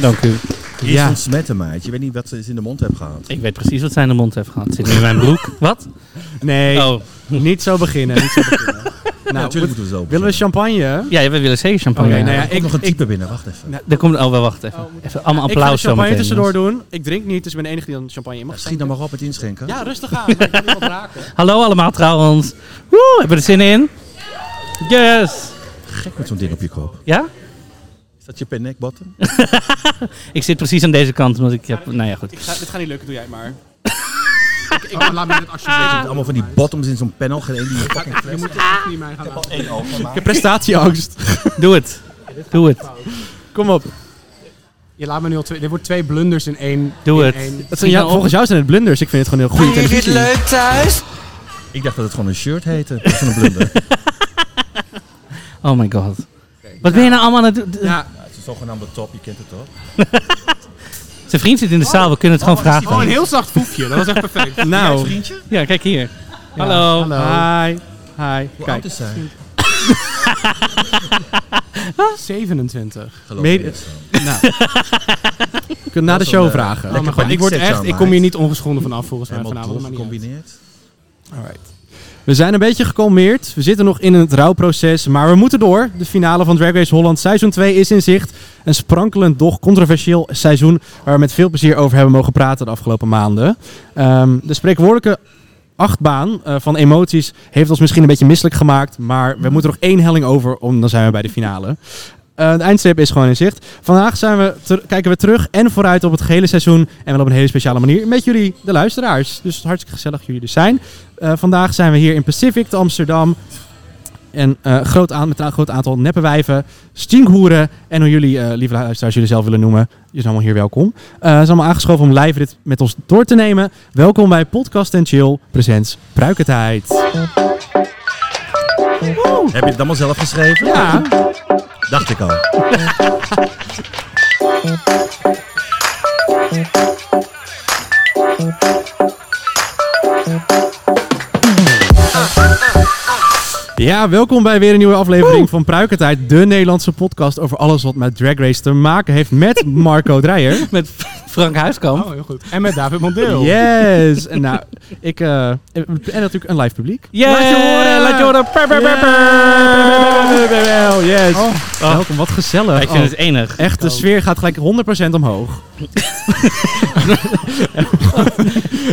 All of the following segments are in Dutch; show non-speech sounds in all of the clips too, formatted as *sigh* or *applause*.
Dank u. Het is Ja. een smettenmaatje. Je weet niet wat ze eens in de mond hebben gehad. Ik weet precies wat zij in de mond heeft gehad. Zit nu in mijn broek. Wat? Nee, Oh, niet zo beginnen. Niet zo beginnen. Ja, nou, natuurlijk moeten we zo willen we beginnen. champagne? ja, we willen zeker champagne. Oké, nou ja, Er komt ik- nog een ik- type binnen. Wacht even. Nou, Er komt, oh, wel, wacht even. Oh, moet- Even allemaal ik ga de applaus zo champagne meteen. tussendoor doen. Ik drink niet, dus ik ben de enige die dan champagne in mag. Schiet dan maar op het inschenken. Ja, rustig aan. Ik kan niemand *laughs* raken. Hallo allemaal trouwens. Woe, hebben we er zin in? Yes! Gek met zo'n ding op je kop. Ja? Is dat je pennek bottom? Ik zit precies aan deze kant, want ik heb... Nou ja, goed. Ik ga, dit gaat niet lukken, doe jij het maar. Ah. Ik, ik laat mij dit *laughs* alsjeblieft. Allemaal van die bottoms in zo'n panel. Geen één die fucking Je fles. moet echt niet mij gaan laten. Eén oog. Ik heb prestatieangst. Doe het. Doe het. Kom op. Je laat me nu al twee. Dit wordt twee blunders in één. Doe in het. één. Dat zijn jou- volgens jou zijn het blunders. Ik vind het gewoon heel goede televisie. Ik dacht dat het gewoon een shirt heette. Dat is een blunder. Oh my god. Wat ben je nou allemaal aan het doen? Ja. Ja, het is een zogenaamde top. Je kent het toch? Zijn vriend zit in de Oh, zaal, we kunnen het gewoon vragen. Oh, een heel zacht voefje. Dat was echt perfect. Nou. Ja, kijk hier. Hallo. hallo. Hi. Hi. Hoe oud Kijk. is zij? 27. Geloof Mede- me niet. Je kunt na de Dat is een, show eh, vragen. lekker Oh mijn god, ik word paniekzet, echt. zo, Ik meid. kom hier niet ongeschonden vanaf volgens mij Helemaal vanavond. dol maar niet uit. gecombineerd. Alright. We zijn een beetje gekalmeerd. We zitten nog in het rouwproces, maar we moeten door. De finale van Drag Race Holland seizoen 2 is in zicht. Een sprankelend, doch controversieel seizoen waar we met veel plezier over hebben mogen praten de afgelopen maanden. Ehm, de spreekwoordelijke achtbaan eh, van emoties heeft ons misschien een beetje misselijk gemaakt, maar we moeten nog één helling over, om, dan zijn we bij de finale. Eh de eindstreep is gewoon in zicht. Vandaag zijn we ter- kijken we terug en vooruit op het gehele seizoen. En wel op een hele speciale manier met jullie, de luisteraars. Dus hartstikke gezellig dat jullie er zijn. Eh, vandaag zijn we hier in Pacific, te Amsterdam. En eh, groot aan, met een groot aantal neppenwijven, stinkhoeren en hoe jullie, eh, lieve luisteraars, jullie zelf willen noemen. Je zijn allemaal hier welkom. Eh ze zijn allemaal aangeschoven om live dit met ons door te nemen. Welkom bij Podcast en Chill presents Pruikentijd. Heb je het allemaal zelf geschreven? Ja, Dacht ik al. ja, welkom bij weer een nieuwe aflevering van Pruikentijd. De Nederlandse podcast over alles wat met Drag Race te maken heeft met Marco Dreyer. Met Frank Huiskamp. Oh, heel goed. En met David Mondeel. Yes! En, nou, ik, eh, en natuurlijk een live publiek. Yeah. Laat je horen, laat je horen. Pep, pep, pep, pep. Wel, Yes! Oh. Welkom, wat gezellig. Ik vind Oh. het enig. Echt, de sfeer gaat gelijk 100% omhoog.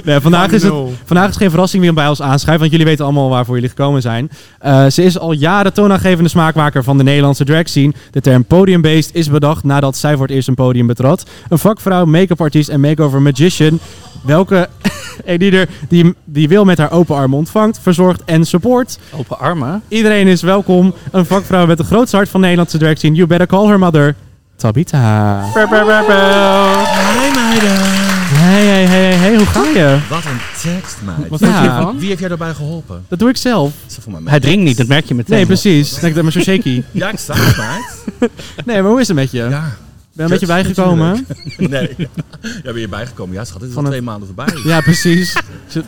nee, vandaag, is het, vandaag is geen verrassing meer om bij ons aanschuiven, want jullie weten allemaal waarvoor jullie gekomen zijn. Eh, ze is al jaren toonaangevende smaakmaker van de Nederlandse drag scene. De term podiumbeest is bedacht nadat zij voor het eerst een podium betrad. Een vakvrouw, make-up artiest en makeover magician. Welke *laughs* editor die, die wil met haar open armen ontvangt, verzorgt en support. Open armen. Iedereen is welkom. Een vakvrouw met het grootste hart van de Nederlandse drag scene. You better call her mother, Tabita. Hi meiden. Hey, hey, hey, hey, hey, hoe ga je? Wat een tekst, meid. Wat Ja. vond je ervan? Wie heeft jou daarbij geholpen? Dat doe ik zelf. Ze voor mij Hij drinkt niet, dat merk je meteen. Nee, precies. Nee, Ik ben maar zo shaky. Ja, ik zag het, meid. Nee, maar hoe is het met je? Ja. ben je een beetje Kut, bijgekomen. Nee. *laughs* Ja, ben je bijgekomen? Ja, schat. Het is al Van het- twee maanden voorbij. Ja, precies. *laughs*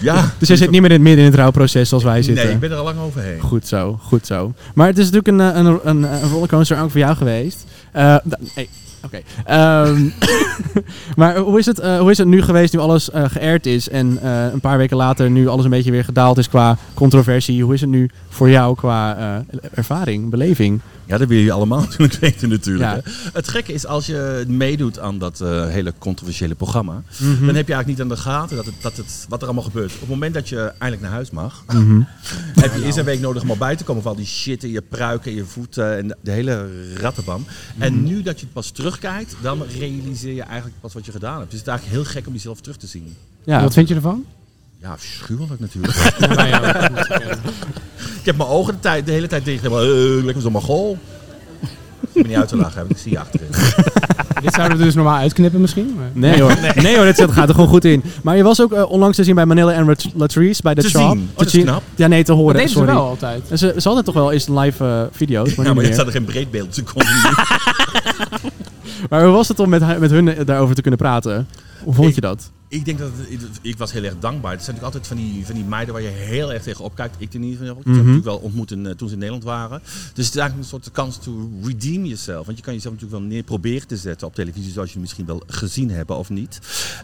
Ja. Dus jij zit niet meer in het midden in het rouwproces zoals wij zitten. Nee, ik ben er al lang overheen. Goed zo, goed zo. Maar het is natuurlijk een, eh, een, een, een rollercoaster ook voor jou geweest. Eh, da- nee, oké. Ehm, *laughs* maar hoe is, het, eh, hoe is het nu geweest, nu alles eh geërd is en eh, een paar weken later nu alles een beetje weer gedaald is qua controversie? Hoe is het nu voor jou qua eh, ervaring, beleving? Ja, dat willen jullie allemaal *laughs* natuurlijk weten natuurlijk. Ja. hè. Het gekke is, als je meedoet aan dat eh, hele controversiële programma... dan heb je eigenlijk niet aan de gaten dat het, dat het, wat er allemaal gebeurt. Op het moment dat je eindelijk naar huis mag... *laughs* heb je eerst een week nodig om al bij te komen van al die shit in je pruiken, in je voeten... en de hele rattenbam. En nu dat je het pas terugkijkt, dan realiseer je eigenlijk pas wat je gedaan hebt. Dus het is eigenlijk heel gek om jezelf terug te zien. Ja, Wat vind je ervan? Ja, afschuwelijk natuurlijk. ik heb mijn ogen de, tijd- de hele tijd tegen. Uh, lekker zo'n Mongool. Ik ben niet uit te lachen, want ik zie je achterin. Dit zouden we dus normaal uitknippen misschien. maar- Nee *laughs* hoor, nee. hoor, dit zit- gaat er gewoon goed in. Maar je was ook eh, onlangs te zien bij Manila en Lat- Latrice bij de Te shop. zien? Oh, dat is knap. Ja, nee, te horen. Dat deden ze sorry. wel altijd. En Ze, ze hadden toch wel eens live eh, video's, maar Ja, maar niet meer. er staat er geen breedbeeld. Ze kon niet. Maar hoe was het om met, hu- met hun eh, daarover te kunnen praten? Hoe vond Ik- je dat? Ik denk dat het- ik, ik was heel erg dankbaar. Het zijn natuurlijk altijd van die, van die meiden waar je heel erg tegen opkijkt. Ik in ieder geval. Ik heb Mhm. natuurlijk wel ontmoet in, eh, toen ze in Nederland waren. Dus het is eigenlijk een soort kans to redeem jezelf. Want je kan jezelf natuurlijk wel neer proberen te zetten op televisie, zoals jullie misschien wel gezien hebben of niet.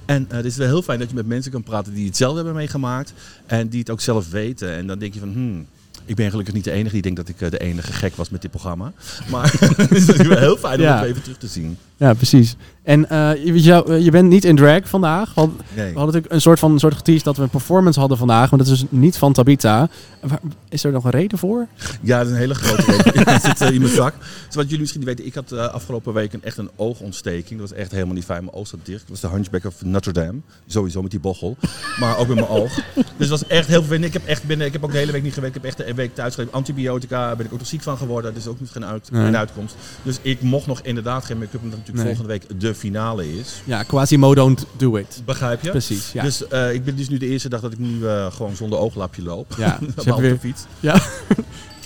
En eh, het is wel heel fijn dat je met mensen kan praten die het zelf hebben meegemaakt en die het ook zelf weten. En dan denk je van, hmm, ik ben gelukkig niet de enige die denkt dat ik eh, de enige gek was met dit programma. Maar *laughs* het is natuurlijk wel heel fijn om Ja. het even terug te zien. Ja, precies. En eh, je, weet jou- eh, je bent niet in drag vandaag. Want Nee. we hadden natuurlijk een soort van een soort geteased dat we een performance hadden vandaag. Maar dat is dus niet van Tabita. Waar- Is er nog een reden voor? Ja, dat is een hele grote *laughs* week. Het zit eh, in mijn zak. Dus wat jullie misschien niet weten, ik had eh, afgelopen week een, echt een oogontsteking. Dat was echt helemaal niet fijn. Mijn oog zat dicht. Dat was de Hunchback of Notre Dame. Sowieso met die bochel. Maar ook met mijn oog. Dus het was echt heel vervelend. Ik heb, echt binnen, ik heb ook de hele week niet gewerkt. Ik heb echt een week thuis gegeven. Antibiotica. Daar ben ik ook nog ziek van geworden. Dus ook niet geen, uit, Nee. geen uitkomst. Dus ik mocht nog inderdaad geen make-up. Omdat natuurlijk Nee. volgende week de finale is. Ja, Quasimodo don't do it. Begrijp je? Precies, ja. Dus eh, ik ben dus nu de eerste dag dat ik nu eh, gewoon zonder ooglapje loop. *laughs* ja, ze hebben op de weer... fiets. Ja. *laughs*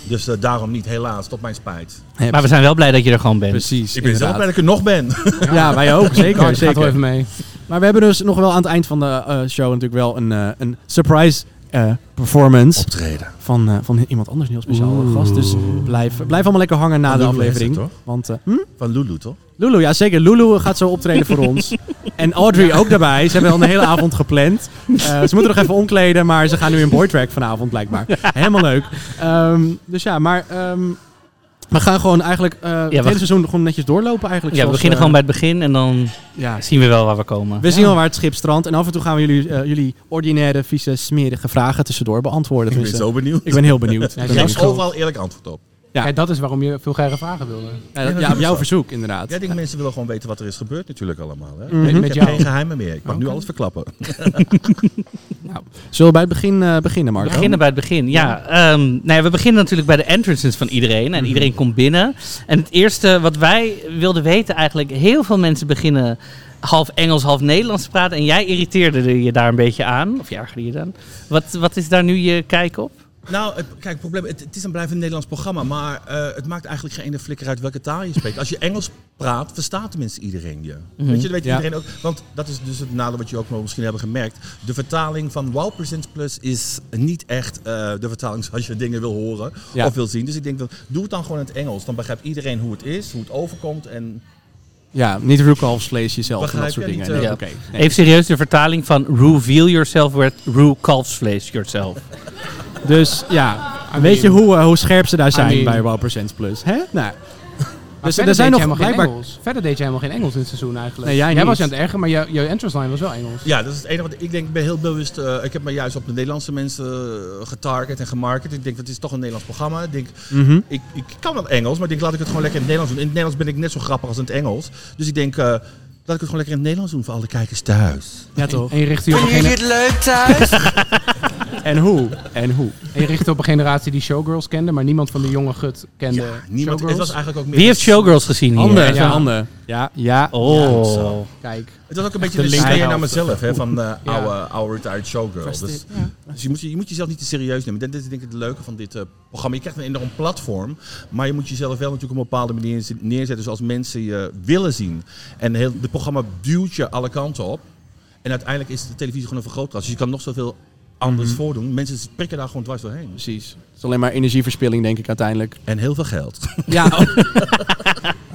Dus eh, daarom niet, helaas, tot mijn spijt. Maar we zijn wel blij dat je er gewoon bent. Precies, Ik ben zelf blij dat inderdaad. ik er nog ben. Ja, wij ook, zeker. ik eh, ga zeker. wel even mee. Maar we hebben dus nog wel aan het eind van de eh, show natuurlijk wel een, eh, een surprise eh, performance Optreden. van, eh, van iemand anders, een heel speciaal Oeh. gast. Dus blijf, blijf allemaal lekker hangen na Van de Lulu heeft aflevering. het, hoor. Want, eh, hm? Van Lulu, toch? Lulu, ja zeker. Lulu gaat zo optreden voor *laughs* ons. En Audrey ook daarbij. Ze hebben al een hele avond gepland. Eh, ze moeten nog even omkleden, maar ze gaan nu in boytrack vanavond blijkbaar. Helemaal leuk. Ehm, dus ja, maar ehm, we gaan gewoon eigenlijk eh, het we- hele seizoen gewoon netjes doorlopen eigenlijk. Ja, we zoals, beginnen eh, gewoon bij het begin en dan Ja, zien we wel waar we komen. we zien wel waar het schip strandt. En af en toe gaan we jullie, eh, jullie ordinaire, vieze, smerige vragen tussendoor beantwoorden. Ik ben Dus, eh, zo benieuwd. ik ben heel benieuwd. Ja, Ik Ik ben jij heel geef zo- benieuwd. overal eerlijk antwoord op. Ja. Kijk, dat is waarom je veel graire vragen wilde. Ja, Ja, dat- ja, op jouw natuurlijk. verzoek inderdaad. Ja, ik denk mensen willen gewoon weten wat er is gebeurd natuurlijk allemaal. Hè? Mhm. Ik Met heb jou. geen geheimen meer. Ik mag nu Oké. alles verklappen. Zullen we bij het begin eh, beginnen, Marco? We beginnen bij het begin. Ja, ehm, nou ja, we beginnen natuurlijk bij de entrances van iedereen. Mhm. En iedereen komt binnen. En het eerste wat wij wilden weten eigenlijk... heel veel mensen beginnen half Engels, half Nederlands te praten. En jij irriteerde er je daar een beetje aan. Of je ergerde je dan. Wat, wat is daar nu je kijk op? Nou, het- kijk, het probleem, het, het is een blijvend Nederlands programma, maar eh, het maakt eigenlijk geen ene flikker uit welke taal je spreekt. Als je Engels praat, verstaat tenminste iedereen je. Weet je, dat weet Mhm. Ja. iedereen ook. Want dat is dus het nadeel wat je ook nog misschien hebben gemerkt. De vertaling van Wow Presents Plus is niet echt eh, de vertaling zoals je dingen wil horen Ja. of wil zien. Dus ik denk, dat, doe het dan gewoon in het Engels. Dan begrijpt iedereen hoe het is, hoe het overkomt en... Ja, niet roekalfsvlees jezelf en dat Begrijp soort je dingen. niet, Nee, eh, oké. Nee. Even serieus, de vertaling van reveal yourself werd rue calfsvlees yourself. Dus ja, I weet je mean- hoe, eh, hoe scherp ze daar zijn I mean- bij Wow Percent Plus? Hè? Nou, Maar dus verder er zijn deed nog jij helemaal geen blijkbaar... Engels. Verder deed jij helemaal geen Engels in het seizoen eigenlijk. Nee, jij niet. was je aan het erger, maar jou- jouw entrance line was wel Engels. Ja, dat is het enige. Want ik denk, ik ben heel bewust. eh, ik heb me juist op de Nederlandse mensen eh, getarget en gemarket. Ik denk, dat is toch een Nederlands programma. Ik denk, Mhm. ik, ik kan wel Engels, maar ik denk, laat ik het gewoon lekker in het Nederlands doen. In het Nederlands ben ik net zo grappig als in het Engels. Dus ik denk, eh, laat ik het gewoon lekker in het Nederlands doen voor alle kijkers thuis. Ja, toch? En je richtte je op een Vinden gene- jullie het leuk thuis? En hoe? En hoe? en je richtte op een generatie die showgirls kende, maar niemand van de jonge gut kende ja, niemand. Het showgirls. was eigenlijk ook meer. Wie heeft showgirls gezien hier? Handen, Ja. ja. handen. Ja, ja. Oh. Kijk. Het was ook een beetje de de linker naar linkerhelft. mezelf, hè, van eh Ja. oude, oude retired showgirl. Dus, dus je, moet, je je moet jezelf niet te serieus nemen. Dat is denk ik het leuke van dit eh, programma. Je krijgt een enorm platform, maar je moet jezelf wel natuurlijk op een bepaalde manier zet- neerzetten zoals mensen je willen zien. En heel, het programma duwt je alle kanten op. En uiteindelijk is de televisie gewoon een vergrootglas. Dus je kan nog zoveel anders Mhm. voordoen. Mensen prikken daar gewoon dwars doorheen. Precies. Het is alleen maar energieverspilling, denk ik, uiteindelijk. En heel veel geld. *laughs* Ja.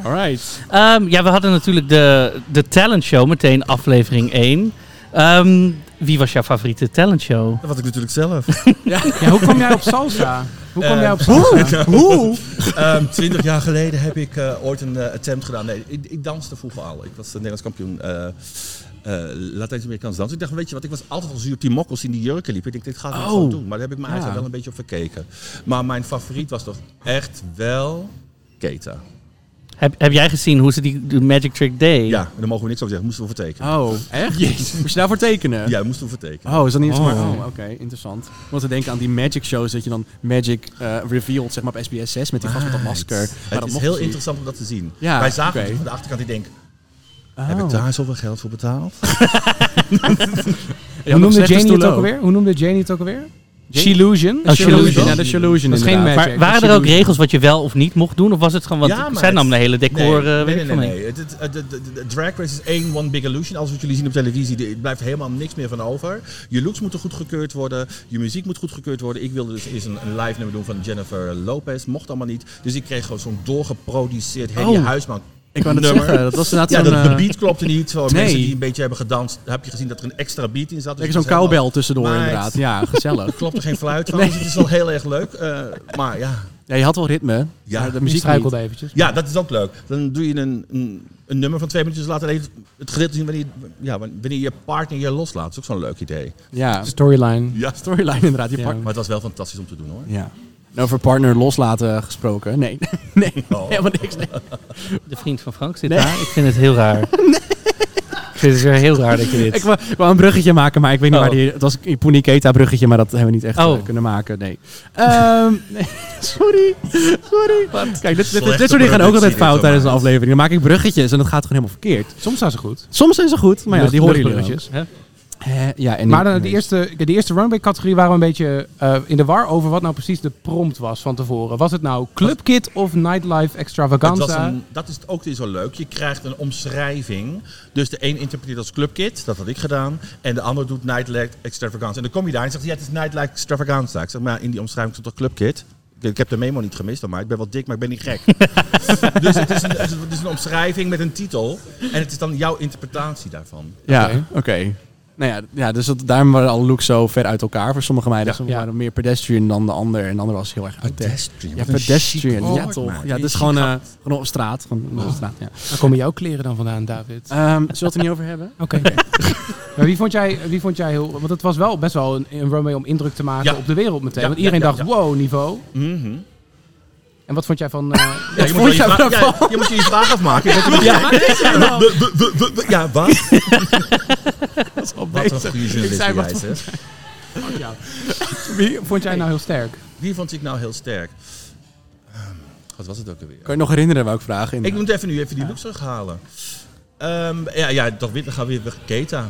Alright. Ehm, ja, we hadden natuurlijk de, de talent show meteen aflevering 1. Ehm, wie was jouw favoriete talent show? Dat was ik natuurlijk zelf. Ja, hoe kwam jij op salsa? Hoe kwam Eh, jij op salsa? *laughs* Hoe? Ehm, Twintig jaar geleden heb ik eh, ooit een eh, attempt gedaan. Nee, ik, ik danste vroeger al. Ik was eh, Nederlands kampioen eh, eh, Latijns-Amerikaans dansen. Ik dacht, weet je wat, ik was altijd al zuur op die mokkels die in die jurken liepen. Ik dacht, dit ga ik niet Oh. gewoon doen. Maar daar heb ik me Ja. eigenlijk wel een beetje op verkeken. Maar mijn favoriet was toch echt wel Keta. Heb, heb jij gezien hoe ze die, die Magic Trick deed? Ja, en daar mogen we niks over zeggen. Moesten we voor tekenen. Oh, echt? Moest je daarvoor tekenen? Ja, moesten we voor tekenen. Oh, is dat niet iets Oh. maar... Oh, oké, interessant. Want we denken aan die magic shows, dat je dan magic eh, revealed, zeg maar op SBS 6 met die gast met dat masker. Maar dat Het is mocht heel dus niet. interessant om dat te zien. Ja, Wij zagen oké. het van de achterkant. Ik denk, Oh. heb ik daar zoveel geld voor betaald? Je had nog Hoe noemde slechte Janie het stoelen ook alweer? Hoe noemde Janie het ook alweer? Shillusion. Oh, Shillusion. Ja, de Shillusion Dat is geen inderdaad. magic. Maar waren er ook regels wat je wel of niet mocht doen? Of was het gewoon, want Ja, maar zij nam het- de hele decor, eh, nee, weet ik nee, nee, veel mee. nee. Het, het- het- het- het- het drag race is één one big illusion. Alles wat jullie zien op televisie, er blijft helemaal niks meer van over. Je looks moeten goedgekeurd worden. Je muziek moet goedgekeurd worden. Ik wilde dus eens een, een live nummer doen van Jennifer Lopez. Mocht allemaal niet. Dus ik kreeg gewoon zo'n doorgeproduceerd Henny Oh. Huisman. Ik wou net nummer. zeggen, dat was Ja, inderdaad de, zo'n... de eh, beat klopte niet. Zo, Nee. Mensen die een beetje hebben gedanst, heb je gezien dat er een extra beat in zat. Dus lekker het was zo'n helemaal- cowbell tussendoor Maar- inderdaad. Ja, *laughs* gezellig. Klopt er geen fluit *laughs* van, dus het is wel heel erg leuk. Eh, maar ja, Ja, je had wel ritme. Ja. maar de Die muziek niet. struikelde eventjes. Ja, dat is ook leuk. Dan doe je een, een, een nummer van twee minuutjes, laat alleen het- het gedeelte zien wanneer, ja, wanneer je partner je loslaat. Dat is ook zo'n leuk idee. Ja, *laughs* Storyline. Ja. storyline inderdaad. Je Ja. partner. Maar het was wel fantastisch om te doen hoor. Ja. En over partner loslaten gesproken. Nee, *laughs* nee, helemaal niks. Nee. De vriend van Frank zit Nee. daar. Ik vind het heel raar. *laughs* Ik vind het weer heel raar dat je dit... Ik wou, ik wou een bruggetje maken, maar ik weet niet Oh. waar die... Het was een Puniketa bruggetje, maar dat hebben we niet echt Oh. eh, kunnen maken. Nee. Ehm, *laughs* nee, Sorry, sorry. Kijk, dit, dit, dit, Slechte soort dingen gaan ook altijd productie fout dit tijdens een allemaal. aflevering. Dan maak ik bruggetjes en dat gaat gewoon helemaal verkeerd. Soms zijn ze goed. Dus Soms zijn ze goed, maar ja, Lucht- die horen jullie luchtbruggetjes. ook. Hè, ja, en Maar de, de eerste, de eerste runway-categorie waren we een beetje eh, in de war over wat nou precies de prompt was van tevoren. Was het nou Clubkit of Nightlife Het Extravaganza? was een, dat is ook weer zo leuk. Je krijgt een omschrijving. Dus de een interpreteert als clubkid, dat had ik gedaan. En de ander doet Nightlight Extravaganza. En dan kom je daar en zegt, ja, het is Nightlight Extravaganza. Ik zeg, maar ja, in die omschrijving stond toch clubkid? Ik- Ik heb de memo niet gemist, maar ik ben wel dik, maar ik ben niet gek. dus het is, een, het is- het is een omschrijving met een titel. En het is dan jouw interpretatie daarvan. Ja, oké. Oké. Nou ja, d- ja, dus dat, daarom waren alle looks zo ver uit elkaar. Voor sommige meiden Ja. sommige Ja. waren meer pedestrian dan de ander. En de ander was heel erg uit de- Pedestrian. Ja, Wat een chic pedestrian. Ja, woord, toch. maat. Ja, Een Oh. dus chic gewoon, eh, gat. gewoon op straat. Gewoon op straat, ja. Waar komen jouw kleren dan vandaan, David? Ehm, zullen we het er niet over hebben? *laughs* Oké. maar wie vond, jij, wie vond jij heel... Want het was wel best wel een, een runway om indruk te maken Ja. op de wereld meteen. Ja, want iedereen ja, ja, dacht, ja. wow, niveau. Mhm. En wat vond jij *laughs* van... eh, Ja, je, moet vond je, jij vra- ja, je moet je je vraag afmaken. Je bent er- ja, w- w- w- w- w- ja, wat? *laughs* Wat een goede Ik journalist zei ben wat jij, zeg. ja. Wie vond jij nou heel sterk? Wie vond ik nou heel sterk? Ehm, Wat was het ook alweer? Kan je je nog herinneren waar ik vragen in? Ik moet even nu even die looks terughalen. Ehm, ja, ja, toch weer, dan gaan we weer weg. Keta.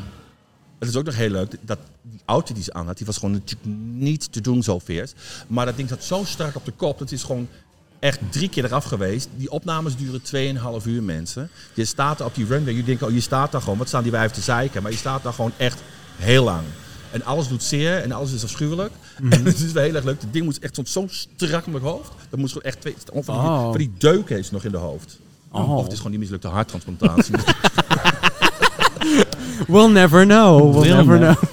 Het is ook nog heel leuk, dat die outfit die ze aan had, die was gewoon natuurlijk niet te doen zo veers. Maar dat ding zat zo strak op de kop, dat is gewoon echt drie keer eraf geweest. Die opnames duren 2,5 uur, mensen. Je staat daar op die runway, je denkt, oh, je staat daar gewoon, wat staan die wijven te zeiken? Maar je staat daar gewoon echt heel lang. En alles doet zeer en alles is afschuwelijk. *laughs* En het is wel heel erg leuk. Het ding moest echt stond zo strak om het hoofd. Dat moest gewoon echt twee, van, die, Oh. van die deuk heeft nog in de hoofd. Oh. Of het is gewoon die mislukte harttransplantatie. *laughs* We'll never know. We'll We'll never never. know.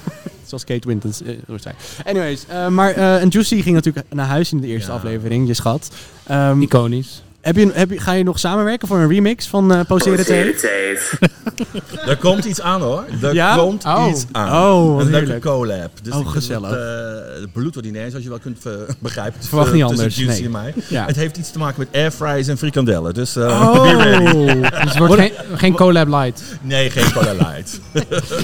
*laughs* Zoals Kate Wintons eh, ooit zei. Anyways, eh, maar eh en Juicy ging natuurlijk naar huis in de eerste Ja. aflevering, je schat. Ehm, Iconisch. heb je, heb je, ga je nog samenwerken voor een remix van eh Poseren Tate? er komt iets aan hoor. Er Ja? komt Oh. iets aan. Oh, wat een leuke heerlijk. collab. Dus Oh, ik- gezellig. Het eh, het bloed wordt ineens, zoals je wel kunt eh, *laughs* begrijpen. Het is, Verwacht eh, niet tussen anders, Juicy nee. en mij. Ja. Het heeft iets te maken met airfries en frikandellen. Dus eh, Oh, Dus het wordt geen, geen collab light. nee, geen cola light.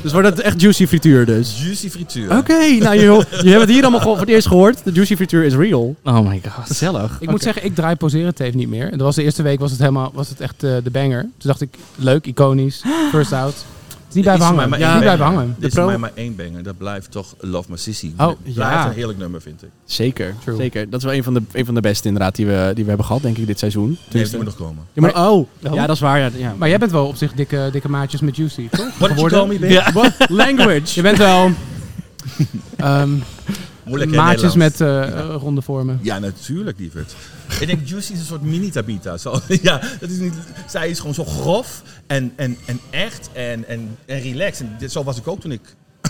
dus wordt het echt Juicy Frituur dus? Juicy frituur. Oké, nou joh, je hebt het hier allemaal gewoon voor het eerst gehoord. De Juicy Frituur is real. Oh my god. Gezellig. Ik moet zeggen, ik draai poseren tape niet meer. En dat was de eerste week was het helemaal was het echt eh, de banger. Toen dacht ik, leuk, iconisch, first out. Het is niet blijven Is voor mij hangen. maar Ja, één niet blijven banger. hangen. Er is pro- voor mij maar één banger. Dat blijft toch Love My Sissy. Oh, Het blijft ja. een heerlijk nummer, vind ik. Zeker, True. zeker. Dat is wel een van, de, een van de beste inderdaad die we, die we hebben gehad, denk ik, dit seizoen. Nee, het moet nog komen. Ja, maar, oh, Oh. ja, dat is waar. Ja, ja. Maar jij bent wel op zich dikke, dikke maatjes met Juicy, *laughs* toch? What did you Geworden. call me, babe? Ja. What language? Je bent wel ehm, Moeilijk hè, maatjes Nederlands. met eh, eh, ronde vormen. Ja, natuurlijk, lieverd. Ik denk, Juicy is een soort mini-Tabita. Zo, *laughs* ja, dat is niet, zij is gewoon zo grof en, en, en echt en, en, en relaxed. En dit, zo was ik ook toen ik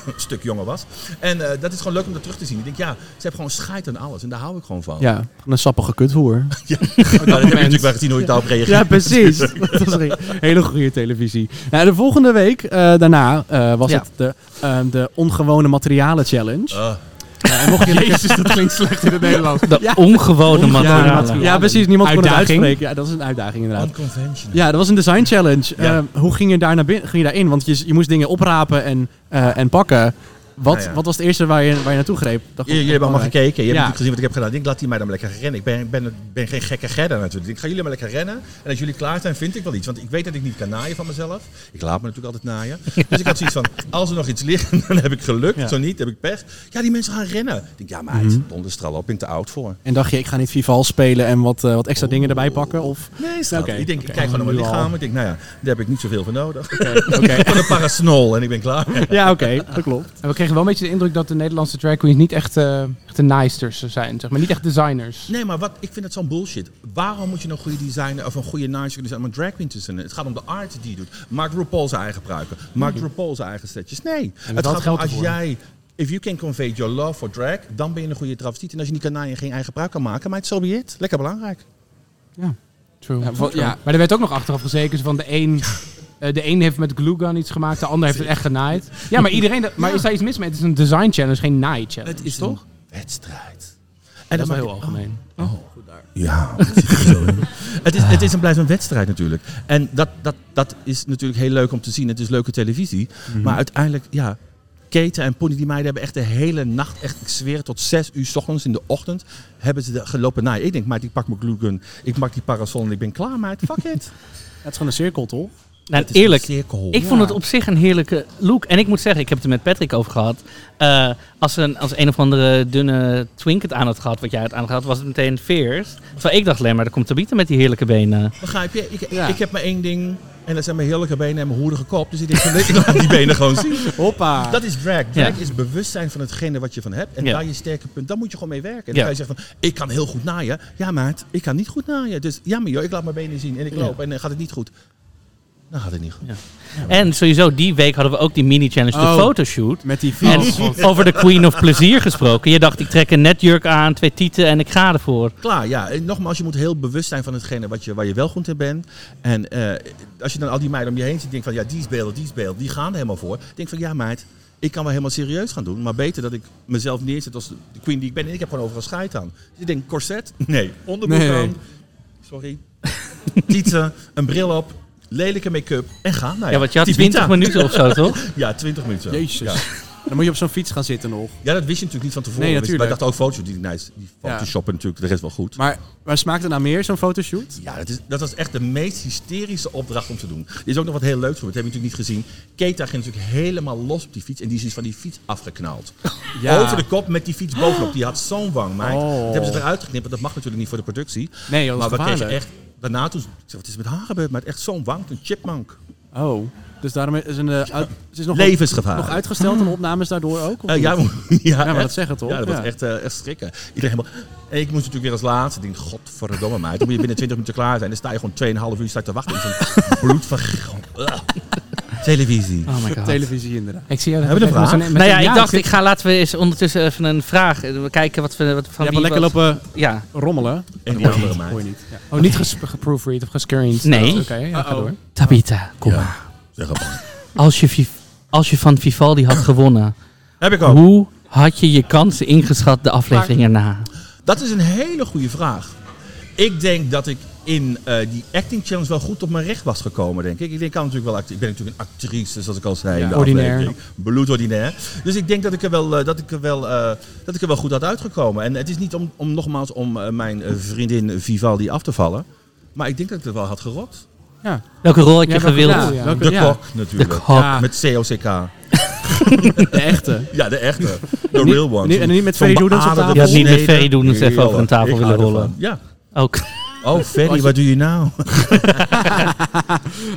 een *clears throat* stuk jonger was. En eh, dat is gewoon leuk om dat terug te zien. Ik denk, ja, ze heeft gewoon scheid aan alles. En daar hou ik gewoon van. Ja, een sappige kuthoer. Nou, *laughs* dat heb je natuurlijk wel gezien hoe ik daarop reageer. Ja, precies. *laughs* dat was een hele goede televisie. Nou, de volgende week eh, daarna eh, was Ja. het de, eh, de ongewone materialen challenge. Ah, Oh. Jezus, dat klinkt slecht in het Nederlands. De Ja. ongewone ja, materialen. ja, precies. Niemand kon het Uitdaging. uitspreken. Ja, dat is een uitdaging inderdaad. unconventional. Ja, dat was een design challenge. Ja. Eh, hoe ging je, daar naar binnen, ging je daarin? Want je, je moest dingen oprapen en, eh, en pakken. Wat, Nou ja. wat was het eerste waar je, waar je naartoe greep? Dat vond ik Jullie, jullie hebben allemaal belangrijk. gekeken. Je hebt Ja. natuurlijk gezien wat ik heb gedaan. Ik denk, laat die mij dan maar lekker rennen. Ik ben, ben, ben geen gekke gerder natuurlijk. Ik ga jullie maar lekker rennen. En als jullie klaar zijn, vind ik wel iets. Want ik weet dat ik niet kan naaien van mezelf. Ik laat me natuurlijk altijd naaien. Dus ik had zoiets van, als er nog iets ligt, *laughs* dan heb ik geluk. Ja. Mhm. Zo niet, heb ik pech. Ja, die mensen gaan rennen. Ik denk, ja meid, donderstral op. Ik ben te oud voor. En dacht je, ik ga niet Vival spelen en wat, eh, wat extra dingen erbij pakken? *laughs* Of... Nee, schat. Oké, Ik denk, oké. ik kijk gewoon naar mijn Nu al. lichaam. Ik denk, nou ja, daar heb ik niet zoveel voor nodig. Oké. *laughs* Van een parasnol en ik ben klaar. ja, oké. dat klopt. En we kregen wel een beetje de indruk dat de Nederlandse drag queens niet echt, eh echt de naaisters zijn, zeg maar. Niet echt designers. Nee, maar wat, ik vind dat zo'n bullshit. Waarom moet je een goede designer of een goede nice kunnen zijn om een drag queen te zijn? Het gaat om de art die je doet. Maakt RuPaul zijn eigen pruiken. Hmm. Maakt RuPaul zijn eigen setjes. Nee. Het betaalt gaat om geld als ervoor. jij... If you can convey your love for drag, dan ben je een goede travestiet. En als je niet kan naaien en geen eigen pruik kan maken, maar het so be it. Lekker belangrijk. True. Ja, wat- ja. Maar er werd ook nog achteraf gezekerd van de een... eh, de een heeft met glue gun iets gemaakt, de ander heeft het echt genaaid. Ja, maar iedereen... dat- Maar is daar iets mis mee? Het is een design challenge, geen naai challenge. Het is toch? Wedstrijd. En Dat is wel maakt- heel algemeen. Ja, het zit er zo in. *laughs* het, is, het is en blijft een wedstrijd natuurlijk. En dat, dat, dat is natuurlijk heel leuk om te zien. Het is leuke televisie. Maar uiteindelijk, ja, Keten en Pony, die meiden hebben echt de hele nacht, echt, ik zweer het, tot zes uur 's ochtends in de ochtend, hebben ze de gelopen naaien. Ik denk, maar ik pak mijn gluegun, ik maak die parasol en ik ben klaar, meid. Fuck it. Het is gewoon een cirkel, toch? Nou, Het is eerlijk, een cirkel. Ik vond het op zich een heerlijke look. En ik moet zeggen, ik heb het er met Patrick over gehad. Eh, als, een, als een of andere dunne twink het aan had gehad, wat jij het aan had gehad, was het meteen veers. Terwijl ik dacht, alleen maar, daar komt Tabitha met die heerlijke benen. Begrijp je? Ik, Ja. ik heb maar één ding. En dat zijn mijn heerlijke benen en mijn hoerige kop. Dus ik denk, van, ik *laughs* laat die benen gewoon zien. Hoppa. Dat is drag. Drag Ja. is bewustzijn van hetgene wat je van hebt. En Ja. daar je sterke punt. Daar moet je gewoon mee werken. Ja. En dan kan je zeggen van, ik kan heel goed naaien. Ja, maat, ik kan niet goed naaien. Dus ja, maar joh, ik laat mijn benen zien en ik Ja. loop. En dan gaat het niet goed. Dan gaat het niet goed. En sowieso, die week hadden we ook die mini-challenge, Oh. de fotoshoot. Met die vier. En over de Queen of Plezier gesproken. Je dacht, ik trek een netjurk aan, twee tieten en ik ga ervoor. Klaar, ja. En nogmaals, je moet heel bewust zijn van hetgene wat je, waar je wel goed in bent. En eh, als je dan al die meiden om je heen ziet, denk van, ja, die is beelden, die is beelden. Die gaan er helemaal voor. Denk van, ja, meid, ik kan wel helemaal serieus gaan doen. Maar beter dat ik mezelf neerzet als de queen die ik ben. En ik heb gewoon overal scheid aan. Dus ik denk, corset? Nee. Onderbroek Nee. aan? Sorry. *laughs* Tieten, een bril op, lelijke make-up en ga. Nou Ja, want je had Tabitha. 20 minuten of *laughs* zo, toch? *laughs* Ja, 20 minuten. Jezus. Ja. Dan moet je op zo'n fiets gaan zitten nog. Ja, dat wist je natuurlijk niet van tevoren. Nee, Wist- natuurlijk. Maar ik dacht ook foto's die nice. Die photoshoppen natuurlijk, de rest wel goed. Maar waar smaakt het naar meer, zo'n fotoshoot? Ja, dat, is, dat was echt de meest hysterische opdracht om te doen. Er is ook nog wat heel leuks voor. Dat heb je natuurlijk niet gezien. Keta ging natuurlijk helemaal los op die fiets. En die is dus van die fiets *laughs* afgeknald. Over de kop met die fiets bovenop. Die had zo'n wang, meid. Oh. Dat hebben ze eruit geknipt. Want dat mag natuurlijk niet voor de productie. Nee, joh, maar dat is we kregen gevaarlijk. echt... Daarna toen... Ik zei, wat is er met haar gebeurd? Maar echt zo'n wang. Een chipmunk. Oh. Dus daarom is een... eh, uit- het is nog, Levensgevaar. nog uitgesteld en opnames daardoor ook? of Eh, ja, niet? *laughs* ja, maar echt. dat zeggen toch? Ja, dat was Ja. echt, eh, echt schrikken. Iedereen helemaal... En ik moest natuurlijk weer als laatste. Ik denk, godverdomme meid. Dan moet je binnen 20 minuten klaar zijn. Dan sta je gewoon 2,5 uur sta je te wachten. in *laughs* zo'n Ah, bloed van... Ugh. Televisie. Oh my god. Televisie inderdaad. Ik zie jou Hebben we met een vraag? zo'n- met Nou een- ja, ik dacht, zit- ik ga, laten we eens ondertussen even een vraag... eh, We kijken wat we... Wat, Je van hebt wie wel lekker wat- lopen Ja. rommelen. En die Dat andere hoor je meid. niet. Ja. Oh, niet ges- geproofread of gescreend? Oh, Nee. Oké, ja, ga Uh-oh. door. Tabitha, kom Ja. maar. Zeg het maar. Als je, Vi- als je van Vivaldi had gewonnen, Heb ik ook. hoe had je je kansen ingeschat de aflevering erna? Dat is een hele goede vraag. Ik denk dat ik in eh, die acting challenge wel goed op mijn recht was gekomen, denk ik. Ik, denk, ik kan natuurlijk wel act- ik ben natuurlijk een actrice, zoals ik al zei. in de ordinair. aflevering. Bloedordinair. Dus ik denk dat ik er wel, eh, dat ik er wel, eh, dat ik er wel goed had uitgekomen. En het is niet om, om nogmaals om eh, mijn eh, vriendin Vivaldi af te vallen. Maar ik denk dat ik het wel had gerokt. Welke rol had je Ja, welke gewild? rol, Ja. ja. welke- De ja, kok natuurlijk. De kok. Ja. Met COCK. De echte. Ja, de echte. The real one. niet- en niet met Ferry Doedens op tafel? Je had niet met Ferry Doedens even over een tafel willen rollen. Ja. Ook. Oh, Ferry, wat doe je nou?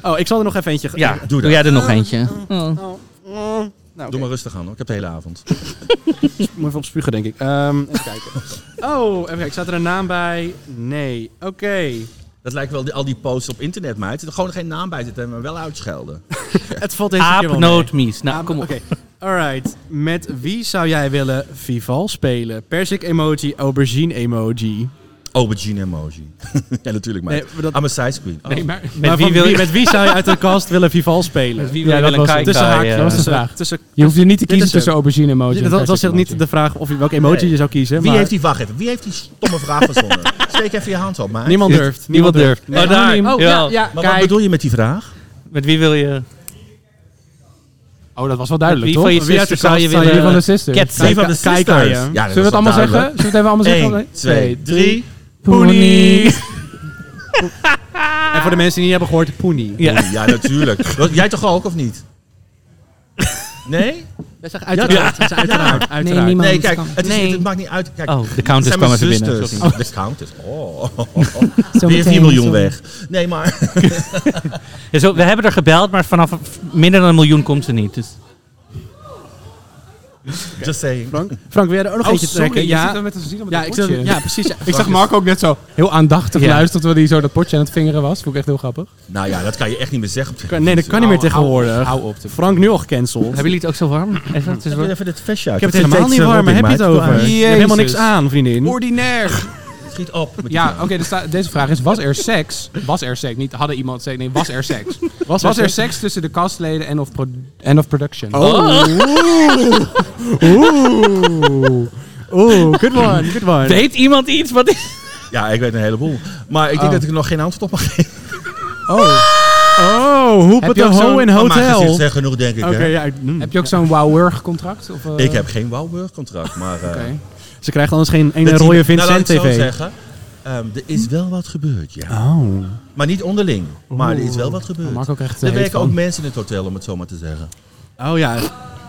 Oh, ik zal er nog even eentje... *laughs* Ja, dat. doe, jij er nog eentje. Oh. Oh, oh. Nou, Doe oké. maar rustig aan hoor, ik heb de hele avond. *laughs* Moet even op spugen, denk ik. Ehm, even kijken. Oh, even kijken. Staat er een naam bij? Nee. Oké. Dat lijkt wel die, al die posts op internet, meid. Er gewoon geen naam bij zitten, maar wel *laughs* uitschelden. Het valt deze keer wel mee. Aapnootmies. Nou, Aap- kom op. Oké. Alright. Met wie zou jij willen Vival spelen? Persik emoji, aubergine emoji. Aubergine emoji. *laughs* ja, natuurlijk, meid. Nee, maar dat- I'm a size queen. Oh. Nee, maar... Met Maar wie van wil je... met wie zou je uit de cast willen Vival spelen? Met Ja, wie wil je dat wel een was het. kijken? Tussen Kai, haakjes. eh, was de tussen- vraag. Tussen, Je hoeft je niet te Dit kiezen is tussen aubergine emoji en dat, dat was persik echt niet emoji. de vraag of je welke emoji Nee. je zou kiezen. Wie maar heeft die, wacht even, wie heeft die stomme vraag verzonnen? *laughs* Steek even je hand op, meid. Niemand durft. Niemand durft. Nee, Oh, daar. anoniem. Ja. ja, maar wat kijk. bedoel je met die vraag? Met wie wil je... Oh, dat was wel duidelijk, Wie toch? van je Wie zuster zou je van je van de willen eh, sisters? ketsen? Drie van de Kijk- kijk aan sisters. je. Ja, dat Zullen we was het allemaal wel zeggen? Zullen we het even allemaal zeggen? 1, 2, 3. Poenie. *laughs* En voor de mensen die niet hebben gehoord, Poenie. Ja. Ja, natuurlijk. *laughs* Wat- Jij toch ook, of niet? Nee? Dat is uiteraard. Dat is uiteraard. uiteraard. niemand. Nee, Iemand kijk, kan- het, is, Nee. het, maakt niet uit. Kijk, Oh, de het countess zijn kwam mijn even binnen. zusters. sorry. De countess. Oh. *laughs* Weer 4 meteen, miljoen zo. weg. Nee, maar... *laughs* Ja, zo, we hebben er gebeld, maar vanaf minder dan een miljoen komt ze niet. Dus Just saying. Frank, Frank, wil jij er ook nog Oh, eentje trekken? sorry, je zit Ja, dan met een ziel op ja, dat ik zat- potje. ja, precies. ja. Ik zag Marco ook net zo heel aandachtig Ja. luisteren terwijl hij zo dat potje aan het vingeren was. Vond ik echt heel grappig. Nou ja, dat kan je echt niet meer zeggen. Kan- Nee, dat kan niet meer Hou- tegenwoordig. Hou op. dit. Frank nu al gecanceld. hebben jullie het ook zo warm? Even, het is wel- Even dit vestje uit. Ik heb het helemaal niet warm. Waar heb je eh, het over? Je hebt helemaal niks Jezus. aan, vriendin. Ordinair. Schiet op. met die Ja, naam. oké. dus da- deze vraag is: was er seks? Was er seks? Niet hadden iemand seks. Nee, was er seks? Was, er seks Oh. tussen de castleden en of, pro- en of production? Oh. Oeh. Oeh, good one, good one. Weet iemand iets? Wat is... Ja, ik weet een heleboel. Maar ik denk dat ik er nog geen antwoord op mag geven. Oh, hoep Heb het je de ook ho zo'n- in Maar hotel. gezicht Oké, zijn genoeg, denk ik. hè. ja. ik- mm. Heb je ook zo'n Wowurg-contract? Of, eh, Ik heb geen Wouwburg-contract, maar... eh, Oké. Ze krijgt anders geen ene dat die- rode nou, laat Vincent ik het zo TV. zeggen. Ehm, er is wel wat gebeurd, ja. Oh. Maar niet onderling. Maar er is wel wat gebeurd. Marco krijgt er eh, werken heet ook van. mensen in het hotel, om het zo maar te zeggen. Oh ja.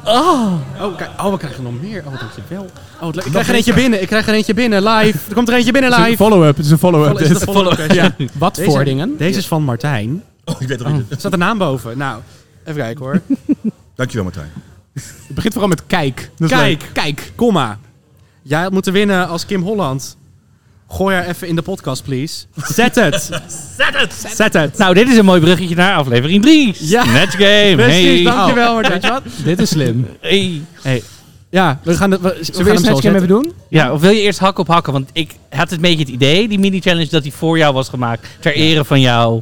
Oh. Oh, kijk, oh, we krijgen nog meer. Oh, dankjewel. Oh, wat leuk. ik krijg er eentje binnen. Ik krijg er eentje binnen. Live. Er komt er eentje binnen Het is een live. follow-up. Het is een follow-up. Is het een follow-up? Ja. Wat Deze- voor dingen? Deze is van Martijn. Oh, ik weet het niet. Er staat de naam boven. Nou, even kijken hoor. Dankjewel, Martijn. Het begint vooral met kijk. Dat is Kijk. leuk. Kijk. Komma. Jij had moeten winnen als Kim Holland. Gooi haar even in de podcast, please. Zet het. Zet het! Zet het. Nou, dit is een mooi bruggetje naar aflevering 3. Ja. Match game. Precies, Hey. dankjewel Martijn. Dit is slim. Zullen Hey. Ja, we gaan, het- we, we gaan hem we eerst zo Snatch Game zetten. even doen? Ja, of wil je eerst hak op hakken? Want ik had het beetje het idee, die mini-challenge, dat die voor jou was gemaakt. Ter ere van jou.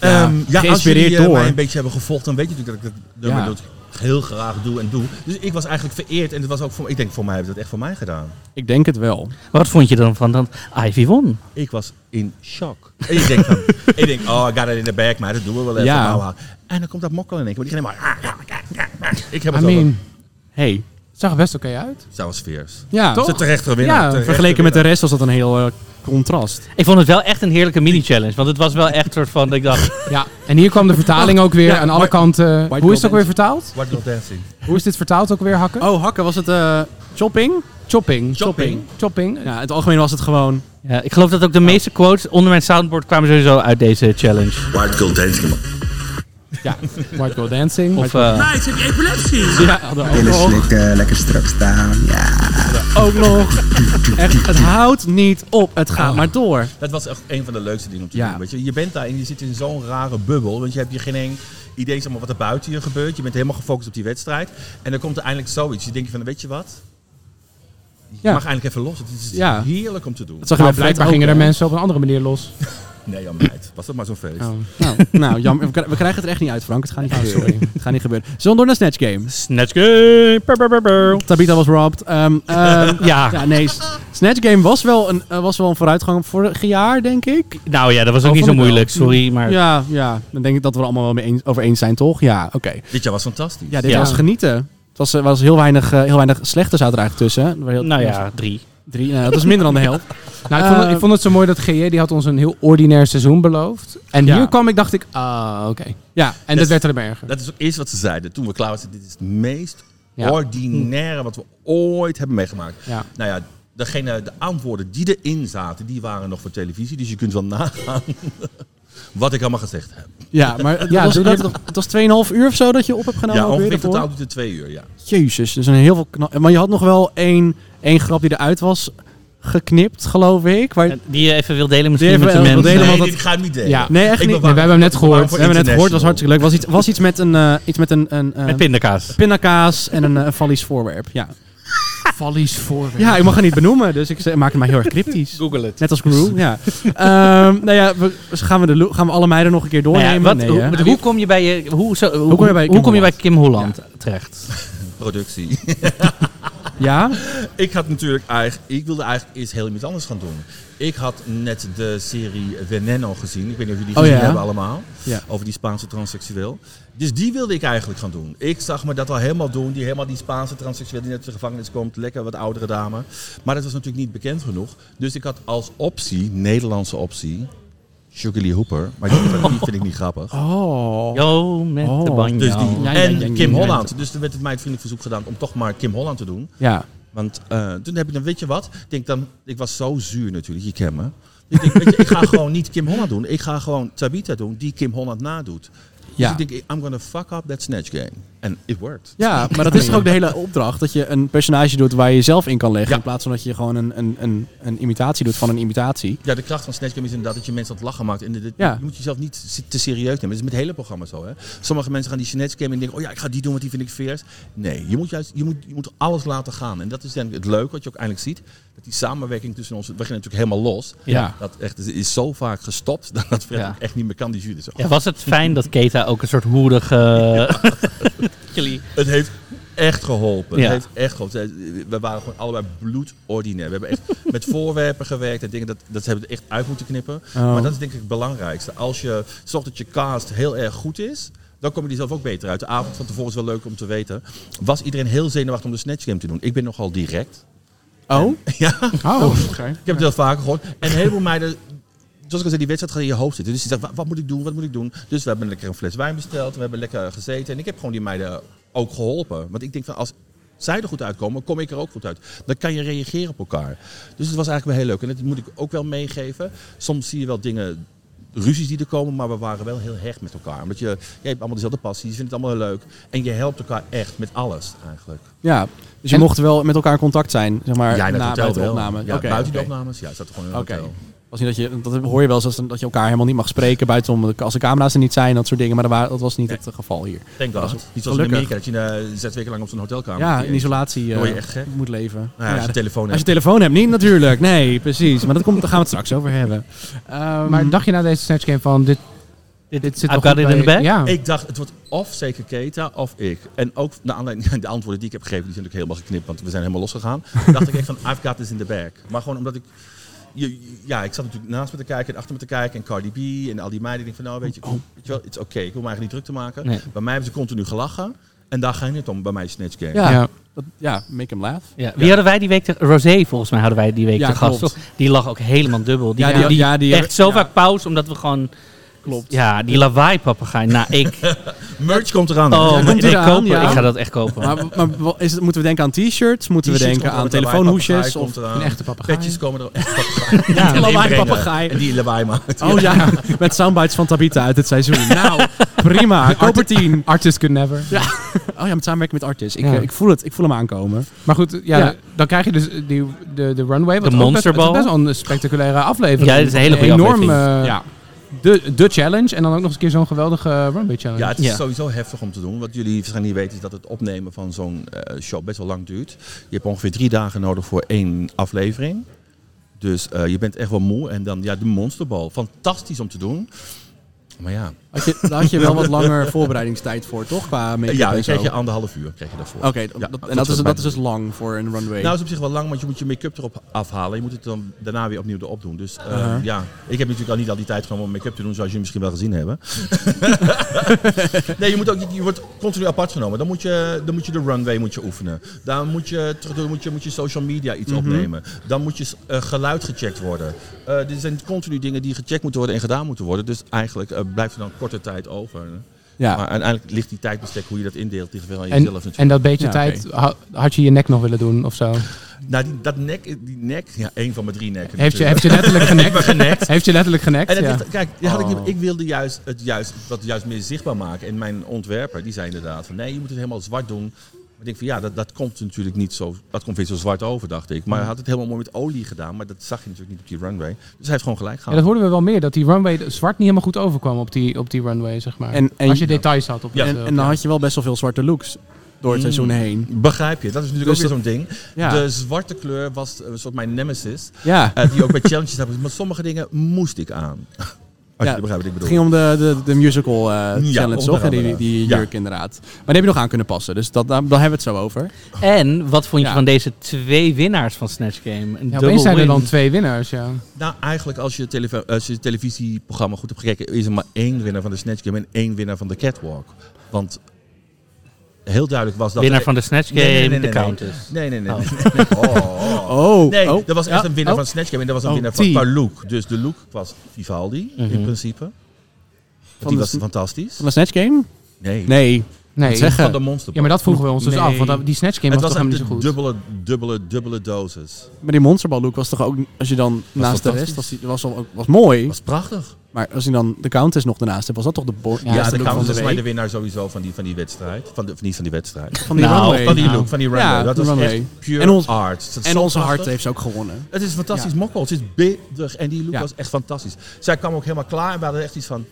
Ja, ja als geïnspireerd jullie eh, door. mij een beetje hebben gevolgd, dan weet je natuurlijk dat ik dat nummer Ja. doet heel graag doe en doe. Dus ik was eigenlijk vereerd en het was ook voor, ik denk voor mij hebben ze dat echt voor mij gedaan. Ik denk het wel. Wat vond je dan van dat Ivy won? Ik was in shock. En ik denk van, *laughs* ik denk, oh, I got it in the bag, maar dat doen we wel even. Ja. Nou, hou. En dan komt dat mokkel in één keer, maar die ging helemaal... ah, ah, ah, ah. Ik heb I het wel. mean, Hey. het zag er best oké uit. Zij was fierce. Ja, Toch? Ze terecht winnaar. Ja, terechte vergeleken met de winnaar. rest was dat een heel eh, contrast. Ik vond het wel echt een heerlijke mini-challenge. Want het was wel echt soort van, dat ik dacht, Ja, en hier kwam de vertaling ook weer Ja, aan alle white- kanten. white Hoe is het ook girl weer vertaald? What Girl Dancing. Hoe is dit vertaald ook weer, Hakken? Oh, hakken, was het eh chopping? Chopping. Chopping. Chopping. Ja, in het algemeen was het gewoon... ja, ik geloof dat ook de meeste quotes onder mijn soundboard kwamen sowieso uit deze challenge. What Girl Dancing. Ja, White Girl Dancing. Of, White eh, Ja, hadden ook Billen nog. slikken, lekker strak staan. Ja. Ook *laughs* nog. Echt, het houdt niet op. Het gaat maar door. Dat was echt een van de leukste dingen om te Ja. doen. Weet je. je bent daar en je zit in zo'n rare bubbel. Want je hebt je geen één idee zeg maar, wat er buiten je gebeurt. Je bent helemaal gefocust op die wedstrijd. En dan komt er eindelijk zoiets. Je denkt van, weet je wat? Je Ja. mag eindelijk even los. Het is Ja. heerlijk om te doen. Dat zag je Maar bij Flight blijkbaar ook, eh, gingen er hè? mensen op een andere manier los. Nee, jammer meid. Was dat maar zo'n feest. Nou, nou, jammer. We kri- we krijgen het er echt niet uit, Frank. Het gaat niet gebeuren. Het gaat niet gebeuren. Zullen we door naar Snatch Game? Snatch game. Brr, brr, brr, brr. Tabitha was robbed. Ehm, ehm, *laughs* Ja, ja, nee. S- Snatch Game was wel een, eh, was wel een vooruitgang vorig jaar, denk ik. nou ja, dat was ook Oh, niet zo vond ik wel. moeilijk. Sorry, maar... Ja, ja. Dan denk ik dat we er allemaal wel mee eens, over eens zijn, toch? Ja, oké. Dit jaar was fantastisch. Ja, dit Ja. was genieten. Het was, eh, was heel weinig, eh, heel weinig slechte zaten er eigenlijk tussen. Er waren heel- Nou ja, drie. Drie, nou, dat is minder dan de helft. Nou, ik vond, het, Eh, ik vond het zo mooi dat GJ die had ons een heel ordinair seizoen beloofd. En Ja. hier kwam ik, dacht ik, ah, oké. Ja, dus- Dat- En dat werd er maar erger. Dat is ook eerst wat ze zeiden. Toen we klaar waren, dit is het meest Ja. ordinaire wat we ooit hebben meegemaakt. Ja. Nou ja, degene, de antwoorden die erin zaten, die waren nog voor televisie. Dus je kunt wel nagaan *laughs* wat ik allemaal gezegd heb. ja maar het Ja, was, doe dat toch. het was 2,5 uur of zo dat Nou, je op hebt genomen. ja, alweer ongeveer in daarvoor? totaal duurt het twee uur, ja. Jezus, dus een heel veel knap. Maar je had nog wel één, één grap die eruit was geknipt, geloof ik. Waar, En Die je even wil delen misschien even met de wil mensen. delen, nee, want dit dat- ga ik niet delen. Ja. nee, echt Ik niet. ben We bang. Nee, we hebben hem net gehoord. voor hebben net gehoord, was international. hartstikke leuk. Was iets, was iets met een, eh, iets met een, een, eh, Met pindakaas. pindakaas en een eh, Vallies voorwerp. Ja. Vallies voorwerp. ja, ik mag het niet benoemen, dus ik ze- maak het maar heel erg cryptisch. Google het. Net als Gru, ja. Ehm, nou ja, we, dus gaan, we de, lo- gaan we alle meiden nog een keer Nou doornemen? Nou wat, nee, hoe, hè? maar hoe kom je bij, je, hoe, zo, hoe, kom je bij hoe Kim kom je bij Kim Holland terecht? Productie. Ja? *laughs* Ik had natuurlijk eigenlijk, ik wilde eigenlijk iets heel iets anders gaan doen. Ik had net de serie Veneno gezien. Ik weet niet of jullie die Oh gezien ja. hebben allemaal. Ja. Over die Spaanse transseksueel. Dus die wilde ik eigenlijk gaan doen. Ik zag me dat al helemaal doen. Die helemaal die Spaanse transseksueel die net uit de gevangenis komt. Lekker wat oudere dame. Maar dat was natuurlijk niet bekend genoeg. Dus ik had als optie, Nederlandse optie, Sugar Lee Hooper. Maar die vind ik niet, vind ik niet grappig. Oh. Yo, met Oh, de banjo. Dus die. Ja, ja, en ja, ja, Kim ja. Holland. Dus toen werd het mij het vriendelijk verzoek gedaan om toch maar Kim Holland te doen. Ja. Want eh, toen heb ik dan, weet je wat? Ik denk dan, ik was zo zuur natuurlijk, je kent me. Ik denk, weet je, ik *laughs* ga gewoon niet Kim Holland doen. Ik ga gewoon Tabitha doen die Kim Holland nadoet. Ja. Dus ik denk, I'm gonna fuck up that snatch game. And it worked. ja, maar dat is toch ook de hele opdracht. Dat je een personage doet waar je jezelf in kan leggen. Ja. In plaats van dat je gewoon een, een, een, een imitatie doet van een imitatie. Ja, de kracht van Snatch Game is inderdaad dat je mensen aan het lachen maakt. En dit- dit- Ja. Je moet jezelf niet si- te serieus nemen. Dat is met het hele programma zo. Hè? Sommige mensen gaan die Snatch Game en denken... oh ja, ik ga die doen, want die vind ik veers. Nee, je moet, juist, je, moet, je moet alles laten gaan. En dat is denk ik het leuke wat je ook eindelijk ziet. Dat die samenwerking tussen ons... We gingen natuurlijk helemaal los. Ja. Dat echt, is zo vaak gestopt *laughs* dat dat Fred Ja. ook echt niet meer kan, die jury. Zo. Ja, was het fijn dat Keta ook een soort hoerige... *laughs* Jullie- Het heeft echt geholpen. Ja. Het heeft echt geholpen. We waren gewoon allebei bloedordinair. We hebben echt met voorwerpen gewerkt en dingen. Dat, dat hebben we er echt uit moeten knippen. Oh. Maar dat is denk ik het belangrijkste. Als je zorgt dat je cast heel erg goed is... Dan kom je er zelf ook beter uit. De avond van tevoren is wel leuk om te weten. Was iedereen heel zenuwachtig om de snatch game te doen? Ik ben nogal direct. *laughs* Oh? Ja. Oh, Ik heb het heel vaker gehoord. En een heleboel meiden, zoals ik al zei, die wedstrijd gaat in je hoofd zitten. Dus die zeggen, "Wa- wat moet ik doen, wat moet ik doen? Dus we hebben lekker een fles wijn besteld, we hebben lekker gezeten. En ik heb gewoon die meiden ook geholpen. Want ik denk van, als zij er goed uitkomen, kom ik er ook goed uit. Dan kan je reageren op elkaar. Dus het was eigenlijk wel heel leuk. En dat moet ik ook wel meegeven. Soms zie je wel dingen... Ruzies die er komen, maar we waren wel heel hecht met elkaar. Omdat je, jij hebt allemaal dezelfde passie, je vindt het allemaal heel leuk. En je helpt elkaar echt met alles eigenlijk. Ja. Dus je En- mocht wel met elkaar in contact zijn, zeg maar, ja, in het na hotel buiten de wel. opname. Ja, Oké, buiten de oké. opnames. Ja, staat er gewoon in het Oké. hotel. Was niet dat, je, dat hoor je wel eens als- dat je elkaar helemaal niet mag spreken buiten om, als de camera's er niet zijn, dat soort dingen. Maar dat, wa- dat was niet het eh, geval hier. Thank Dat God. is Niet zoals in gelukkig. Amerika, dat je eh, zes weken lang op zo'n hotelkamer Ja, moet in isolatie eh, Word je echt gek? moet leven. Nou ja, als Ja, je telefoon Als hebt. je telefoon hebt, niet natuurlijk. Nee, precies. Maar dat komt, daar gaan we het straks over hebben. Maar dacht je na deze Snatch Game van, dit, dit, zit I've nog got goed it in bij- the bag? Ja. Ik dacht, het wordt of zeker Keta of ik. En ook naar aanleiding, de antwoorden die ik heb gegeven, die zijn natuurlijk helemaal geknipt, want we zijn helemaal losgegaan. *laughs* dacht ik echt van, I've got this in the bag. Maar gewoon omdat ik... je- Ja, ik zat natuurlijk naast me te kijken en achter me te kijken. En Cardi B en al die meiden. Ik denk van, nou weet je, Oh. weet je wel, it's oké. Ik wil me eigenlijk niet druk te maken. Nee. Bij mij hebben ze continu gelachen. En daar ging het om bij mij Snatch Game. Ja, Ja. Dat, ja make him laugh. Ja, wie hadden wij die week... Te, Rosé, volgens mij, hadden wij die week Ja, te gast. klopt. Die lag ook helemaal dubbel. Die, Ja, die, die- ja, die- echt zo ja. vaak pauze, omdat we gewoon... Klopt. Ja, die lawaai-papegaai. Nou, *laughs* ik... Merch komt eraan. Oh, komt maar ik, eraan, kopen, ja. ik ga dat echt kopen. Maar, maar wa- is het, moeten we denken aan t-shirts? Moeten we T-shirts denken komt aan eraan, telefoonhoesjes? lawaai Of... komt eraan. Een echte papegaai. Petjes komen er echt Ja, Een lawaai inbrengen. papegaai. En die lawaai maakt. Oh ja, *laughs* met soundbites van Tabita uit het seizoen. *laughs* Nou, prima. Koper 10. Artist could never. Oh ja, met samenwerking met artists. Ik, Ja. eh, ik, voel het, ik voel hem aankomen. Maar goed, ja, Ja. dan krijg je dus die, de, de runway. Wat De ook best- monsterbal. het is Best wel een spectaculaire aflevering. Ja, dit is een hele goede enorm, aflevering. eh, Ja. de, de challenge en dan ook nog eens een keer zo'n geweldige runway challenge. Ja, het is Ja. sowieso heftig om te doen. Wat jullie waarschijnlijk niet weten is dat het opnemen van zo'n eh, show best wel lang duurt. Je hebt ongeveer drie dagen nodig voor één aflevering. Dus eh, je bent echt wel moe. En dan ja, de monsterbal. Fantastisch om te doen. Maar ja, Had je, daar had je wel wat *laughs* langer voorbereidingstijd voor, toch? Qua make-up ja dan en zo. krijg je anderhalf uur krijg je daarvoor. Oké, Ja, dat- en tot dat is, zo'n dat is bijna. dus lang voor een runway. Nou, het is op zich wel lang, want je moet je make-up erop afhalen. Je moet het dan daarna weer opnieuw erop doen. Dus eh, Uh-huh. ja, ik heb natuurlijk al niet al die tijd genomen om make-up te doen, zoals jullie misschien wel gezien hebben. nee, je, moet ook, je wordt continu apart genomen. Dan moet je, dan moet je de runway moet je oefenen. Dan moet je, terug- dan moet je, moet je social media iets opnemen. Dan moet je eh, geluid gecheckt worden. Eh er zijn continu dingen die gecheckt moeten worden en gedaan moeten worden. Dus eigenlijk eh, blijft er dan korte tijd over. ja. Maar uiteindelijk ligt die tijdbestek, hoe je dat indeelt, ligt wel aan jezelf en, natuurlijk. en dat beetje Ja, tijd, ha- had je je nek nog willen doen of zo? Nou, die, dat nek, die nek, ja, één van mijn drie nekken. Heeft je, natuurlijk. heeft je letterlijk genekt? Heeft je letterlijk genekt? En dat Ja. ligt- kijk, die had ik, niet- Oh. ik wilde juist het juist, dat juist meer zichtbaar maken. En mijn ontwerper, die zei inderdaad van nee, je moet het helemaal zwart doen. Maar ik denk van ja, dat, dat komt natuurlijk niet zo, dat komt weer zo zwart over, dacht ik. Maar hij had het helemaal mooi met olie gedaan, maar dat zag je natuurlijk niet op die runway. Dus hij heeft gewoon gelijk Ja, gehad. dat hoorden we wel meer, dat die runway de- zwart niet helemaal goed overkwam op die, op die runway, zeg maar. En- en- Als je details had op Ja. het, en, eh, en dan had je wel best wel veel zwarte looks door het Mm. seizoen heen. Begrijp je, dat is natuurlijk ook Dus weer zo'n ding. Ja. De zwarte kleur eh, was een soort mijn nemesis, Ja. *laughs* eh, die ook bij challenges hebben. Maar sommige dingen moest ik aan. Als Ja, je begrijpt wat ik Het bedoel. ging om de, de, de musical eh, challenge, toch? andere. Die, die, die Ja. jurk inderdaad. Maar die heb je nog aan kunnen passen, dus dat, daar, daar hebben we het zo over. En wat vond je Ja. van deze twee winnaars van Snatch Game? Een Ja, double opeens zijn er win. dan twee winnaars, ja. Nou, eigenlijk als je, telev- als je televisieprogramma goed hebt gekeken, is er maar één winnaar van de Snatch Game en één winnaar van de Catwalk. Want heel duidelijk was dat... Winnaar van de Snatch Game, Nee, nee, nee, nee, de nee. Countess. Nee, nee, nee. nee, nee. Oh, *laughs* oh. Oh, Nee, oh. er was echt Ja. een winnaar Oh. van Snatch Game en er was een Oh, winnaar T. van per look. Dus de look was Vivaldi, Mhm. in principe. Want Van die de was sn- fantastisch. Van de Snatch Game? Nee, Nee. Nee. Wat zeg je? van de Monster Ja, maar dat vroegen we ons dus Nee. af, want dat- die Snatch Game Het was, was toch een helemaal niet zo goed. dubbele, dubbele, dubbele dosis. Maar die monsterbal look was toch ook, als je dan naast de rest, fantastisch. was, die, was, al, ook- was mooi. was prachtig. maar als je dan de Countess nog daarnaast hebt, was dat toch de bo- Ja, Ja, de beste look van Countess de is mij de week? winnaar sowieso van die, van die wedstrijd. Van de, of niet van die wedstrijd. Van die Nou, runway. Van die Nou. look, van die runway. Ja, dat de was runway. echt pure En ons- art. Het is En zo onze hart prachtig. heeft ze ook gewonnen. Het is een fantastisch mokkel. Het is bitter. En die look Ja. was echt fantastisch. Zij kwam ook helemaal klaar en we hadden echt iets van...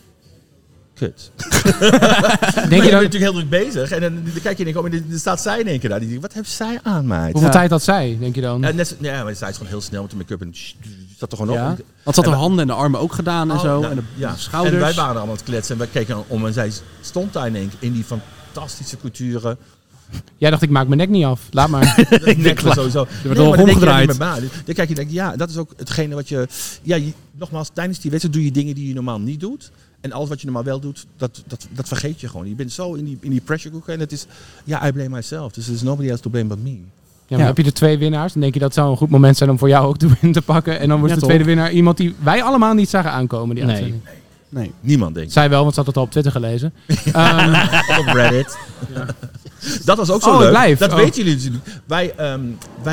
*laughs* Kut. Denk je je bent dat, natuurlijk heel druk bezig. En dan, dan kijk je en ik, oh, maar dan staat zij in één keer daar. Die denkt, wat heeft zij aan, meid? hoeveel Ja. tijd had zij, denk je dan? Ja, net, zo- nee, maar zij is gewoon heel snel met de make-up en sh- zat er gewoon Ja. op. Want ze had En haar handen en de armen ook gedaan en Oh, zo. nou, en de ja. schouders. En wij waren allemaal aan het kletsen en wij keken om en zij stond daar in één keer in die fantastische culturen. Jij dacht, ik maak mijn nek niet af. Laat *laughs* maar. Dat ik denk klaar. sowieso. wordt al maar dan denk je daar omgedraaid. niet meer bij. Dus Dan kijk je en denk je, ja, dat is ook hetgene wat je... Ja, je- nogmaals, tijdens die wedstrijd doe je dingen die je normaal niet doet. En alles wat je normaal wel doet, dat, dat, dat vergeet je gewoon. Je bent zo in die, in die pressure cooker en het is... Ja, I blame myself. Dus there's nobody else to blame but me. Ja, maar Ja. Heb je er twee winnaars, dan denk je dat zou een goed moment zijn om voor jou ook de win te pakken. En dan Ja, wordt de toch? tweede winnaar iemand die wij allemaal niet zagen aankomen. Die Nee. uitzending. Nee. Niemand denkt. Zij wel, want ze had het al op Twitter gelezen. Ehm, op *laughs* Reddit. Dat was ook zo Oh, het leuk. blijft. Dat Oh. weten jullie natuurlijk. Wij, ehm, wij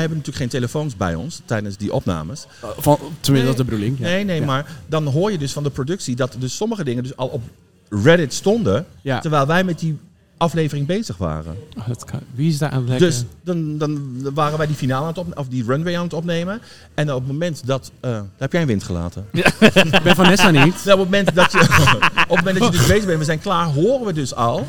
hebben natuurlijk geen telefoons bij ons tijdens die opnames. Van, tenminste, dat is de bedoeling. Ja. Nee, nee, maar dan hoor je dus van de productie dat dus sommige dingen dus al op Reddit stonden. Ja. Terwijl wij met die aflevering bezig waren. oh, dat kan- wie is daar aan het lekken? Dus dan, dan waren wij die finale aan het opnemen, of die runway aan het opnemen. En op het moment dat. eh, daar heb jij een wind gelaten. Ik ben Vanessa *laughs* niet. Nou, op het moment dat je, op het moment dat je dus bezig bent, we zijn klaar, horen we dus al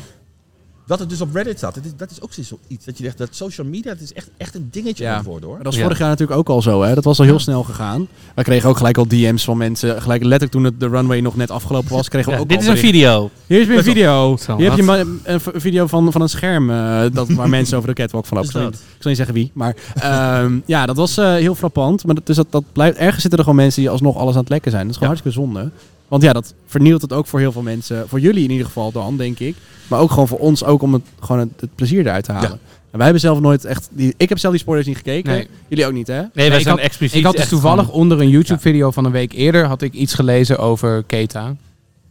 dat het dus op Reddit staat. Dat is, dat is ook zoiets. Dat je zegt dat social media, dat is echt, echt een dingetje Ja. aan het worden hoor. Maar dat is Ja. vorig jaar natuurlijk ook al zo, hè? Dat was al heel snel gegaan. We kregen ook gelijk al DM's van mensen. Gelijk letterlijk toen het de runway nog net afgelopen was, kregen we Ja, ook dit al is een berichten. video. Hier is weer een video. Oh, Zo, Hier heb je wat? ma- een v- video van, van een scherm eh, dat, *laughs* waar mensen over de catwalk van lopen. Is Ik zal dat? niet- ik zal niet zeggen wie, maar ehm, ja, dat was eh, heel frappant. Maar dat, dus dat, dat blijft, ergens zitten er gewoon mensen die alsnog alles aan het lekken zijn. Dat is gewoon hartstikke zonde. Want ja, dat vernielt het ook voor heel veel mensen. Voor jullie in ieder geval dan, denk ik. Maar ook gewoon voor ons, ook om het, gewoon het, het plezier eruit te halen. En wij hebben zelf nooit echt... Die, ik heb zelf die spoilers niet gekeken. Nee. Jullie ook niet, hè? Nee, wij ik zijn had- expliciet. Ik had dus echt toevallig van- onder een YouTube-video van een week eerder had ik iets gelezen over Keta.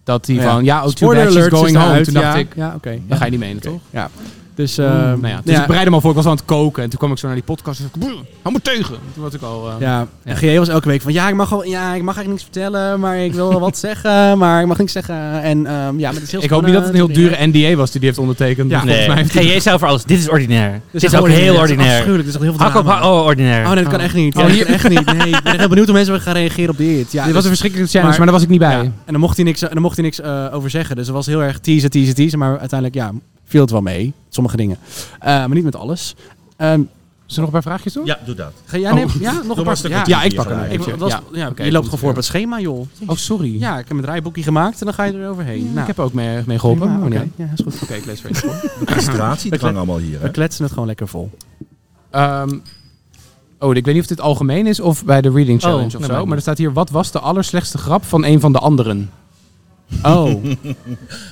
Dat die Ja. van, ja, oh, too Spoiler bad she's alert, ze is going home. eruit. Toen dacht Ja, ik, Ja, oké. dan ga je niet menen, toch? Ja. Dus, ehm, nou ja, dus ik bereidde me al voor, ik was al aan het koken. En toen kwam ik zo naar die podcast en dacht ik, "Bruh, hou me teugen. Toen was ik al... eh, Ja, en GE was elke week van ja, ik mag, wel, ja, ik mag eigenlijk niks vertellen, maar ik wil wel wat zeggen, maar ik mag niks zeggen. En ehm, ja, maar het is heel ik hoop niet dat het een heel dure NDA was die die heeft ondertekend. Ja. Ja. Volgens Nee, mij heeft hij- GJ zou voor alles. Dit is ordinair. Dit is echt ook heel Het is ordinair. afschuwelijk, er is echt heel Hak veel op, drama. ha- oh, ordinair. Oh nee, dat kan echt niet. Oh, Ja, dat hier- kan echt niet. Nee, ik ben echt benieuwd hoe mensen gaan reageren op dit. Ja, dit was dus- een verschrikkelijke challenge, maar- maar, daar was ik niet bij. ja, En dan mocht hij niks, en dan mocht hij niks eh, over zeggen. Dus het was heel erg teasen, teasen, teasen. Maar uiteindelijk ja, viel het wel mee. Sommige dingen. Eh, maar niet met alles. Ehm, Zullen we nog een paar vraagjes doen? Ja, doe dat. ga jij nemen? Oh. Ja, nog een maar paar. een stuk ja. wat je- Ja, ik pak Ja, hem ik- Ik, eventjes. was, Ja. ja, oké, je loopt goed. gewoon voor op het schema, joh. Oh, sorry. Ja, ik heb mijn draaiboekje gemaakt en dan ga je er overheen. Ja, Nou, Ik heb er ook mee, mee geholpen. prima, maar oké. ja. Ja, is goed. Oké, ik lees verder. voor. Concentratiedrang allemaal hier. Hè? We kletsen het gewoon lekker vol. Ehm, oh, ik weet niet of dit algemeen is of bij de Reading Oh, Challenge dat of maakt zo. niet. Maar er staat hier, wat was de allerslechtste grap van een van de anderen? Oh,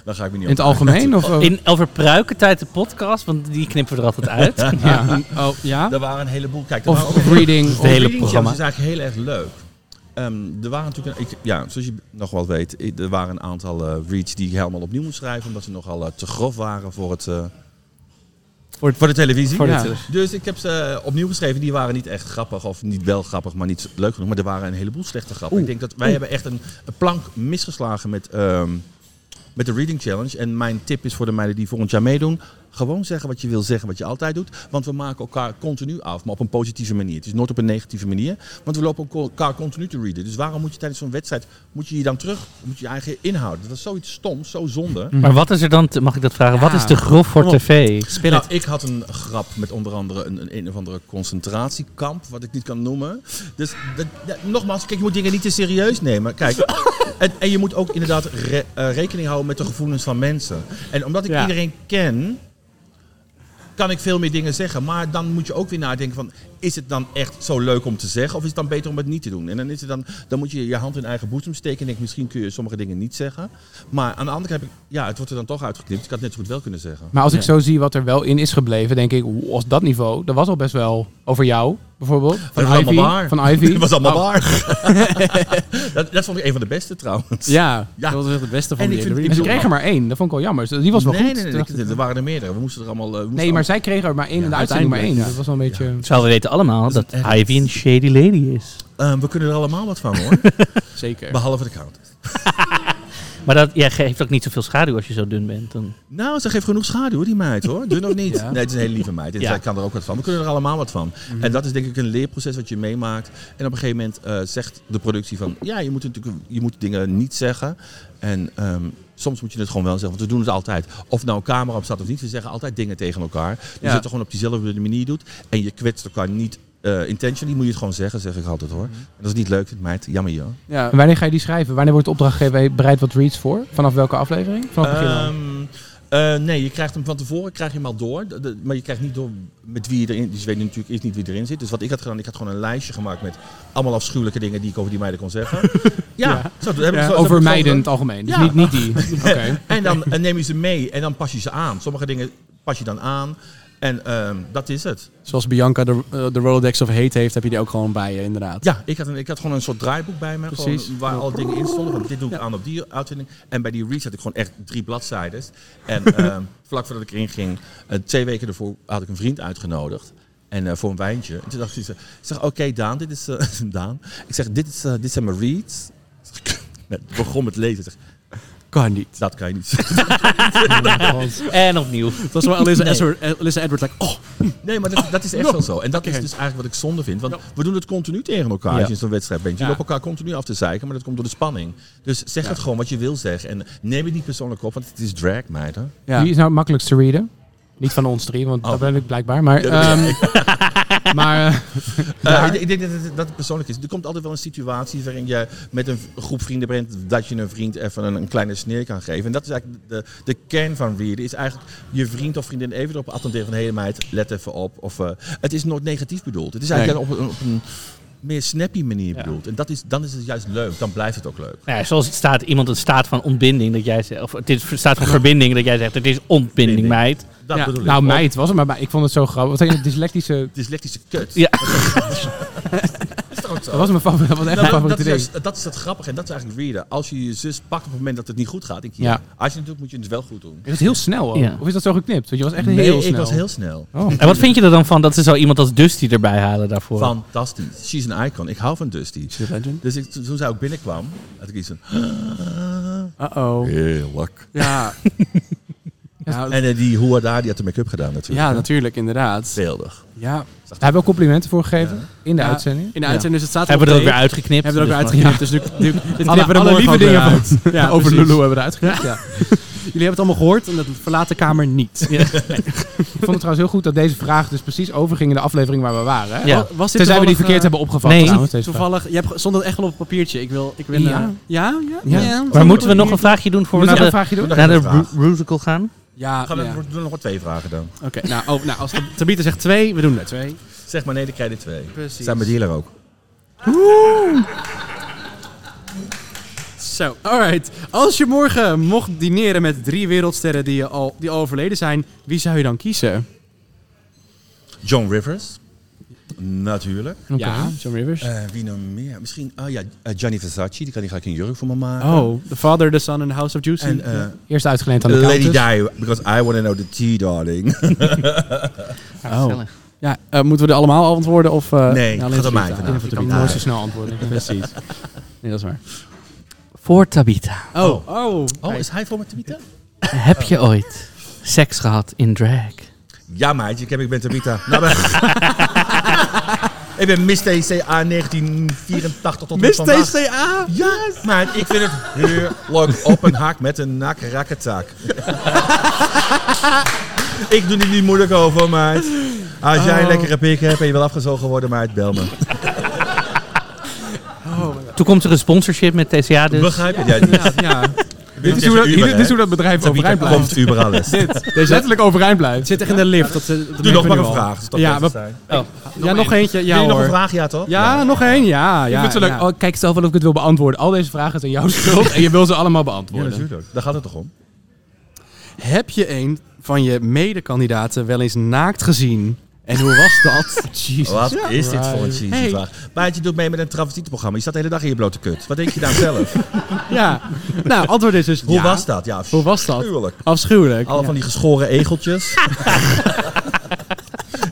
Daar ga ik me niet In het op. algemeen? Of, In over pruikentijd de podcast, want die knippen we er altijd *laughs* uit. ja. oh ja. Er waren een heleboel. Kijk, er waren of ook- Reading. Het hele Reading Challenge programma. is eigenlijk heel erg leuk. Ehm, er waren natuurlijk, een- ik, ja, zoals je nog wel weet, i- er waren een aantal eh, reads die ik helemaal opnieuw moest schrijven, omdat ze nogal eh, te grof waren voor, het, eh, voor, voor de televisie. Voor de Ja. televisie. Dus ik heb ze opnieuw geschreven. Die waren niet echt grappig, of niet wel grappig, maar niet leuk genoeg. Maar er waren een heleboel slechte grappen. Ik denk dat wij hebben echt een, een plank misgeslagen met, ehm, met de Reading Challenge. En mijn tip is voor de meiden die volgend jaar meedoen. Gewoon zeggen wat je wil zeggen, wat je altijd doet. Want we maken elkaar continu af, maar op een positieve manier. Het is nooit op een negatieve manier. Want we lopen elkaar continu te readen. Dus waarom moet je tijdens zo'n wedstrijd, moet je je dan terug, moet je je eigen inhouden? Dat is zoiets stoms, zo zonde. Maar wat is er dan, te- mag ik dat vragen, wat Ja. is te grof voor Kom op. tv? Speel Nou, het. ik had een grap met onder andere een, een, een of andere concentratiekamp, wat ik niet kan noemen. Dus dat- dat- nogmaals, kijk, je moet dingen niet te serieus nemen. Kijk, En, en je moet ook inderdaad re- eh, rekening houden met de gevoelens van mensen. En omdat ik Ja. iedereen ken, kan ik veel meer dingen zeggen. Maar dan moet je ook weer nadenken van, is het dan echt zo leuk om te zeggen? Of is het dan beter om het niet te doen? En dan, is het dan, dan moet je je hand in eigen boezem steken. En denk, misschien kun je sommige dingen niet zeggen. Maar aan de andere kant heb ik, ja, het wordt er dan toch uitgeknipt. Dus ik had het net zo goed wel kunnen zeggen. Maar als ik Ja. zo zie wat er wel in is gebleven, denk ik, oeh, als dat niveau, dat was al best wel over jou, bijvoorbeeld. Van Dat was Ivy. allemaal *laughs* waar. Van Ivy. Dat was allemaal Oh, waar. *laughs* dat, dat vond ik een van de beste trouwens. Ja, Ja. dat was echt het beste van En die ik vind- hele En ze review. ik- kregen maar één, dat vond ik wel jammer. Dus Die was wel nee, goed. Nee, nee, Toen nee, er waren er meerdere. We moesten er allemaal... eh, we moesten Nee, maar zij kregen er maar één in de Ja, uitzending maar één. uiteindelijk, Dat was wel een beetje... Terwijl we weten allemaal dat, Ivy een shady lady is. allemaal- Eh, we kunnen er allemaal wat van *laughs* hoor. Zeker. Behalve de count. Maar dat ja, geeft ook niet zoveel schaduw als je zo dun bent. Dan. Nou, ze geeft genoeg schade hoor, die meid hoor. Dun of niet? Ja. Mhm. Nee, het is een hele lieve meid. En Ja. zij kan er ook wat van. We kunnen er allemaal wat van. En dat is denk ik een leerproces wat je meemaakt. En op een gegeven moment eh, zegt de productie van... Ja, je moet, natuurlijk, je moet dingen niet zeggen. En ehm, soms moet je het gewoon wel zeggen. Want we doen het altijd. Of nou een camera op staat of niet. We zeggen altijd dingen tegen elkaar. Dus Ja. dat je het gewoon op diezelfde manier doet. En je kwetst elkaar niet... eh intentionally moet je het gewoon zeggen, zeg ik altijd Mhm. hoor. En als het niet leuk vindt, meid, jammer joh. Ja. En Eh, wanneer ga je die schrijven? Wanneer wordt de opdracht gegeven? hey, Bereid wat reads voor? Vanaf welke aflevering? Vanaf het begin al? Ehm, eh, nee, je krijgt hem van tevoren krijg je hem al door. De- de- maar je krijgt niet door met wie je erin... Dus je weet natuurlijk eerst niet wie erin zit. Dus wat ik had gedaan, ik had gewoon een lijstje gemaakt met allemaal afschuwelijke dingen die ik over die meiden kon *laughs* zeggen. ja, Zo, dat heb ik Ja, zo- zo heb Over ik meiden in zo het algemeen. Dus Ja. niet, niet *laughs* die. Oké. gedaan. En dan eh, neem je ze mee en dan pas je ze aan. Sommige dingen pas je dan aan. En ehm, dat is het. Zoals Bianca de, eh, de Rolodex of Hate heeft, heb je die ook gewoon bij je, inderdaad. Ja, ik had, een, ik had gewoon een soort draaiboek bij me. gewoon Precies. waar al dingen in stonden. Van dit doe ik aan op die uitzending. En bij die reach had ik gewoon echt drie bladzijden. En ehm, vlak voordat ik erin ging, eh, twee weken ervoor, had ik een vriend uitgenodigd. En eh, voor een wijntje. En toen dacht ik, zo- ik zeg, oké Daan, dit is eh, *laughs* Daan. Ik zeg, dit, is, eh, dit zijn mijn reads. Ik *laughs* begon met lezen. Ik zeg, Kan niet. dat kan je niet zeggen. En opnieuw. Dat was wel Alyssa, Edward, Alyssa Edward, like, oh, Nee, maar dat, dat is *laughs* echt wel zo. En dat is dus eigenlijk wat ik zonde vind. Want we doen het continu tegen elkaar als je in zo'n wedstrijd bent. Je Ja. loopt elkaar continu af te zeiken, maar dat komt door de spanning. Dus zeg het gewoon wat je wil zeggen. En neem het niet persoonlijk op, want het is drag, meid. Hè? Ja. Wie is nou het makkelijkst te readen? Niet van ons drie, want Oh. dat ben ik blijkbaar. Maar, ehm, *laughs* maar eh, Eh, ik, ik denk dat het, dat het persoonlijk is. Er komt altijd wel een situatie waarin je met een v- groep vrienden bent... dat je een vriend even een, een kleine sneer kan geven. En dat is eigenlijk de, de kern van readen. Is eigenlijk je vriend of vriendin even erop attenderen van... hé hey, meid, let even op. Of, eh, het is nooit negatief bedoeld. Het is eigenlijk op, een, op een meer snappy manier bedoeld. En dat is, dan is het juist leuk. Dan blijft het ook leuk. Nou ja, zoals het staat, iemand een staat van ontbinding dat jij zegt. Of het is- staat van verbinding dat jij zegt. Het is ontbinding, Binding. meid. Dat ja, bedoel ik. nou Of meid was het, maar, maar ik vond het zo grappig. Wat zijn het dyslectische... Dyslectische kut. Ja. is toch ook zo? Dat was mijn favoriet, dat was echt Nou, Oh, dat, dat mijn favoriete is ding. juist- dat is het grappige en dat is eigenlijk readen. Als je je zus pakt op het moment dat het niet goed gaat, denk je, Ja. ja. als je het doet, moet je het wel goed doen. Is het heel snel ook? Ja. Of is dat zo geknipt? Want je was echt heel ik snel. was heel snel. Oh. En wat vind je er dan van dat ze zo iemand als Dusty erbij halen daarvoor? Fantastisch. She's an icon. Ik hou van Dusty. She's a legend. Dus ik, toen toen zij ook binnenkwam, had ik iets van... "Ah." uh-oh. Heerlijk. Ja. *laughs* ja, En eh, die Hoa daar, die had de make-up gedaan natuurlijk. ja, natuurlijk, inderdaad. Beeldig. Ja. Daar hebben we ook complimenten voor gegeven in de Ja. uitzending. In de uitzending, dus het staat Hebben we er ook op weer tape. uitgeknipt? Hebben we er ook dus weer uitgeknipt. Dus nu, nu, dit Alle, knippen we er alle morgen lieve ook weer dingen uit. van- Ja, over precies. Lulu hebben we eruit gehaald. Ja. Jullie hebben het allemaal gehoord en dat verlaat de kamer niet. Ik vond het trouwens heel goed dat deze vraag dus precies overging in de aflevering waar we waren. hè? Oh, Ja. Oh, Wa- Was Tenzij we die toevallig, verkeerd eh, hebben opgevat. nee. trouwens, deze vraag. Toevallig, je hebt, stond dat echt wel op een papiertje. Ik wil, ik wil Ja. eh, ja, ja, Ja. Maar moeten we nog een vraagje doen voor we Moeten naar we een de, vraagje doen? naar vraag- de Nog een vraag. Ru- Rusical gaan? Ja, Gaan we ja. we doen nog maar twee vragen dan. Oké, nou, oh, nou, als de Tabitha zegt twee, we doen er twee. Zeg maar nee, dan krijg je er twee. Precies. Zijn mijn dealer ook. Zo, alright. Als je morgen mocht dineren met drie wereldsterren die, je al, die al overleden zijn, wie zou je dan kiezen? John Rivers. Natuurlijk. Oké. Ja, John Rivers. Eh, wie nog meer? Misschien, oh ja, eh, Gianni Versace. Die kan die ga ik een jurk voor me maken. oh, The Father, The Son and the House of Juicy. En eh, Eerst uitgeleend aan de Lady counters. Di, because I want to know the tea, darling. oh. Ja, eh, moeten we er allemaal antwoorden? Of, eh, Nee, alleen gaat voor om mij Tabitha? vandaag. Alleen Ik voor kan Tabitha. nooit zo dus snel antwoorden. Precies. Nee, dat is waar. Voor Tabita. Oh, oh. Oh, is hij voor me te bieden? Heb je ooit seks gehad in drag? Ja, meidje, ik, heb, ik ben Tabita. *laughs* Nou, ben... ik ben Miss TCA 1984 tot Miss met vandaag. TCA! Ja, maar ik vind het heerlijk op een haak met een nak rakketak. *laughs* ik doe er niet moeilijk over, meid. Als jij een lekkere pik hebt en je wil afgezogen worden, meid, bel me. Oh, my God. Toen komt er een sponsorship met TCA dus. Begrijp je? Ja, dit- ja. Dit is, hoe dat, Uber, dit is hè? hoe dat bedrijf Wie overeind daar blijft. komt Uber alles. Dit. Letterlijk overeind blijft. Het zit echt in de lift. Dat, eh, dat Doe merken nog we maar nu een al. vraag. dus dat Ja, moet het we- zijn. Ja, nog eentje. Ja, Wil je nog hoor. een vraag? Ja, toch? Ja, nog één. Ja, ja. ik vind het zo leuk. ja. Oh, kijk zelf wel of ik het wil beantwoorden. Al deze vragen zijn jouw schuld en je wil ze allemaal Ja, beantwoorden. natuurlijk. Daar gaat het toch om? Heb je een van je medekandidaten wel eens naakt gezien? En hoe was dat? *laughs* Jezus. Wat is dit voor een Christ. cheesy Hey. vraag? Baartje doet mee met een travestietenprogramma. Je staat de hele dag in je blote kut. Wat denk je nou zelf? ja. Nou, antwoord is dus Hoe ja. was dat? Ja, Hoe was dat? Tuurlijk. Afschuwelijk. Alle van die geschoren egeltjes. *laughs*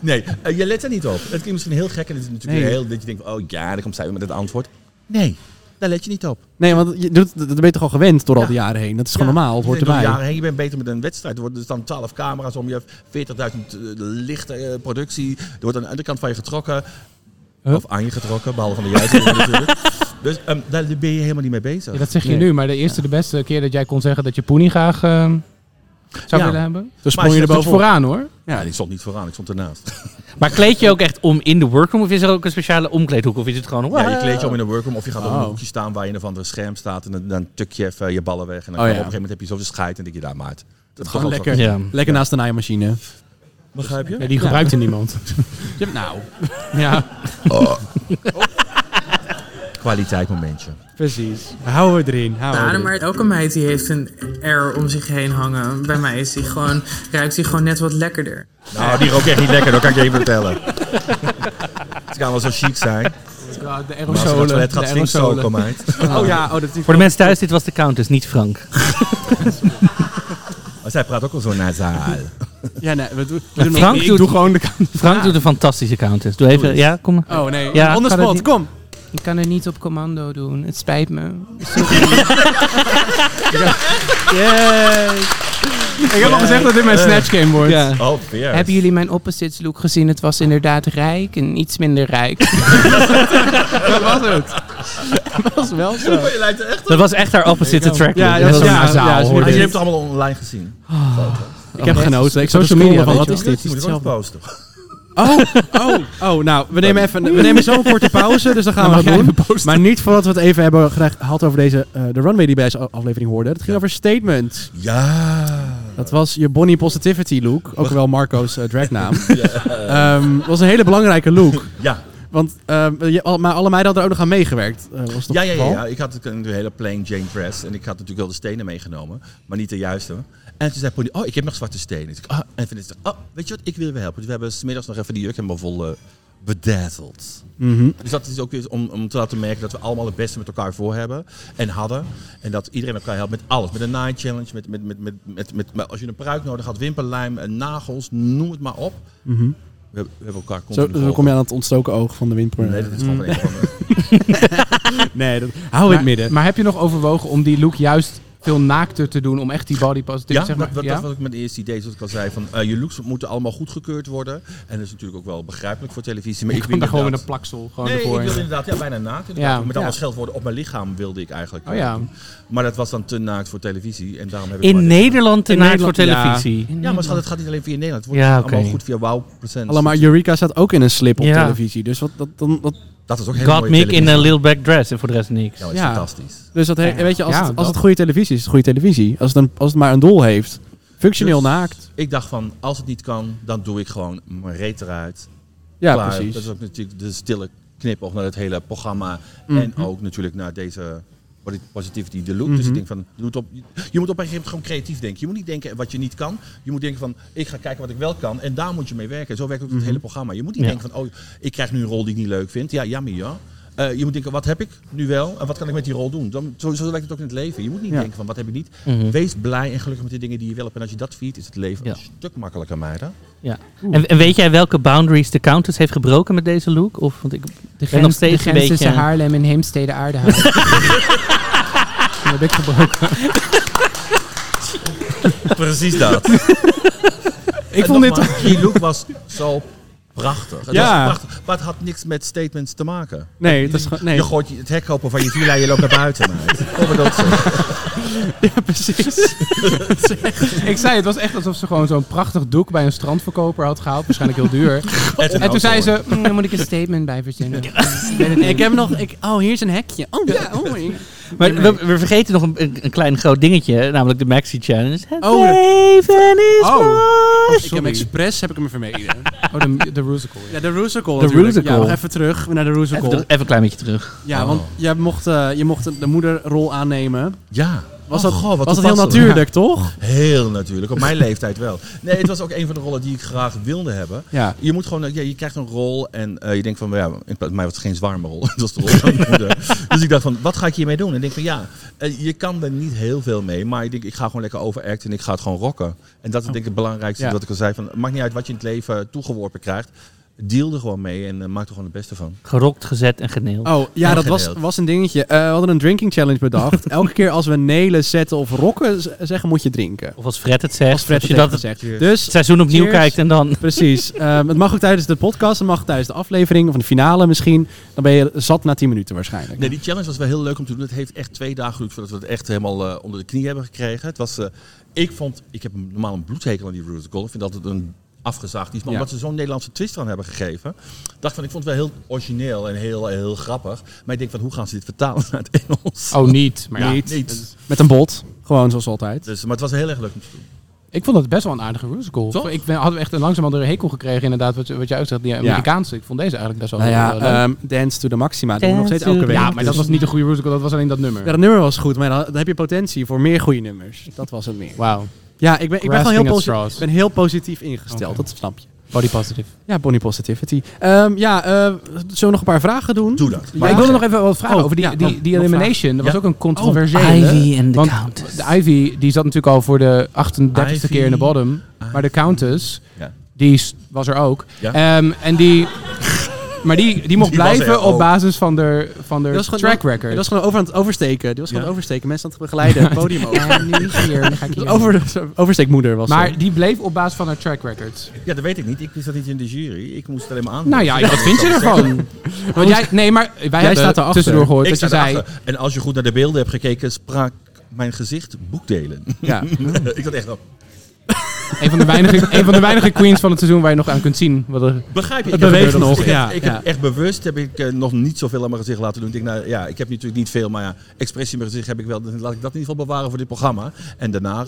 nee, eh, je let er niet op. Het klinkt misschien heel gek en het is natuurlijk Nee. heel dat je denkt, van, oh ja, daar komt zij weer met het antwoord. Nee, daar let je niet op. Nee, want je doet, dat ben je toch al gewend door al die jaren heen? Dat is gewoon Ja. normaal, het hoort Ik denk, erbij. door de jaren heen, je bent beter met een wedstrijd. Er worden er staan 12 camera's om je, 40.000 lichte eh, productie. Er wordt aan de andere kant van je getrokken. Huh? Of aan je getrokken, behalve van de juiste *laughs* natuurlijk. Dus ehm, daar ben je helemaal niet mee bezig. Ja, dat zeg je Nee. nu, maar de eerste, de beste keer dat jij kon zeggen dat je Poenie graag eh, zou Ja. willen hebben. Dus Maar sprong je als je er Dat is Bovenop. vooraan hoor. Ja, die stond niet vooraan, ik stond ernaast. Maar kleed je ook echt om in de workroom? Of is er ook een speciale omkleedhoek? Of is het gewoon... Ja, je kleed je om in een workroom of je gaat op een Oh. hoekje staan waar je in een of andere scherm staat. En dan, dan tuk je even je ballen weg. En dan Oh, op een ja. gegeven moment heb je zoveel scheid en denk je, daar maat. Dat Gewoon gaat ook lekker, zo. Ja. lekker naast de naaimachine. Begrijp je? Ja, die gebruikte niemand. nou, Ja. Kwaliteit *laughs* momentje. precies. Houden we erin. Houden we Ja, erin. maar elke meid die heeft een R om zich heen hangen. Bij mij is die gewoon, ruikt die gewoon net wat lekkerder. Nou, die rookt echt niet lekker, dat kan ik je even vertellen. *laughs* Het kan wel zo chic zijn. De Maar als je naar het aerosolen. toilet gaat, De stinkt zo, aerosolen. kom uit. Oh ja, oh, dat is... Voor de mensen thuis, dit was de Countess, niet Frank. Maar zij praat ook al zo nasaal. Ja, nee, we, doen- we doen Frank nog... doet- doe gewoon de... Frank doet een fantastische Countess. Doe even... Ja, kom maar. Oh nee, Ja, on the kan het spot, niet. kom. Ik kan het niet op commando doen, het spijt me. Ik heb al gezegd dat dit mijn Snatch Game wordt. Ja. Oh, weer. Hebben jullie mijn opposites look gezien? Het was inderdaad rijk en iets minder rijk. Dat was het. *laughs* Dat is wel zo. Je lijkt er echt... Dat was echt haar opposite track. Ja, dat dat was is- ja, een zaal, ja, is- hoor. Ah, je hebt het allemaal online gezien. Ik heb genoten. Ik zag Social het media, scrollen van, weet wat je is dit? Die moet ik ook posten. Oh, oh, oh, nou, we nemen, even, we nemen *laughs* zo'n korte pauze, dus dan gaan Dan we mag jij dat even doen. posten. Maar niet voordat we het even hebben gera- gehad over deze, eh, de runway die bij deze aflevering hoorde. Het ging over Statement. Ja. Dat was je Bonnie Positivity look, ook wel Marco's eh, *laughs* dragnaam. Ehm, was een hele belangrijke look. Ja. Want, ehm, je, al- maar alle meiden hadden er ook nog aan meegewerkt. eh, was toch Ja, ja, ja, het ja. Ik had een hele plain Jane dress. En ik had natuurlijk wel de stenen meegenomen. Maar niet de juiste. En toen zei Pony, oh, ik heb nog zwarte stenen. Dus ik, ah, en toen is het, oh, weet je wat, ik wil je wel helpen. Dus we hebben smiddags nog even die jurk helemaal vol eh, bedazzeld. Mhm. Dus dat is ook weer om, om te laten merken dat we allemaal het beste met elkaar voor hebben. En hadden. En dat iedereen elkaar helpt met alles. Met een night challenge. Met, met, met, met, met, met, met- als je een pruik nodig had, wimperlijm, eh, nagels, noem het maar op. we, hebben- we hebben elkaar Mhm. Zo continu dan kom je Mhm. aan het ontstoken oog van de windpoort. Nee, dat is gewoon een van de... Nee, dat, hou in het midden. Maar heb je nog overwogen om die look juist veel naakter te doen? Om echt die body positive Ja, zeg maar, dat, dat, ja? dat was ook mijn eerste idee, zoals ik al zei. Van, eh, je looks moeten allemaal goedgekeurd worden. En dat is natuurlijk ook wel begrijpelijk voor televisie. Maar ik, Ik wil kom daar gewoon met een inderdaad- plaksel gewoon Nee, ik ervoor. wilde inderdaad ja, bijna naakt. inderdaad. Ja. Met allemaal Ja. scheldwoorden op mijn lichaam wilde ik eigenlijk. eh, Oh ja. Maar dat was dan te naakt voor televisie. En daarom heb ik maar In dit- Nederland te In naakt voor Nederland, ja. televisie. Ja, maar schat, het gaat niet alleen via Nederland. Het wordt Ja, oké. allemaal goed via Wow Presents. Allemaal, maar Eureka staat ook in een slip op Ja. televisie. Dus wat, dat, dan, dat, Dat is ook heel God Mick in een little back dress en voor de rest niks. Ja, dat is Ja. fantastisch. Dus dat he- weet je, als, Ja, het, als dat. het goede televisie is, is het goede televisie. Als het, een, als het maar een doel heeft. Functioneel Dus- naakt. Ik dacht van, als het niet kan, dan doe ik gewoon mijn reet eruit. Ja, Klaar. precies. Dat is ook natuurlijk de stille knipoog naar het hele programma. En ook natuurlijk naar deze posi- positivity, de look. Dus ik denk van, je moet, op, je moet op een gegeven moment gewoon creatief denken. Je moet niet denken wat je niet kan. Je moet denken van, ik ga kijken wat ik wel kan. En daar moet je mee werken. Zo werkt ook het hele programma. Je moet niet Ja. denken van, oh, ik krijg nu een rol die ik niet leuk vind. Ja, jammer ja. Eh, je moet denken, wat heb ik nu wel en wat kan ik met die rol doen? Dan, zo, zo werkt het ook in het leven. Je moet niet Ja. denken van, wat heb ik niet? Mhm. Wees blij en gelukkig met de dingen die je wil hebt. En als je dat viert, is het leven Ja. een stuk makkelijker, meiden. Ja. En, en weet jij welke boundaries de Countess heeft gebroken met deze look? Of, want ik De grens- nog steeds de grens een beetje- tussen Haarlem en Heemstede *laughs* Aardenhout. Dat heb ik gebroken. Precies dat. Ik En *laughs* vond dit... nogmaals, Die look was zo prachtig. Het Ja. was prachtig. Maar het had niks met statements te maken. Nee, dat is gewoon... Nee. Je gooit het hek open van je villa en je loopt naar buiten. *laughs* meid. Kom maar dat zo. Ja, *laughs* *laughs* precies. Ik zei, het was echt alsof ze gewoon zo'n prachtig doek bij een strandverkoper had gehaald. Waarschijnlijk heel *laughs* duur. En toen zei ze, "Mm, daar moet ik een statement bij verzinnen. ik heb nog... Ik, oh, hier is een hekje. Oh, ja. *laughs* Oh, ik- Maar we, we vergeten nog een, een, een klein groot dingetje, namelijk de Maxi Challenge. Het Oh, dat- leven is Oh. mooi. ik heb hem expres heb ik hem *laughs* vermeden. Oh, de, de musical. Ja, de Rusical De natuurlijk. Ja, Rusical. nog even terug naar de Even, Rusical. Oh. even een klein beetje terug. Ja, want jij mocht, eh, je mocht de moederrol aannemen. Ja. Was Oh, dat, goh, wat was dat heel toepasselijk. natuurlijk, toch? Heel natuurlijk, op mijn leeftijd wel. Nee, het was ook een van de rollen die ik graag wilde hebben. Ja. Je moet gewoon, eh, ja, je krijgt een rol en eh, je denkt van, ja, in plaats- mij was het geen zwarme rol, *laughs* het was de rol van mijn moeder. Dus ik dacht van, wat ga ik hiermee doen? En ik denk van, ja, eh, je kan er niet heel veel mee, maar ik denk, ik ga gewoon lekker overacten en ik ga het gewoon rocken. En dat is denk ik het belangrijkste Ja. wat ik al zei, van, het maakt niet uit wat je in het leven toegeworpen krijgt, deal er gewoon mee en eh, maak er gewoon het beste van. Gerokt, gezet en geneeld. Oh, ja, dat was, Aangedeeld. was een dingetje. Eh, we hadden een drinking challenge bedacht. Elke keer als we Nelen zetten of rokken z- zeggen, moet je drinken. Of als Fred het zegt, Als als, Fred je het dat het dat zegt. Cheers. Dus, seizoen opnieuw Cheers. kijkt en dan... precies. Ehm, het mag ook tijdens de podcast, het mag ook tijdens de aflevering of de finale misschien. Dan ben je zat na 10 minuten waarschijnlijk. Nee, die challenge was wel heel leuk om te doen. Het heeft echt twee dagen geduurd voordat we het echt helemaal eh, onder de knie hebben gekregen. Het was, eh, ik vond, ik heb normaal een bloedhekel aan die Rules Golf. Ik vind altijd een afgezaagd iets. Maar Ja. omdat ze zo'n Nederlandse twist aan hebben gegeven, dacht van, ik vond het wel heel origineel en heel, heel grappig. Maar ik denk van, hoe gaan ze dit vertalen naar het Engels? Oh, niet. Maar Ja, niet. niet. Met een bot. Gewoon zoals altijd. Dus, maar het was heel erg leuk om te doen. Ik vond dat best wel een aardige musical. Toch? Ik ben, had echt een langzamerhand een hekel gekregen, inderdaad, wat, je- wat jij ook zegt, die eh, Amerikaanse. Ik vond deze eigenlijk best wel Nou eh, ja, leuk. ehm, Dance to the Maxima. Dat doen we nog Dance steeds to elke the- week. Dus- ja, maar dat was niet een goede musical, dat was alleen dat nummer. Ja, dat nummer was goed, maar dan, dan heb je potentie voor meer goede nummers. Dat was het meer. Wauw. Ja, ik ben, ik ben gewoon heel, Grasping at posi- straws. ik ben heel positief ingesteld. Oké. Dat snap je. Body positive. Ja, Bonnie Positivity. Ehm, ja, eh, zullen we nog een paar vragen doen? Doe dat. Maar ik wilde nog even wat vragen Oh, over die, ja, die, nog- Oh, die nog elimination. Dat was Ja. ook een controversiële. en Want Countess. De Ivy die zat natuurlijk al voor de 38e Ivy. keer in de bottom. Maar de Countess, Ja. die s- was er ook. Ja. Ehm, *laughs* en die... Maar die, die mocht Die was er blijven op ook. basis van de, van de Die was gewoon- track Die record. was gewoon over aan het oversteken. Die was gewoon Ja. aan het oversteken. Mensen aan het begeleiden. Het podium over. En nu hier, dan ga ik Dus hier. Over, oversteekmoeder was Maar ze. die bleef op basis van haar track record. Ja, dat weet ik niet. Ik wist dat niet in de jury. Ik moest het alleen maar aan. Nou ja, wat vind je ervan? Want jij, nee, maar wij hebben staat erachter. tussendoor gehoord Ik dat je sta zei... erachter. En als je goed naar de beelden hebt gekeken, sprak mijn gezicht *laughs* boekdelen. Ja. ik dacht echt, oh, Een van, de weinige, een van de weinige queens van het seizoen waar je nog aan kunt zien. Wat er, Begrijp je? Het Ik heb beweegt bewust- nog, ik ja, Heb, ik ja. heb echt bewust heb ik eh, nog niet zoveel aan mijn gezicht laten doen. Ik denk, nou ja, ik heb natuurlijk niet veel, maar ja, expressie in mijn gezicht heb ik wel. Dus laat ik dat in ieder geval bewaren voor dit programma. En daarna, eh,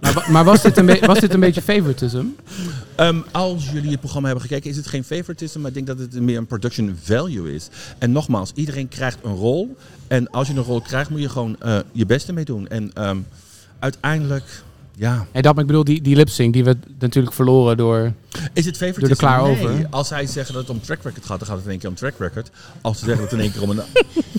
maar, wa- maar was, dit een be- was dit een beetje favoritism? ehm, als jullie het programma hebben gekeken, is het geen favoritism, maar ik denk dat het meer een production value is. En nogmaals, iedereen krijgt een rol. En als je een rol krijgt, moet je gewoon eh, je beste mee doen. En ehm, uiteindelijk, ja. Nee, dat, maar ik bedoel, die, die lip-sync die we natuurlijk verloren door... Is het favoritism? Doe er klaar Nee. over. Als zij zeggen dat het om track record gaat, dan gaat het in één keer om track record. Als ze zeggen dat het in één keer om een...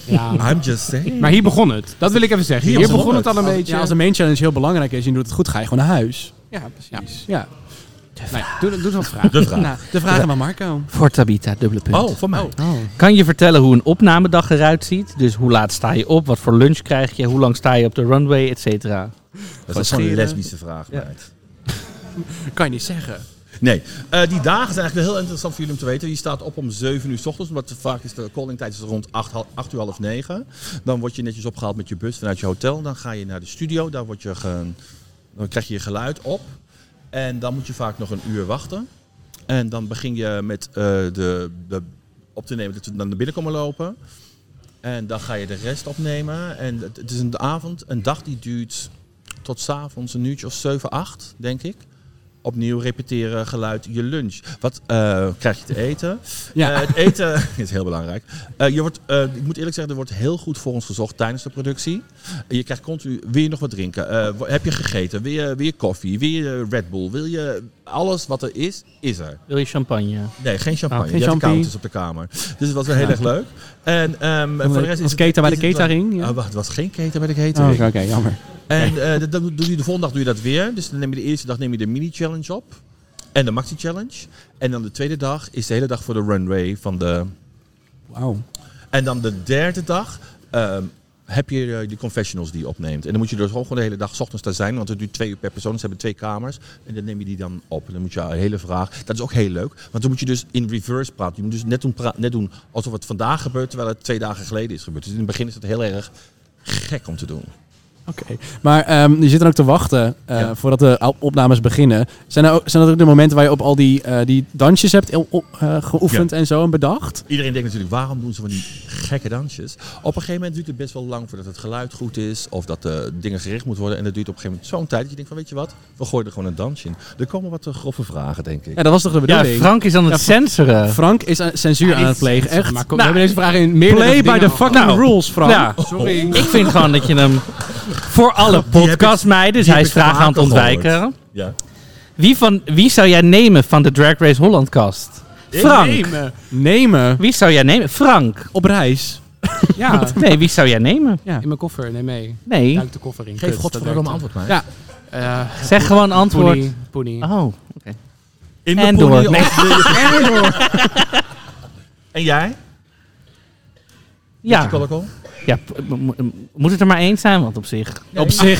Ja. I'm just saying. Maar hier begon het. Dat wil ik even zeggen. Hier, Hier was begon het het. al een Als- beetje. Ja, als de main challenge heel belangrijk is en je doet het goed, ga je gewoon naar huis. Ja, precies. Ja. Nou ja, doe, doe eens wat vragen. De vraag. Nou, de vragen van Marco. Voor Tabita, dubbele punt. Oh, van mij. Kan je vertellen hoe een opnamedag eruit ziet? Dus hoe laat sta je op? Wat voor lunch krijg je? Hoe lang sta je op de runway? Et cetera. Dat is gewoon een scheren. lesbische vraag, meid. Kan je niet zeggen. Nee, Eh, die dagen zijn eigenlijk wel heel interessant voor jullie om te weten. Je staat op om 7 uur s ochtends, want vaak is de calling tijd rond 8, hal- 8 uur half 9. Dan word je netjes opgehaald met je bus vanuit je hotel. Dan ga je naar de studio, daar word je ge- dan krijg je je geluid op. En dan moet je vaak nog een uur wachten. En dan begin je met eh, de, de op te nemen dat we dan naar binnen komen lopen. En dan ga je de rest opnemen. En het, het is een avond, een dag die duurt tot 's avonds een uurtje of 7, 8, denk ik. Opnieuw repeteren, geluid, je lunch. Wat eh, krijg je te eten? *laughs* Ja. Eh, het eten *laughs* is heel belangrijk. Eh, je wordt, eh, ik moet eerlijk zeggen, er wordt heel goed voor ons gezocht tijdens de productie. Je krijgt continu, wil je nog wat drinken? Eh, wa- heb je gegeten? Wil je, wil je koffie? Wil je eh, Red Bull? Wil je alles wat er is, is er. Wil je champagne? Nee, geen champagne. Ah, Je geen had de champagne. counters op de kamer. Dus het was wel heel erg leuk. En ehm, voor de rest is was het- Keta bij is de het wel- catering? Ja. Oh, wacht, het was geen keten bij de Oh, catering. Oké, oké, jammer. En eh, dat, dat doe je de volgende dag doe je dat weer. Dus dan neem je de eerste dag neem je de mini-challenge op. En de maxi-challenge. En dan de tweede dag is de hele dag voor de runway van de... Wauw. En dan de derde dag ehm, heb je eh, die confessionals die je opneemt. En dan moet je dus gewoon gewoon de hele dag 's ochtends daar zijn, want het duurt twee uur per persoon. Ze hebben twee kamers en dan neem je die dan op. En dan moet je een hele vraag. Dat is ook heel leuk, want dan moet je dus in reverse praten. Je moet dus net doen, pra- net doen alsof het vandaag gebeurt, terwijl het twee dagen geleden is gebeurd. Dus in het begin is het heel erg gek om te doen. Oké. Maar ehm, je zit dan ook te wachten eh, Ja. voordat de au- opnames beginnen. Zijn, er ook, zijn dat ook de momenten waar je op al die, eh, die dansjes hebt il- op- eh, geoefend en zo en bedacht? Iedereen denkt natuurlijk, waarom doen ze van die gekke dansjes? Op een gegeven moment duurt het best wel lang voordat het geluid goed is of dat de dingen gericht moeten worden. En dat duurt op een gegeven moment zo'n tijd dat je denkt van, weet je wat, we gooien er gewoon een dansje in. Er komen wat eh, grove vragen, denk ik. Ja, dat was toch de Ja, bedoeling? Frank is aan het censoren. Frank is aan- censuur aan het plegen, echt. Maar kom, we hebben deze vraag in meer Play by the fucking Nou. rules, Frank. Ja, Sorry. ik vind gewoon dat je hem voor alle heb ik- podcastmeiden, dus die hij heb is ik vragen aan het vaker gehoord. ontwijken. Ja. Wie, van, wie zou jij nemen van de Drag Race Holland cast? Frank. Nemen Wie zou jij nemen? Frank. op reis. Ja, Nee, wie zou jij nemen? in mijn koffer. Nee, mee. Nee, Duik de koffer in. Geef Kut, godverdomme een dat werkt antwoord maar. Ja. niet. Eh, zeg gewoon antwoord. Poenie, poenie. Oh, In En poenie door. of Nee. wil je- En door. En jij? ja. Colocol? ja p- m- m- moet het er maar eens zijn, want op zich. Op zich.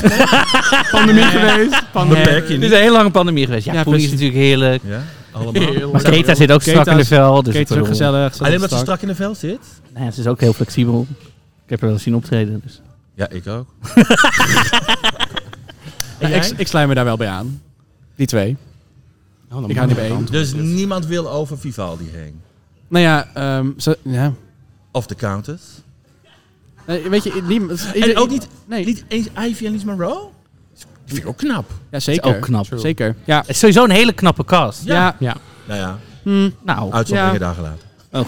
Pandemie geweest. Beperk je Het is niet. een hele lange pandemie geweest. Ja, Ja, Poenie is precies. natuurlijk heerlijk. Ja, allemaal. Maar Keta zit ook Keta strak in de is- vel. Dus Kate is ook ik bedoel- gezellig. Ah, Alleen omdat ze strak- strak in de vel zit? Nee, ze is ook heel flexibel. Ik heb haar wel zien optreden. Dus. Ja, ik ook. Ja, Nou, ik, ik sluit me daar wel bij aan. Die twee. Ik hou niet bij één. Dus niemand wil over Vivaldi heen. Nou ja, ehm, ze- ja. Of de Countess. Nee, weet je, niemand... En ieder- ook niet, Nee. niet eens Ivy en Lies Monroe? Dat vind ik ook knap. Ja, Is zeker. ook knap. True. Zeker. Ja. Het is sowieso een hele knappe cast. Ja. Ja. Ja. Nou ja, Hm. Nou, uitzonderingen Ja. daar gelaten. Oh.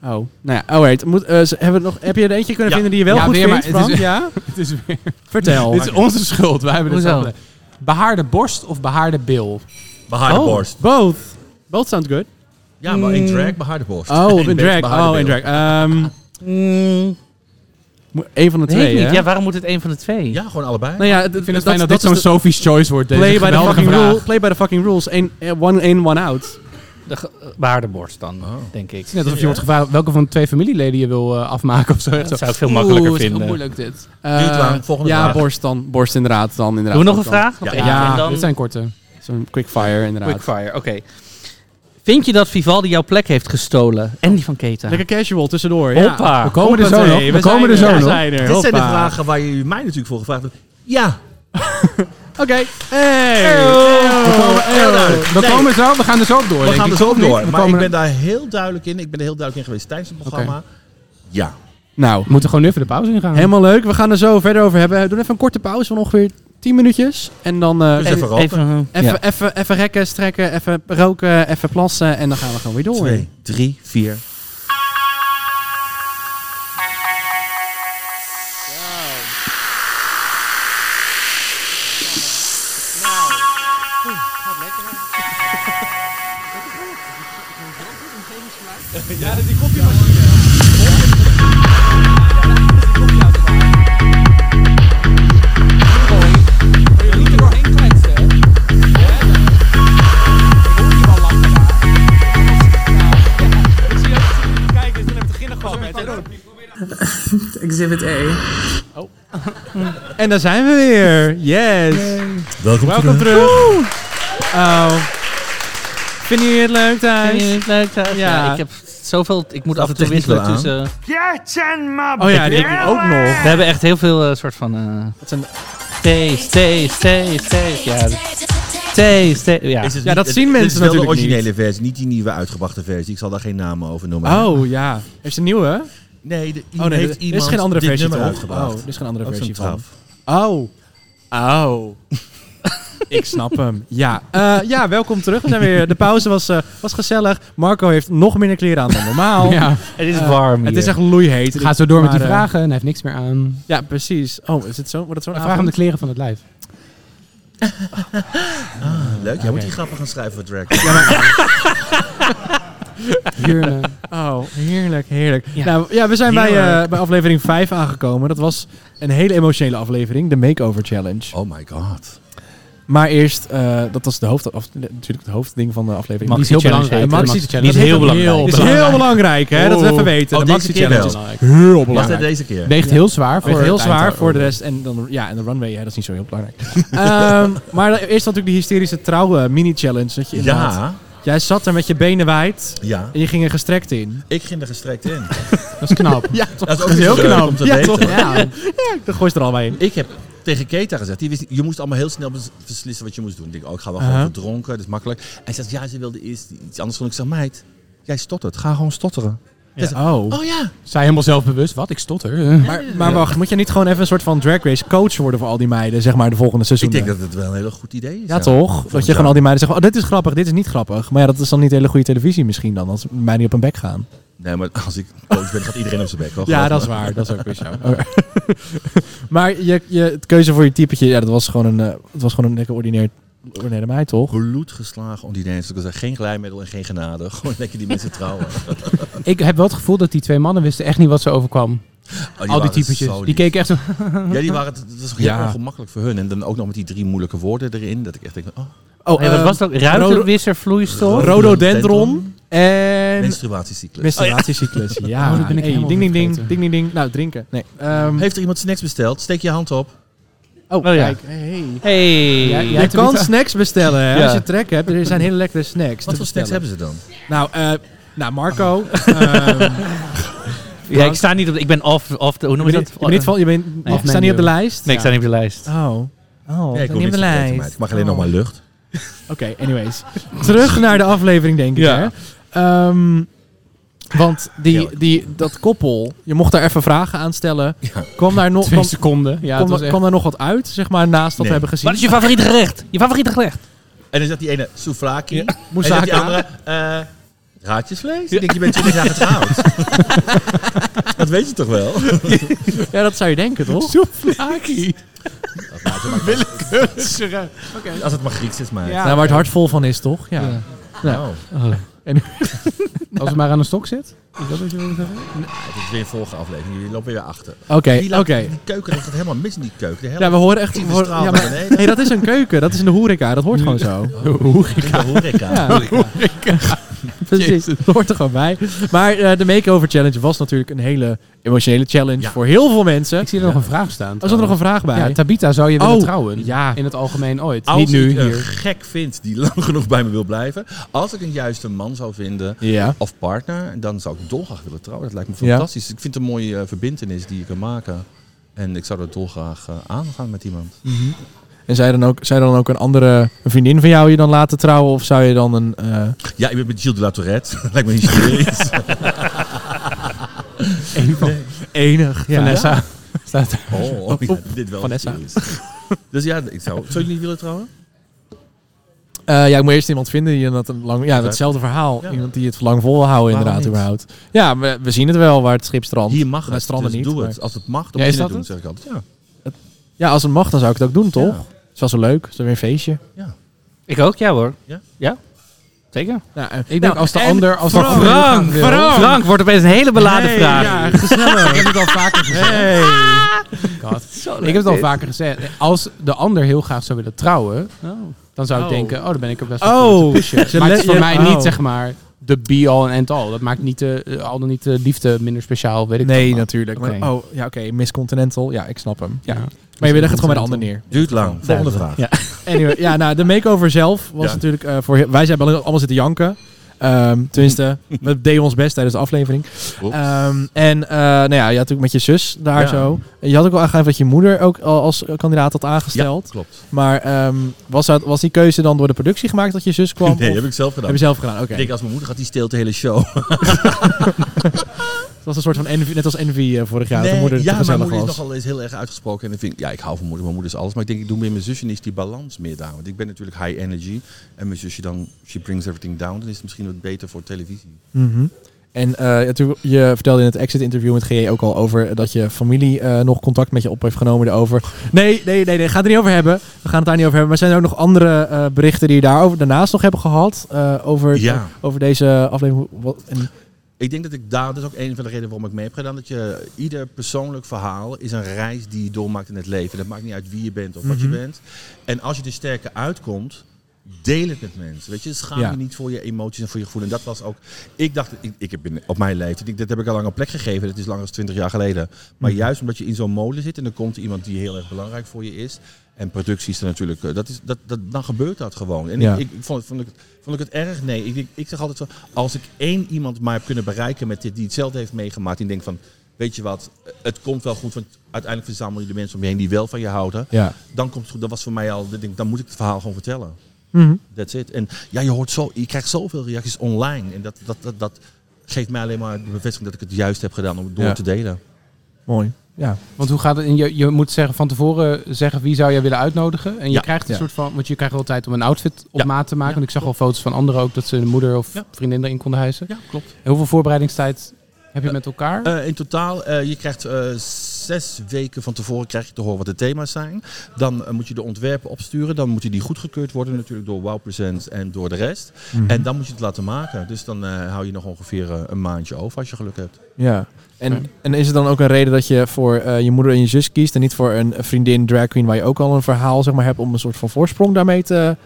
Nou ja, alright. Moet, eh, ze- hebben we nog, heb je er eentje kunnen Ja. vinden die je wel *laughs* Ja, goed weer, vindt, maar het Frank? is- Ja? Het is weer... Vertel. Dit is onze schuld. Wij hebben dit Hoezo? zelf. Behaarde borst of behaarde bil? Behaarde Oh, borst. Both. Both sound good. Ja, maar *laughs* in drag behaarde borst. Hmm. Oh, En in drag. behaarde Oh, in beeld. drag. Ehm Mm, mo- één van de weet twee, ik niet. hè? Ja, waarom moet het een van de twee? Ja, gewoon allebei. Nou ja, d- Ik vind het dat- fijn dat dat, dit is zo'n de Sophie's Choice wordt. Deze Play by, the geweldige fucking vraag. rule, play by the fucking rules. Eén- eh, one in, one out. De ge- baardenborst dan, Oh. denk ik. Net alsof je wordt gevraagd welke van de twee familieleden je wil eh, afmaken of zo. Echt zo. Dat zou ik veel makkelijker Oeh, het is heel vinden. moeilijk dit. Eh, Duurt lang, volgende ja, vraag. borst dan. Borst inderdaad. Dan, inderdaad Doen we nog Dan- een vraag? Ja. Nog Ja, één. en dan dit zijn korte. Zo'n quickfire inderdaad. quickfire. Oké. Vind je dat Vivaldi jouw plek heeft gestolen? En die van Keta? Lekker casual tussendoor. ja. Hoppa. We komen er zo Hoppatee, nog. We zijn komen er zo we nog. zijn er. Dit zijn de Hoppa. vragen waar je mij natuurlijk voor gevraagd hebt. Ja. Oh, Oké. Hey. Oh, We komen, Heel duidelijk. we Nee. komen zo. We gaan er zo op door. We denk gaan ik. er zo op Komt door. niet. We Maar ik komen- ben daar heel duidelijk in. Ik ben er heel duidelijk in geweest tijdens het programma. Ja. Nou, We moeten gewoon nu even de pauze in gaan. helemaal leuk. We gaan er zo verder over hebben. We doen even een korte pauze van ongeveer 10 minuutjes. En dan eh, Dus even, even roken. eh, even, even, rekken, strekken, even roken, even plassen. En dan gaan we gewoon weer door. Twee, drie, vier. Exhibit E. A. En daar zijn we weer. Yes. Welkom, Welkom terug. Oh. Vinden jullie het leuk Vind je thuis? het leuk? Ja. Ja. ik heb zoveel... Ik moet Staat af en de toe techniek wisselen wel aan? tussen... Oh ja, die ook nog. We hebben echt heel veel eh, soort van... eh Dat zijn- taste, taste, taste, taste. Ja, taste, taste. Ja. Is het Ja, niet- dat het- zien mensen Dit is wel de natuurlijk niet. originele versie, niet die nieuwe uitgebrachte versie. Ik zal daar geen namen over noemen. Oh ja. Heeft ze een nieuwe? Nee, de, Oh nee, heeft er is iemand geen andere dit versie nummer toch? uitgebracht. Oh, er is geen andere Ook zo'n versie van. traf. Oh. Oh. Ik snap hem. Ja. Eh, ja, welkom terug. We zijn weer. De pauze was, eh, was gezellig. Marco heeft nog minder kleren aan dan normaal. Ja. Het is warm Het hier. is echt loeiheet. Ga zo door met die eh, Maar, eh, vragen. En hij heeft niks meer aan. Ja, precies. Oh, is het zo? Wordt het zo'n Vraag hem de avond? kleren van het lijf. Leuk, jij moet die grappen gaan schrijven voor Drag. Jurne. Oh, heerlijk, heerlijk. Ja. Nou, ja, we zijn bij, eh, Heerlijk. bij aflevering 5 aangekomen. Dat was een hele emotionele aflevering. De Makeover Challenge. Oh my god. Maar eerst, eh, dat was de hoofd, of, natuurlijk het hoofdding van de aflevering. Die is heel belangrijk. Maxi- Maxi- dat Die is heeft heel ook belangrijk. heel is belangrijk. heel belangrijk, hè? Dat we even weten. Oh, de deze keer Maxi-challenge. wel. Heel Was dat belangrijk. deze keer? Weegt heel zwaar voor Weegt heel het zwaar eindtoon. voor de rest. En, dan, ja, en de runway, ja, dat is niet zo heel belangrijk. *laughs* Ehm, maar eerst had natuurlijk die hysterische trouwen mini-challenge. Dat je inderdaad- Ja, Jij zat er met je benen wijd ja. en je ging er gestrekt in. Ik ging er gestrekt in. *laughs* Dat is knap. Ja, toch? Dat is ook heel knap om te Ja, weten. toch? Ja. Dan gooi je er al bij in. *laughs* Ik heb tegen Keta gezegd, die wist, niet- je moest allemaal heel snel bes- beslissen wat je moest doen. Ik denk, oh, ik ga wel Uh-huh. gewoon verdronken, dat is makkelijk. En ze zegt, ja, ze wilde eerst iets anders doen. Ik zeg, meid, jij stottert, ga gewoon stotteren. Oh. Oh ja. Zij helemaal zelfbewust. Wat? Ik stotter. Maar, maar wacht, moet je niet gewoon even een soort van drag race coach worden voor al die meiden, zeg maar, de volgende seizoen? Ik denk dat het wel een heel goed idee is. Ja, toch? Dat je jaar. gewoon al die meiden zegt, oh, dit is grappig, dit is niet grappig. Maar ja, dat is dan niet hele goede televisie misschien dan, als mij niet op een bek gaan. Nee, maar als ik coach ben, gaat iedereen op zijn bek. Hoor. Ja, Geloof dat is me. waar. Dat is ook weer zo. *laughs* Oké. maar je, je het keuze voor je typetje, ja, dat was gewoon een, eh, het was gewoon een lekker ordineer, ordinaire meid, toch? Bloed geslagen om die Nederlandse te zeggen. Geen glijmiddel en geen genade. *laughs* Gewoon lekker die mensen trouwen. Oh, Ik heb wel het gevoel dat die twee mannen wisten echt niet wat ze overkwam. Al die waren typetjes. zo Die lief. keken echt zo... Ja, die waren, het was heel Ja. ongemakkelijk voor hun. En dan ook nog met die drie moeilijke woorden erin. Dat ik echt denk, oh, Oh, Nee, wat was dat? Ruitenwisservloeistof? Rode- Rhododendron en oh, menstruatiecyclus. menstruatiecyclus. Ja, Oh, dat ben ik Hey, helemaal ding, ding, ding, vergeten. ding, ding, ding. Nou, drinken. Nee. ehm, Ah, Heeft er iemand snacks besteld? Steek je hand op. oh, Oh, ja. kijk. Hey. Hey. Ja, ja. Je hebt er kan niet- snacks bestellen hè, Ja. als je trek hebt. Er zijn hele lekkere snacks. Wat voor te snacks bestellen. hebben ze dan? Nou, eh, nou Marco. ehm, Ja, ik sta niet op de... Ik ben off... off de, hoe noem je je bent dat? niet- je bent niet van- je bent- Nee. je staat niet op de lijst. Nee, ik sta niet op de lijst. Oh. Oh, Nee, ik staat hoef niet op de niks te eten, lijst. meid. Ik mag alleen Oh. nog maar lucht. Oké, anyways. Terug naar de aflevering, denk ik. Ja. Hè? Ehm, want Ja. die, die, dat koppel, je mocht daar even vragen aan stellen. Kwam, daar nog, Twee kwam, seconden. Ja, het kwam, was echt... kwam daar nog wat uit, zeg maar, naast wat Nee. we hebben gezien? Wat is je favoriete gerecht? Je favoriete gerecht? En dan zat die ene souvlaki. En dan zat Moussaka. die andere eh, raadjesvlees. Ik denk, je bent 20 jaar *laughs* getrouwd. dat weet je toch wel? Ja, dat zou je denken, toch? *laughs* Als het maar Grieks is, maar. Nou, waar het hart vol van is, toch? Ja. Ja. Nou, Als het maar aan de stok zit. Is dat wat je wilde zeggen? het is weer een vorige aflevering. Jullie lopen weer achter. Oké, Die, oké. laat- die keuken, dat gaat helemaal mis in die keuken. De hele Ja, we horen echt... we tyfus horen- straalt ja, naar maar, beneden. hey, dat is een keuken. Dat is in de horeca. Dat hoort gewoon *laughs* zo. In de horeca. Ja. Precies, dat hoort er gewoon bij. Maar eh, de makeover challenge was natuurlijk een hele emotionele challenge Ja. voor heel veel mensen. Oh, Ik zie er nog een vraag staan. Er zat nog een vraag bij. Ja, Tabita zou je willen Oh, trouwen. ja. eh. In het algemeen ooit. Als niet nu, ik een hier. gek vind die lang genoeg bij me wil blijven. Als ik een juiste man zou vinden Ja. of partner, dan zou ik dolgraag willen trouwen. Dat lijkt me Ja. fantastisch. Ik vind het een mooie eh, verbintenis die je kan maken. En ik zou dat dolgraag eh, aangaan met iemand. En zou je dan ook, zou je dan ook een andere een vriendin van jou je dan laten trouwen? Of zou je dan een... eh, Ja, ik ben met Gilles de La Tourette. *laughs* Dat lijkt me niet serieus. enig. Ja. Vanessa. Staat er. Oh, Oep, oep. dit wel Vanessa. serieus. Dus ja, ik zou... Zou je niet willen trouwen? Eh, ja, ik moet eerst iemand vinden die dat een lang... Ja, hetzelfde verhaal. Ja. Iemand die het lang vol wil houden Waarom inderdaad niet? überhaupt. Ja, we, we zien het wel waar het schip strandt. Hier mag Bij het, stranden dus niet, doe maar- het. Als het mag, dan moet Ja, is je het dat doen, zeg ik altijd. Ja. Ja, als het mag, dan zou ik het ook doen, toch? Ja. Het was wel leuk. Het is weer een feestje. Ik ook, ja hoor. Ja? Ja? Zeker. Nou, eh, Ik denk nou, als de en- ander... Als de Frank, ander gaan wil. Frank wordt opeens een hele beladen Hey, vraag. Ja, gezellig. Ik heb het al vaker gezegd. *laughs* Ik heb het al vaker gezegd. Als de ander heel graag zou willen trouwen, dan zou ik Oh. denken, oh, dan ben ik er best wel voor Oh, te pushen. Ze Maar het le- is voor je- mij oh. niet, zeg maar, de be-all en end-all. Dat maakt niet de, eh, al dan niet de liefde minder speciaal, weet ik Nee, wat. natuurlijk. Maar- Oké. oh, ja, oké. Miss Continental. Ja, ik snap hem. Ja. Ja. Maar je legt het gewoon bij de ander neer. Duurt lang. Volgende vraag. Ja. Anyway, ja, nou, de makeover zelf was Ja. natuurlijk eh, voor... heel- Wij zijn allemaal zitten janken. Ehm, *laughs* tenminste, we deden ons best tijdens de aflevering. Oeps. Ehm, en eh, nou ja, je had ook met je zus daar Ja. zo. Je had ook al aangegeven dat je moeder ook al als kandidaat had aangesteld. Ja, klopt. Maar ehm, was, dat, was die keuze dan door de productie gemaakt dat je zus *laughs* kwam? *laughs* Nee, of- heb ik zelf gedaan. heb je zelf gedaan, oké. Ik denk, als mijn moeder gaat, die steelt de hele show. Dat was een soort van envy, net als Envy eh, vorig jaar. dat de Nee, moeder te ja, mijn gezellig moeder is was. nogal eens heel erg uitgesproken. En ik vind, ja, ik hou van moeder, mijn moeder is alles. Maar ik denk, ik doe meer mijn zusje is die balans meer daar. Want ik ben natuurlijk high energy. En mijn zusje dan, she brings everything down. Dan is het misschien wat beter voor televisie. Mhm. En eh, ja, toen- je vertelde in het exit-interview met GE ook al over dat je familie eh, nog contact met je op heeft genomen daarover. Nee, nee, nee, nee, ga het er niet over hebben. We gaan het daar niet over hebben. Maar zijn er ook nog andere eh, berichten die je daarover daarnaast nog hebben gehad? eh, over, Ja. over deze aflevering? Wat- en Ik denk dat ik daar, dat is ook een van de redenen waarom ik mee heb gedaan, dat je ieder persoonlijk verhaal is een reis die je doormaakt in het leven. Dat maakt niet uit wie je bent of wat Mhm. je bent. En als je er sterker uitkomt, deel het met mensen. Weet je, schaam Ja. je niet voor je emoties en voor je gevoel. En dat was ook, ik dacht, ik, ik heb in- op mijn leeftijd, ik, dat heb ik al lang een plek gegeven, dat is langer dan 20 jaar geleden. Maar juist omdat je in zo'n molen zit en er komt iemand die heel erg belangrijk voor je is. En producties er natuurlijk, eh, dat is, dat, dat, dan gebeurt dat gewoon. En Ja. ik, ik vond, het- vond, ik, het- vond ik het erg? Nee. Ik, denk- ik zeg altijd zo, als ik één iemand maar heb kunnen bereiken met dit, die hetzelfde heeft meegemaakt, die denkt van, weet je wat, het komt wel goed, want uiteindelijk verzamel je de mensen om je heen die wel van je houden. Ja. Dan komt het goed. Dat was voor mij al, ik denk, dan moet ik het verhaal gewoon vertellen. Mhm. That's it. En ja, je hoort zo, je krijgt zoveel reacties online. En dat, dat, dat, dat geeft mij alleen maar de bevestiging dat ik het juist heb gedaan om het door Ja. te delen. Mooi. Ja. Want hoe gaat het? En je, je moet zeggen van tevoren zeggen wie zou jij willen uitnodigen. En je Ja. krijgt een Ja. soort van. Want je krijgt wel tijd om een outfit op Ja. maat te maken. Want ik zag al foto's van anderen ook dat ze hun moeder of Ja. vriendin erin konden hijsen. Ja, klopt. En hoeveel voorbereidingstijd heb je met elkaar? Eh, in totaal, eh, je krijgt eh, zes weken van tevoren krijg je te horen wat de thema's zijn. Dan eh, moet je de ontwerpen opsturen. Dan moeten die goedgekeurd worden natuurlijk door Wow Presents en door de rest. Mhm. En dan moet je het laten maken. Dus dan eh, hou je nog ongeveer eh, een maandje over als je geluk hebt. Ja. En, en is er dan ook een reden dat je voor eh, je moeder en je zus kiest en niet voor een vriendin drag queen waar je ook al een verhaal zeg maar hebt om een soort van voorsprong daarmee te,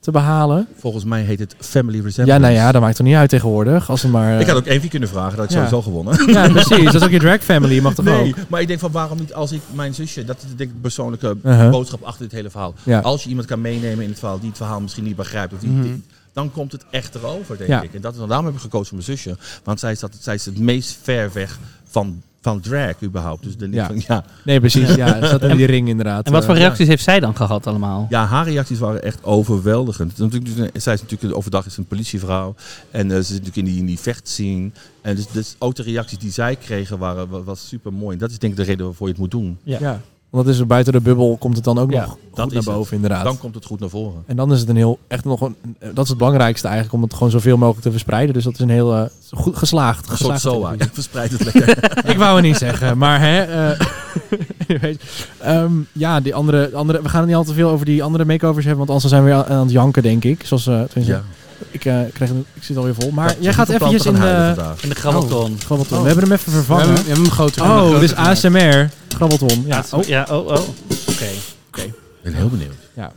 te behalen? Volgens mij heet het Family Resemblance. Ja, nou ja, dat maakt toch niet uit tegenwoordig. Als het maar. eh, Ik had ook één kunnen vragen, dat had ik Ja. sowieso gewonnen. Ja, precies. Dat is ook je drag family, mag toch Nee, ook? maar ik denk van waarom niet als ik mijn zusje, dat is denk ik de persoonlijke Uh-huh. boodschap achter dit hele verhaal. Ja. Mhm. Als je iemand kan meenemen in het verhaal die het verhaal misschien niet begrijpt, of die, die- dan komt het echt erover, denk Ja. ik. En dat is daarom heb ik gekozen voor mijn zusje, want zij is, dat, zij is het meest ver weg van, van drag überhaupt. Dus dan denk ik van ja, Nee, precies. Ja, het staat in die ring inderdaad. En wat Eh, voor reacties heeft zij dan gehad allemaal? Ja, haar reacties waren echt overweldigend. Het is Natuurlijk, dus, eh, zij is natuurlijk overdag is een politievrouw. En eh, ze zit natuurlijk in die, in die vechtscene. En dus, dus ook de reacties die zij kregen waren wa- was super mooi. En dat is denk ik de reden waarvoor je het moet doen. Ja. Want dat is er buiten de bubbel komt het dan ook Ja, nog goed dat naar is het. boven inderdaad. Dan komt het goed naar voren. En dan is het een heel echt nog een. eh, Dat is het belangrijkste eigenlijk om het gewoon zoveel mogelijk te verspreiden. Dus dat is een heel eh, goed geslaagd. Een soort geslaagde SOA. televisie. Ik *laughs* verspreid het lekker. *laughs* Ik wou het niet zeggen, maar hè. eh, *laughs* anyways. Ehm, ja, die andere, andere. We gaan het niet al te veel over die andere makeovers hebben, want anders zijn we weer aan het janken denk ik. Zoals eh, tenminste, ja. ik eh, krijg, een- ik zit alweer vol. Maar Ja, jij gaat van plan eventjes te in eh, gaan huilen de. vandaag. In de grammaton. Grabbelton. Oh. We hebben hem even we, hebben, vervangen. we hebben hem groter. Oh, dit is ASMR. Grabbelton. Ja. oh. Ja, oh, oh. Oké. Ik ben heel benieuwd.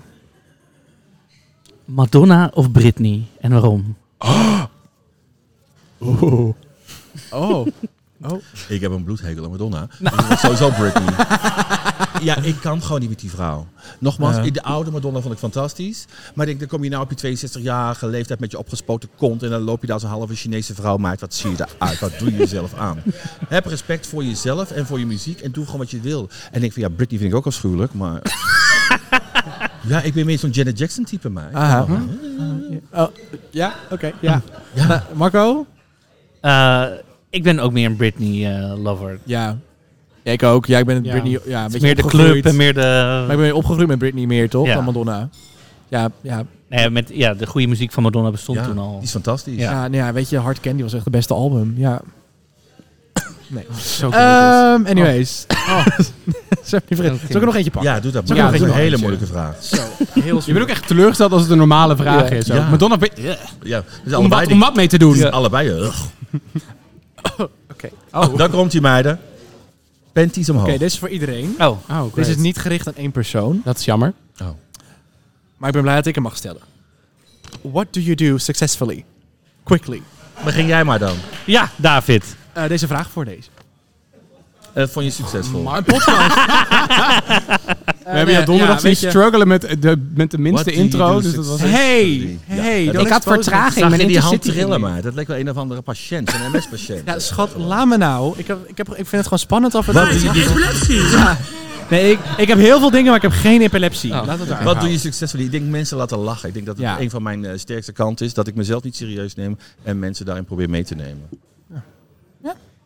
Madonna of Britney? En waarom? Oh. Ik heb een bloedhekel aan *laughs* Madonna. Dus dat is Sowieso Britney. *laughs* Ja, ik kan gewoon niet met die vrouw. Nogmaals, Ja. de oude Madonna vond ik fantastisch. Maar ik denk, dan kom je nou op je 62-jarige leeftijd met je opgespoten kont. En dan loop je daar als een halve Chinese vrouw. Maar wat zie je eruit? Wat doe je jezelf *laughs* aan? Heb respect voor jezelf en voor je muziek. En doe gewoon wat je wil. En ik denk van, ja, Britney vind ik ook afschuwelijk. Maar... *laughs* Ja, ik ben meer zo'n Janet Jackson type mij. Aha. Oh, ja, oké. ja. Nou, Marco? Eh, ik ben ook meer een eh, Britney-lover. Ja. Ik ook. Ja, ik ben het Ja. Britney... Ja, een beetje meer de opgegroeid. club en meer Maar de, ik ben opgegroeid met Britney meer, toch? Ja. Dan Madonna. Ja, ja. nee, met, ja, de goede muziek van Madonna bestond Ja, toen die al. is fantastisch. Ja. nou ja, weet je, Hard Candy was echt het beste album. *coughs* Ja. *laughs* Zo Ehm, anyways. Zijn we niet vergeten. Zal ik er nog eentje pakken? Ja, doe dat. Zal maar. Ja, ik dat is nog even een hele eentje? moeilijke vraag. je bent ook echt teleurgesteld als het een normale vraag Ja. is. ook. Ja. Madonna, be- Ja, dat is om, allebei wat, om wat mee te doen. die- Allebei, eh, ugh. Oké. Oh. Dan komt die meiden. Panties omhoog. Oké, dit is voor iedereen. Oh, Oh, Dit is great. niet gericht aan één persoon. Dat is jammer. Maar ik ben blij dat ik hem mag stellen. What do you do successfully? Quickly. Begin jij maar dan. ja, David. Eh, deze vraag voor deze. Eh vond je succesvol? Een podcast. We hebben je donderdag zien struggelen met de, met de minste What do you intro. do Dus dat was successful? Hey, hey, dat don't is- had expose me. vertraging. Zag mijn je die hand intercity trillen niet. maar? Dat leek wel een of andere patiënt, een MS-patiënt. Ja, schat, laat me nou. Ik, heb, ik, heb, ik vind het gewoon spannend af en Wat toe. doe je die- Nee, ik, ik heb heel veel dingen, maar ik heb geen epilepsie. Oh. Laat het daar. Wat doe je succesvol? Ik denk mensen laten lachen. Ik denk dat het Ja. een van mijn eh, sterkste kanten is. Dat ik mezelf niet serieus neem en mensen daarin probeer mee te nemen.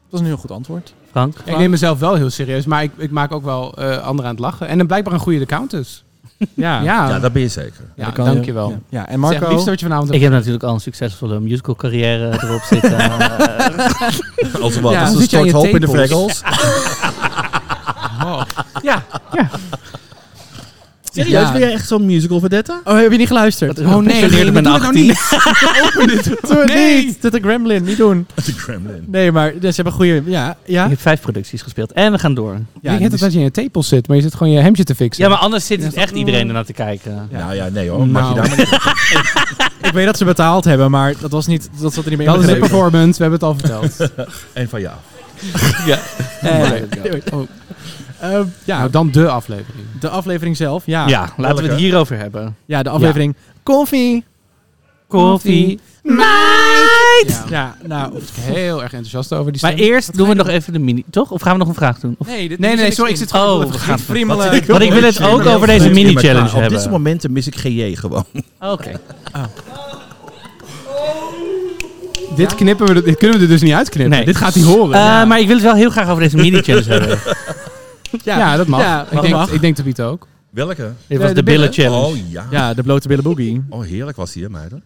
Dat is een heel goed antwoord. Frank. Ik neem mezelf wel heel serieus, maar ik, ik maak ook wel eh, anderen aan het lachen. En dan blijkbaar een goede account dus. Ja, Ja, Ja, dat ben je zeker. Ja, dat kan dankjewel. Ja, Ja, en Marco, Marco. zeg, liefst wat je vanavond Ik heb natuurlijk al een succesvolle musical carrière erop *laughs* zitten. Als wat, Ja, als dan een zit je stort aan je hoop in de tepels. *laughs* freckles. hebt. Oh. ja. Serieus, Ja. ben jij echt zo'n musical vedette? Oh, heb je niet geluisterd? Oh nee, ik leerde mijn 18. Doe het niet! Dat is een gremlin, niet doen. De Kremlin. Nee, maar ze hebben goede... Ja, ja. Ik heb vijf producties gespeeld. En we gaan door. ja ik weet dat als je in een tepel zit, maar je zit gewoon je hemdje te fixen. Ja, maar anders zit echt iedereen ernaar te kijken. Nou ja, nee hoor. Mag je daar maar niet- Ik weet dat ze betaald hebben, maar dat, was niet, dat zat er niet meer dat in. is de begrepen. performance, we hebben het al *laughs* verteld. En van ja. Eh, ja, nou, dan Oh. de aflevering. de aflevering zelf. Ja, ja. Ja, laten we het welke? hierover hebben. de aflevering Koffie. Koffie. Ja. Ja, nou... Ik ben heel erg enthousiast over die Maar stem. eerst doen we nog even de mini, toch? Of gaan we nog een vraag doen? Of- Nee, dit, Nee, nee, sorry, ik zit gewoon Oh, heel we erg- gaan... friemelen. Want ik wil het ook over deze mini-challenge Op dit hebben. moment mis ik GJ gewoon. Oké. Dit, knippen we, dit kunnen we er dus niet uitknippen. Nee. Dit gaat hij horen. Eh, ja. Maar ik wil het wel heel graag over deze *laughs* mini-challenge hebben. Ja, ja, dat mag. Ja, ik, denk, mag. ik denk de Piet ook. Welke? Dit was de billen-challenge. Oh ja. ja, de blote billen boogie. Oh, heerlijk was hier, meiden.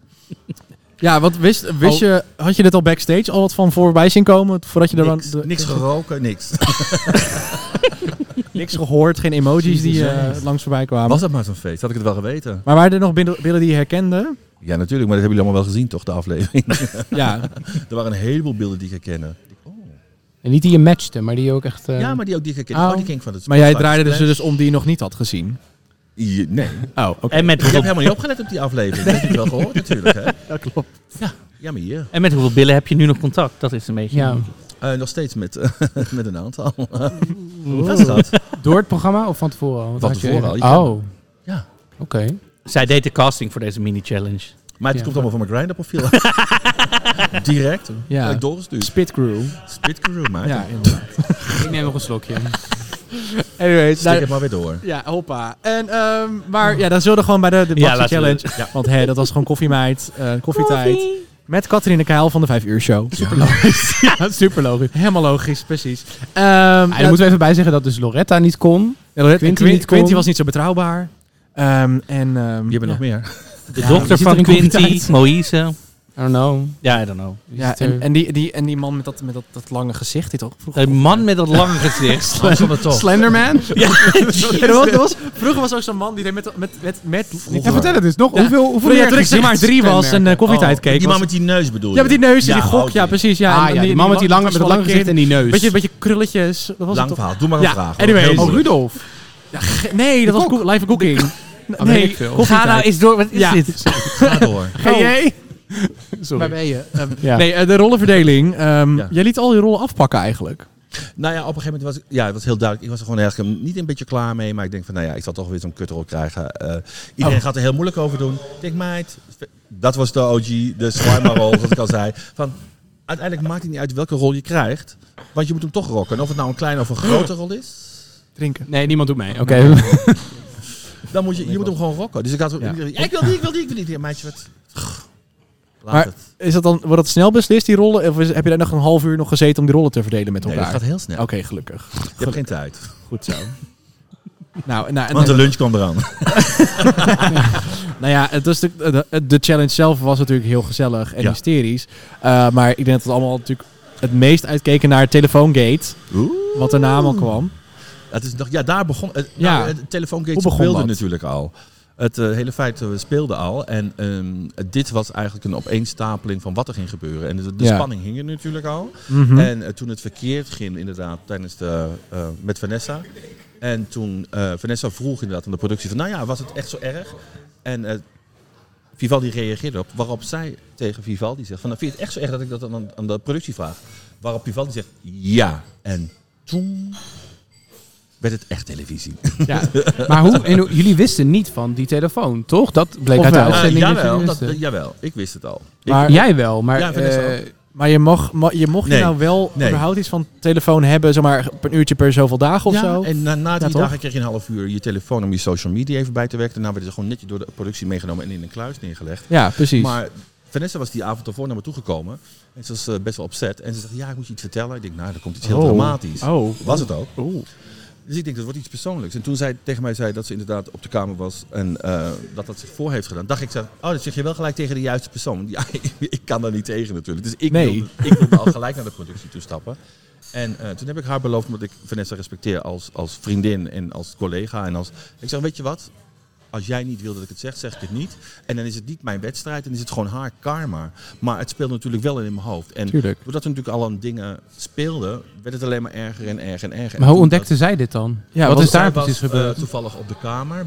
Ja, want wist, wist Oh. je, had je dit al backstage al wat van voorbij zien komen? Voordat je er dan Niks, niks geroken, *coughs* niks. niks gehoord, geen emojis die eh, langs voorbij kwamen. Was dat maar zo'n feest? Had ik het wel geweten? Maar waren er nog billen, billen die je herkende? Ja, natuurlijk. Maar dat hebben jullie allemaal wel gezien, toch, de aflevering? ja, *laughs* er waren een heleboel beelden die ik herkennen. Oh. En niet die je matchte, maar die je ook echt... eh, Ja, maar die ook die ik herkende. Oh, Oh. die king van het maar jij Spotlight draaide ze Splash. dus om die je nog niet had gezien. Je- Nee. Oh, oké. En met, Ik heb hoeveel, helemaal niet opgelet op die aflevering. Dat heb je wel gehoord, natuurlijk. Hè? *laughs* Dat klopt. Ja, maar hier. en met hoeveel billen heb je nu nog contact? Dat is een beetje... ja. Eh, nog steeds met, *laughs* met een aantal. Wat is dat? Door het programma of van tevoren al? Want Van had je tevoren even- al, je Oh. Ja. Oké. Zij deed de casting voor deze mini-challenge. Maar het Ja. komt allemaal van mijn Grindr-profiel. *laughs* Direct. Ja. Ja. Ik doorgestuurd. Spit crew. Spitcrew, maar. Ja, Ja. inderdaad. Ik neem nog een *laughs* slokje. Anyways, Stik daar, het maar weer door. ja, hoppa. En, ehm, maar ja, dan zullen we gewoon bij de, Ja, de Basie laten we- Challenge. Want hé, dat was gewoon koffiemeid, eh, koffietijd. Met Katrien de Keil van de 5 uur show. Super logisch. *laughs* ja, super logisch. Helemaal logisch, precies. Ehm ja, Ah, daar moeten we even bij zeggen dat dus Loretta niet kon. Ja, Lorette- Quinty Quin- niet Quinty kon. was niet zo betrouwbaar. Ehm, en, ehm, Je hebt ja. nog meer. De Ja, dochter die zit er van in Quinty, koffietijd. Moïse. I don't know. Ja, I don't know. Wie Ja, zit er? en, en, die, die, en die man met dat, met dat, dat lange gezicht, die toch? Vroeger, Een man met dat lange gezicht. Hans van der Tocht. *laughs* Slenderman? Ja, er was- er was, vroeger was er ook zo'n man die deed met... met, met, met Ja, vertel het eens. Nog, Ja. Hoeveel, hoeveel Voordat je meer terug zeg maar drie was en eh, gezichtskenmerken? koffietijd keek. Die man was- met die neus bedoel je? ja, met die neus en die gok. oké. Ja, precies. Ja, Oh. ah, en ja, die, man met die lange, met dat lange gezwollen gezicht en kin. die neus. Beetje, beetje krulletjes. Dat was het Lang toch? verhaal. Doe maar een Ja, vraag. anyways. Heel oh, moeilijk. Rudolf. Nee, dat was kok. cook- live *laughs* cooking. Ah, weet ik veel. Ga nou Koffietijd. eens door, wat is Ja. dit? Ga door. Oh. jij? Waar *laughs* Sorry. ben je? Ehm, Ja. Nee, eh, de rollenverdeling. Ehm, Ja. Jij liet al je rollen afpakken eigenlijk. Nou ja, op een gegeven moment was ik, ja, het was heel duidelijk. Ik was er gewoon ergens niet een beetje klaar mee. Maar ik denk van, nou ja, ik zal toch weer zo'n kutrol krijgen. Eh, iedereen Oh. gaat er heel moeilijk over doen. Ik denk, meid, dat was de OG, de slimerol, zoals ik al zei. Van, uiteindelijk maakt het niet uit welke rol je krijgt. Want je moet hem toch rocken. En Of het nou een kleine of een grote rol is. Drinken. Nee, niemand doet mee. Oké. Dan moet je, je moet hem gewoon rocken. Dus ik had... Ja. Ja, ik wil die, ik wil die, ik wil die. Ja, meidje, wat... Laat Maar- het. Is dat dan, wordt dat snel beslist, die rollen? Of is- heb je daar nog een half uur nog gezeten om die rollen te verdelen met Nee, dat elkaar? gaat heel snel. Oké, gelukkig. Je hebt geen tijd. *laughs* Goed zo. nou, nou, en- Want de lunch kwam eraan. nou ja, het was de, de, de challenge zelf was natuurlijk heel gezellig en Ja. hysterisch. Eh, maar ik denk dat we allemaal natuurlijk het meest uitkeken naar Telefoongate. Oeh. Wat daarna allemaal kwam. *laughs* Het is nog, ja, daar begon het. Ja. Nou, het telefoongate Hoe begon speelde dat? natuurlijk al. Het eh, hele feit eh, speelde al. En ehm, dit was eigenlijk een opeenstapeling van wat er ging gebeuren. En de, de Ja. Mhm. spanning hing er natuurlijk al. En eh, toen het verkeerd ging, inderdaad, tijdens de, eh, met Vanessa. En toen eh, Vanessa vroeg inderdaad aan de productie van, nou ja, was het echt zo erg? En eh, Vivaldi reageerde op, waarop zij tegen Vivaldi zegt, van, nou, vind je het echt zo erg dat ik dat aan, aan de productie vraag? Waarop Vivaldi zegt, ja. En toen werd het echt televisie. Oh. Ja. *laughs* Maar hoe, en, hoe- jullie wisten niet van die telefoon, toch? Dat bleek Of uit de wel? Ja, uitzending. dat Eh, jullie jawel, dat, wisten. jawel, ik wist het al. Maar, Jij wel, maar... Ja, Vanessa eh, maar je, mag, ma- je mocht je Nee. nou wel Nee. überhaupt iets van telefoon hebben, zeg maar een uurtje per zoveel dagen of ja, eh, zo? En na, na drie toch? dagen kreeg je een half uur je telefoon om je social media even bij te werken. Daarna werden ze gewoon netjes door de productie meegenomen en in een kluis neergelegd. Ja, precies. Maar Vanessa was die avond ervoor naar me toegekomen. En ze was eh, best wel opzet. En ze zegt, ja, ik moet je iets vertellen. Ik denk, nou, er komt iets heel Oh. dramatisch. oh. Was het ook. Dus ik denk, dat wordt iets persoonlijks. En toen zij tegen mij zei dat ze inderdaad op de kamer was en eh, dat dat zich voor heeft gedaan, dacht ik, zo, oh, dat zeg je wel gelijk tegen de juiste persoon. *laughs* Ja, ik, ik kan daar niet tegen natuurlijk. Dus ik, Nee. wilde, ik wilde al gelijk naar de productie toe stappen. En eh, toen heb ik haar beloofd, omdat ik Vanessa respecteer als, als vriendin en als collega. En als, ik zeg, weet je wat, als jij niet wil dat ik het zeg, zeg ik het niet. En dan is het niet mijn wedstrijd, dan is het gewoon haar karma. Maar het speelt natuurlijk wel in mijn hoofd. En Tuurlijk. doordat we natuurlijk al aan dingen speelden, werd het alleen maar erger en erger en erger. Maar En hoe toen ontdekte dat- zij dit dan? Ja, wat want is daar zij was, precies eh, gebeurd? toevallig op de kamer.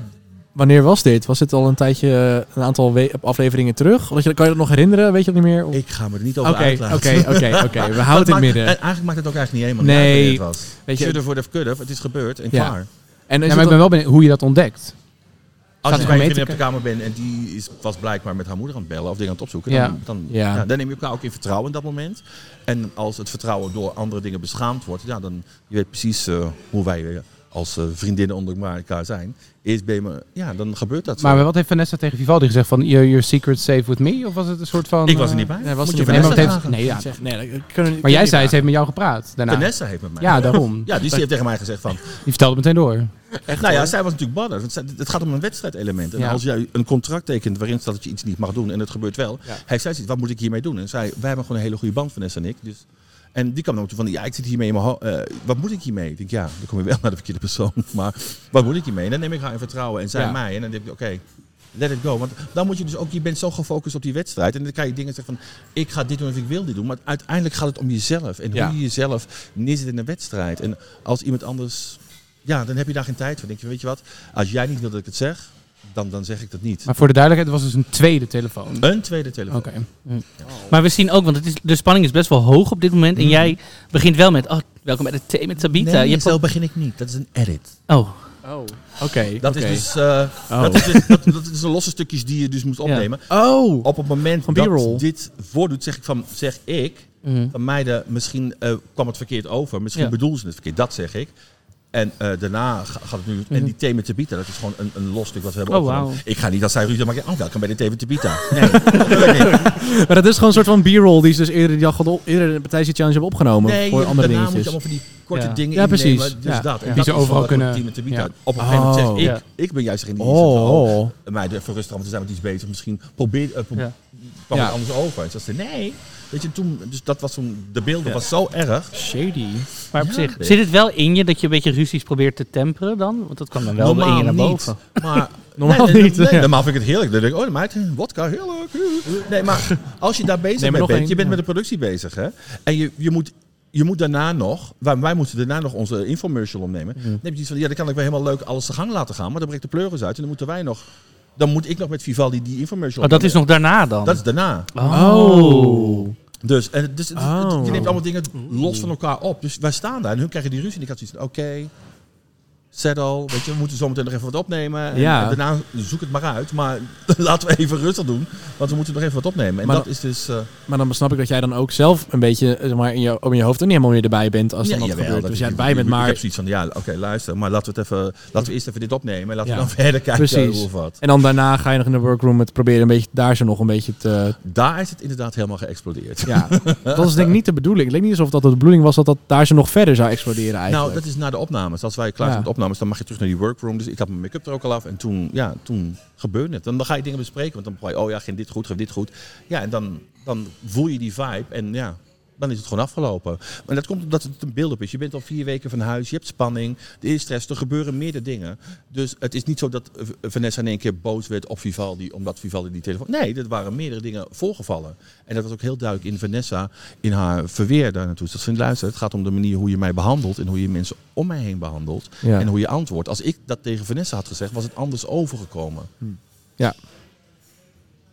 Wanneer was dit? Was dit al een tijdje, eh, een aantal we- afleveringen terug? Want je, kan je dat nog herinneren? Weet je dat niet meer? Of- Ik ga me er niet over Oké, uitlaten. oké, oké, oké. *laughs* We Maar het houden het maakt- eh, midden. en eigenlijk maakt het ook eigenlijk niet helemaal Nee. niet uit wanneer het was. Weet je- Shudder voor de kudde, het is gebeurd en Ja. klaar. En is Ja, het maar ik dan- ben wel benieuwd hoe je dat ontdekt. Als Gaat je bij het een gewoon vriendin op de mee kamer bent en die is, was blijkbaar met haar moeder aan het bellen of dingen aan het opzoeken, Ja. dan, dan, Ja. ja. dan neem je elkaar ook in vertrouwen in dat moment. En als het vertrouwen door andere dingen beschaamd wordt, ja, dan je weet precies eh, hoe wij eh, als eh, vriendinnen onder elkaar zijn. Eerst ben je me, ja, dan gebeurt dat. zo. Maar wat heeft Vanessa tegen Vivaldi gezegd? Van, your, your secret safe with me? Of was het een soort van... ik was er eh, niet bij. Nee, was Moet er je Nee, maar, Vanessa wat heeft, vragen. nee, ja. Zeg, nee, dat kunnen maar jij zei, het ze heeft met jou gepraat daarna. Vanessa heeft met mij. Ja, daarom. Ja, die heeft tegen mij gezegd van, Die vertelde het meteen door. nou ja, zij was natuurlijk badder. Want zij- Het gaat om een wedstrijdelement. En Ja. als jij een contract tekent waarin staat dat je iets niet mag doen en het gebeurt wel, heeft zij zoiets, wat moet ik hiermee doen? En zij, wij hebben gewoon een hele goede band, Vanessa en ik. Dus, en die kwam dan ook toe van, ja, ik zit hiermee in mijn ho- eh, wat moet ik hiermee? Ik denk, ja, dan kom je wel *laughs* naar de verkeerde persoon. Maar wat moet ik hiermee? En dan neem ik haar in vertrouwen en zij Ja. mij. En dan denk ik, oké. Let it go. Want dan moet je dus ook, je bent zo gefocust op die wedstrijd. En dan krijg je dingen zeggen van, ik ga dit doen of ik wil dit doen. Maar uiteindelijk gaat het om jezelf. En Ja. hoe je jezelf neerzet in een wedstrijd. En als iemand anders, ja, dan heb je daar geen tijd voor. Dan denk je, weet je wat, als jij niet wil dat ik het zeg, dan, dan zeg ik dat niet. Maar voor de duidelijkheid, het was dus een tweede telefoon. Een tweede telefoon. Oké. Maar we zien ook, want het is, de spanning is best wel hoog op dit moment. En jij begint wel met, oh, welkom bij de thee met Sabita. Nee, je hebt zo begin ik niet. Dat is een edit. al- oh, Oké, Dat oké. is dus, eh, dat, is dus dat, dat is de losse stukjes die je dus moet opnemen. Oh! Op het moment Van B-roll. dat dit voordoet, zeg ik van, zeg ik, Mhm. van meiden, misschien eh, kwam het verkeerd over. Misschien Ja. bedoelden ze het verkeerd. Dat zeg ik. En eh, daarna ga- gaat het nu. En die thema te bieden, dat is gewoon een, een los stuk wat we hebben Oh, opgenomen. wauw. Ik ga niet als zij ruzie maken. Oh, welkom bij de thema te bieden. Nee, dat wil ik niet. Maar dat is gewoon een soort van b-roll die ze dus eerder, die dag hadden op- eerder de Partij Challenge hebben opgenomen nee voor je- andere daarna moet je dingetjes. allemaal van die korte Ja. dingen Ja, precies. innemen. Dus Ja. dat. En Die dat ze is overal wel wat kunnen- Thema te bieden. ja. Op een gegeven moment zeg Oh. ik, Ja. ik ben juist degene die zegt, oh, Oh, mij even rustig, want we zijn met iets bezig. Misschien probeer, eh, pro- Ja. kwam Ja. het anders over. En ze zei, nee. Weet je, toen, dus dat was toen, de beelden was zo erg. shady. maar op zich. nee. Zit het wel in je dat je een beetje ruzies probeert te temperen dan? Want dat kwam dan wel in je naar boven. Niet, *laughs* maar Normaal Nee, nee, niet, nee, ja. normaal vind ik het heerlijk. Dan denk ik, oh meid, wodka, heerlijk. Nee, maar als je daar bezig maar mee nog bent, één, je bent ja. met de productie bezig, hè. En je, je moet... Je moet daarna nog, wij, wij moeten daarna nog onze infomercial opnemen. Dan heb je iets van, ja, dan kan ik wel helemaal leuk alles te gang laten gaan, maar dan breekt de pleuris uit en dan moeten wij nog, dan moet ik nog met Vivaldi die infomercial. Oh, dat is opnemen. nog daarna dan? dat is daarna. Oh. Dus, en, het- dus het- het- Oh. je neemt allemaal dingen los van elkaar op. Dus wij staan daar en hun krijgen die ruzie. En ik had zoiets van, oké, settle. Weet je, we moeten zometeen nog even wat opnemen. En, Ja. en daarna zoek het maar uit. Maar *laughs* laten we even rustig doen. Want we moeten nog even wat opnemen. En Maar dat is dus... eh, Maar dan snap ik dat jij dan ook zelf een beetje eh, zeg maar, in, je, in je hoofd er niet helemaal meer erbij bent als ja, dan dat jawel, gebeurt. dat Dus ik- jij ik- erbij bent, ik- Ik maar... heb zoiets van, ja, oké, luister. Maar laten we, het even, laten we eerst even dit opnemen. En laten Ja. we dan *laughs* verder kijken Precies. hoe of wat. En dan daarna ga je nog in de workroom het proberen een beetje, daar zo nog een beetje te... Daar is het inderdaad helemaal geëxplodeerd. Ja, *laughs* dat was denk ik niet de bedoeling. Het leek niet alsof dat de bedoeling was dat dat daar zo nog verder zou exploderen eigenlijk. Nou, dat is na de opnames. Als wij klaar zijn met Ja. de opnames, dan mag je terug naar die workroom. Dus ik had mijn make-up er ook al af. En toen, ja, toen gebeurde het. Dan, dan ga je dingen bespreken. Want dan begon je, oh ja, ging dit goed, ging dit goed. Ja, en dan, dan voel je die vibe. En ja, dan is het gewoon afgelopen. Maar dat komt omdat het een beeld op is. Je bent al vier weken van huis, je hebt spanning, er is stress, er gebeuren meerdere dingen. Dus het is niet zo dat eh, Vanessa in één keer boos werd op Vivaldi, omdat Vivaldi die telefoon... Nee, dat waren meerdere dingen voorgevallen. En dat was ook heel duidelijk in Vanessa, in haar verweer daar naartoe. Dat vindt luister, het gaat om de manier hoe je mij behandelt en hoe je mensen om mij heen behandelt. Ja. En hoe je antwoordt. Als ik dat tegen Vanessa had gezegd, was het anders overgekomen. Ja.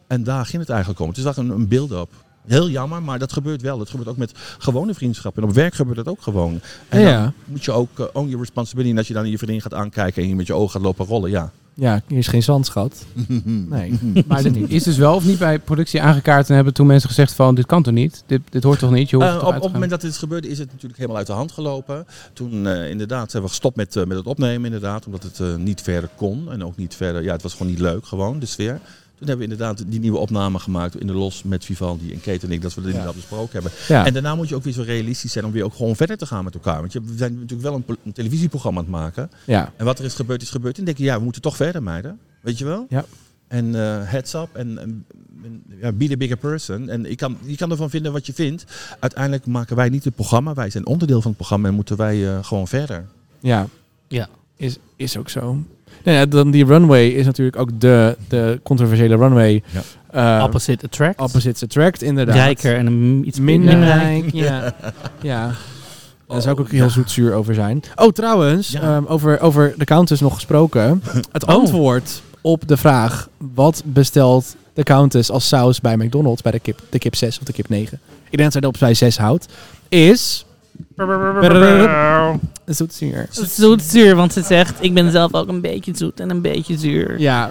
En daar ging het eigenlijk om. Het is eigenlijk een, een build-up. Heel jammer, maar dat gebeurt wel. Dat gebeurt ook met gewone vriendschappen. En op werk gebeurt dat ook gewoon. En Ja, dan ja. moet je ook eh, own your responsibility. En als je dan je vriendin gaat aankijken en je met je ogen gaat lopen rollen, ja. Ja, hier is geen zand, schat. Nee. *laughs* Maar dit is dus wel of niet bij productie aangekaart en hebben toen mensen gezegd van dit kan toch niet? Dit, dit hoort toch niet? Je hoort Eh, toch op, uit op het te gaan? moment dat dit gebeurde is het natuurlijk helemaal uit de hand gelopen. Toen eh, inderdaad hebben we gestopt met, eh, met het opnemen inderdaad. Omdat het eh, niet verder kon. En ook niet verder, ja het was gewoon niet leuk gewoon, de sfeer. Toen hebben we inderdaad die nieuwe opname gemaakt in de los met Vivaldi en Kate en ik. Dat we dat inderdaad besproken hebben. Ja. En daarna moet je ook weer zo realistisch zijn om weer ook gewoon verder te gaan met elkaar. Want je, we zijn natuurlijk wel een, po- een televisieprogramma aan het maken. Ja. En wat er is gebeurd, is gebeurd. En dan denk je, ja, we moeten toch verder, meiden. Weet je wel? Ja. En eh, heads up en, en- en, ja, be the bigger person. En ik kan, je kan ervan vinden wat je vindt. Uiteindelijk maken wij niet het programma. Wij zijn onderdeel van het programma en moeten wij eh, gewoon verder. Ja. Ja. Is, is ook zo. Nou ja, dan die runway is natuurlijk ook de, de controversiële runway. Ja. Ja. Opposite attract. opposites attract, inderdaad. Rijker en een, iets Minder minder rijk. rijk, ja. ja. Daar zou ik ook heel zoetzuur over zijn. Oh, trouwens, Ja. ehm, over, over de Countess nog gesproken. Het antwoord op de vraag... wat bestelt de Countess als saus bij McDonald's... bij de kip, de kip 6 of de kip 9? Ik denk dat zij dat op bij 6 houdt. Is... Zoetzuur. Zoetzuur, want ze zegt, ik ben zelf ook een beetje zoet en een beetje zuur. Ja.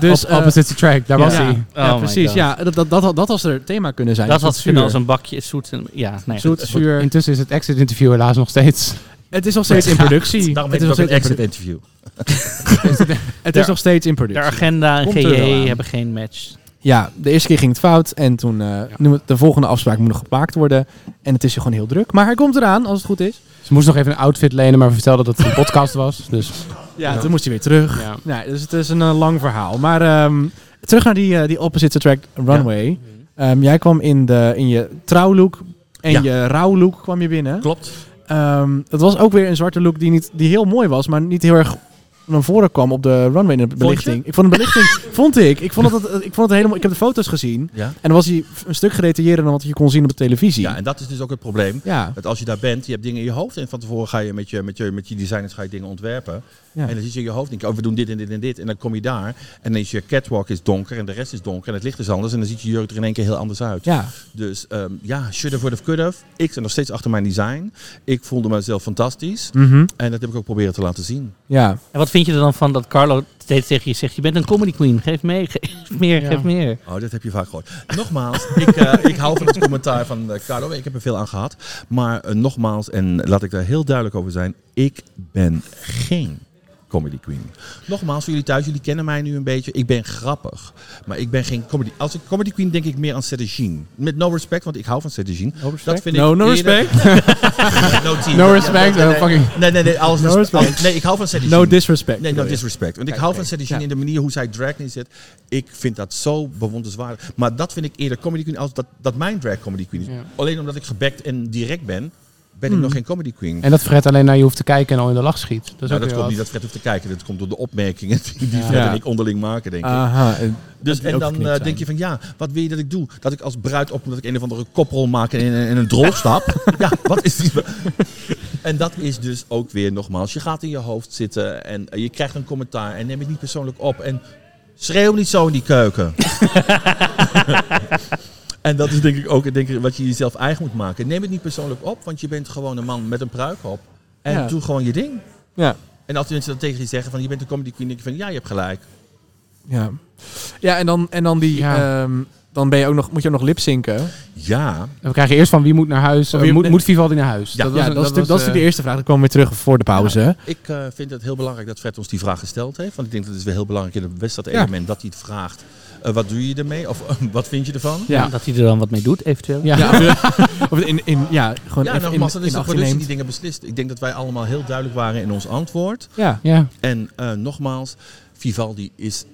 Dus... eh, Opposite track, daar was ja, hij. ja, Oh my precies. God. Ja, dat, dat, dat, had- dat was er thema kunnen zijn. Dat had ze kunnen Zoetzuur. als een bakje zoet. En, ja, nee. Zoet, zuur. Intussen is het exit interview helaas nog steeds. Het is nog steeds *laughs* in productie. Daarom Het weet is ik nog ook een steeds in exit productie. interview. Het is nog steeds in De productie. agenda en Komt er wel aan. GJ hebben geen match. Ja, de eerste keer ging het fout en toen eh, noem het- de volgende afspraak moet nog gemaakt worden. En het is hier gewoon heel druk. Maar hij komt eraan, als het goed is. Ze moest nog even een outfit lenen, maar vertelde dat het een podcast was. Dus Ja, toen moest hij weer terug. ja. Nou, dus het is een eh, lang verhaal. Maar ehm, terug naar die, eh, die opposite track runway. Ehm, jij kwam in, de, in je trouwlook en Ja. je rouwlook kwam je binnen. Klopt. Ehm dat was ook weer een zwarte look die, niet, die heel mooi was, maar niet heel erg naar voren kwam op de runway in de je? belichting. Ik vond de belichting, *laughs* vond ik. Ik vond dat, het- ik vond het helemaal. Ik heb de foto's gezien. Ja. En dan was hij f- een stuk gedetailleerder dan wat je kon zien op de televisie. ja, en dat is dus ook het probleem. ja. Dat als je daar bent, je hebt dingen in je hoofd. En van tevoren ga je met je, met je, met je designers ga je dingen ontwerpen. Ja. En dan zit je in je hoofd, denk je, oh, we doen dit en dit en dit. En dan kom je daar. En dan is je catwalk is donker en de rest is donker. En het licht is anders. En dan ziet je jurk er in één keer heel anders uit. Ja. Dus ehm, ja, should have, would have, could have. Ik zit nog steeds achter mijn design. Ik voelde mezelf fantastisch. Mhm. En dat heb ik ook proberen te laten zien. ja. En wat vind je er dan van dat Carlo steeds tegen je zegt, je bent een comedy queen, geef mee, *laughs* geef meer, Ja. geef meer. Oh, dat heb je vaak gehoord. Nogmaals, *laughs* ik, eh, ik hou van het commentaar van eh, Carlo. Ik heb er veel aan gehad. Maar eh, nogmaals, en laat ik daar heel duidelijk over zijn. Ik ben geen comedy queen. Nogmaals, voor jullie thuis, jullie kennen mij nu een beetje. Ik ben grappig. Maar ik ben geen comedy... Als ik comedy queen denk ik meer aan Cetigen. Met no respect, want ik hou van Cetigen. dat vind No, ik no eerder- respect. *laughs* No, team. No respect, Nee, oh, nee, fucking... Nee, nee, nee. Alles No is- respect. alles- nee, ik hou van Cetigen. No disrespect. Nee, no bedoel je. disrespect. Want ik hou van Sadie Sheen in de manier hoe zij drag neerzet. Ik vind dat zo bewonderenswaardig. Maar dat vind ik eerder comedy queen als dat, dat mijn drag comedy queen is. Ja. Hmm. Alleen omdat ik gebackt en direct ben, ben ik nog geen comedy queen. En dat Fred alleen naar je hoeft te kijken en al in de lach schiet. Dat is nou, ook dat weer komt niet wat. dat Fred hoeft te kijken. Dat komt door de opmerkingen die, die Fred Ja. en ik onderling maken, denk ik. Aha. eh, dus, die en ook dan geknipt eh, denk je van, ja, wat wil je dat ik doe? Dat ik als bruid op, dat ik een of andere koprol maak en in, in een drol stap? *laughs* ja, wat is die... En dat is dus ook weer nogmaals, je gaat in je hoofd zitten en je krijgt een commentaar en neem het niet persoonlijk op. En schreeuw niet zo in die keuken. *laughs* en dat is denk ik ook denk ik, wat je jezelf eigen moet maken. Neem het niet persoonlijk op, want je bent gewoon een man met een pruik op. En Ja. doe gewoon je ding. Ja. En als mensen dat tegen je zeggen van je bent een comedy queen, denk je van ja, je hebt gelijk. Ja. Ja, en dan, en dan die. Ja. ehm, dan ben je ook nog, moet je ook nog lipzinken. Ja, We krijgen eerst van wie moet naar huis. Wie- eh, moet, moet Vivaldi naar huis? Ja. Ja, dat, is, natuurlijk- dat is natuurlijk was, de eh, eerste vraag. Dan komen we weer terug voor de pauze. Ik eh, vind het heel belangrijk dat Fred ons die vraag gesteld heeft. Want ik denk dat het is wel heel belangrijk in het wedstrijdelement dat hij het vraagt. Eh, wat doe je ermee? Of eh, wat vind je ervan? Ja. Dat hij er dan wat mee doet, eventueel. Ja. Ja, of in, in, ja gewoon Ja, even in, nogmaals, dat is in de acht productie die neemt. dingen beslist. Ik denk dat wij allemaal heel duidelijk waren in ons antwoord. Ja. Ja. En eh, nogmaals, Vivaldi is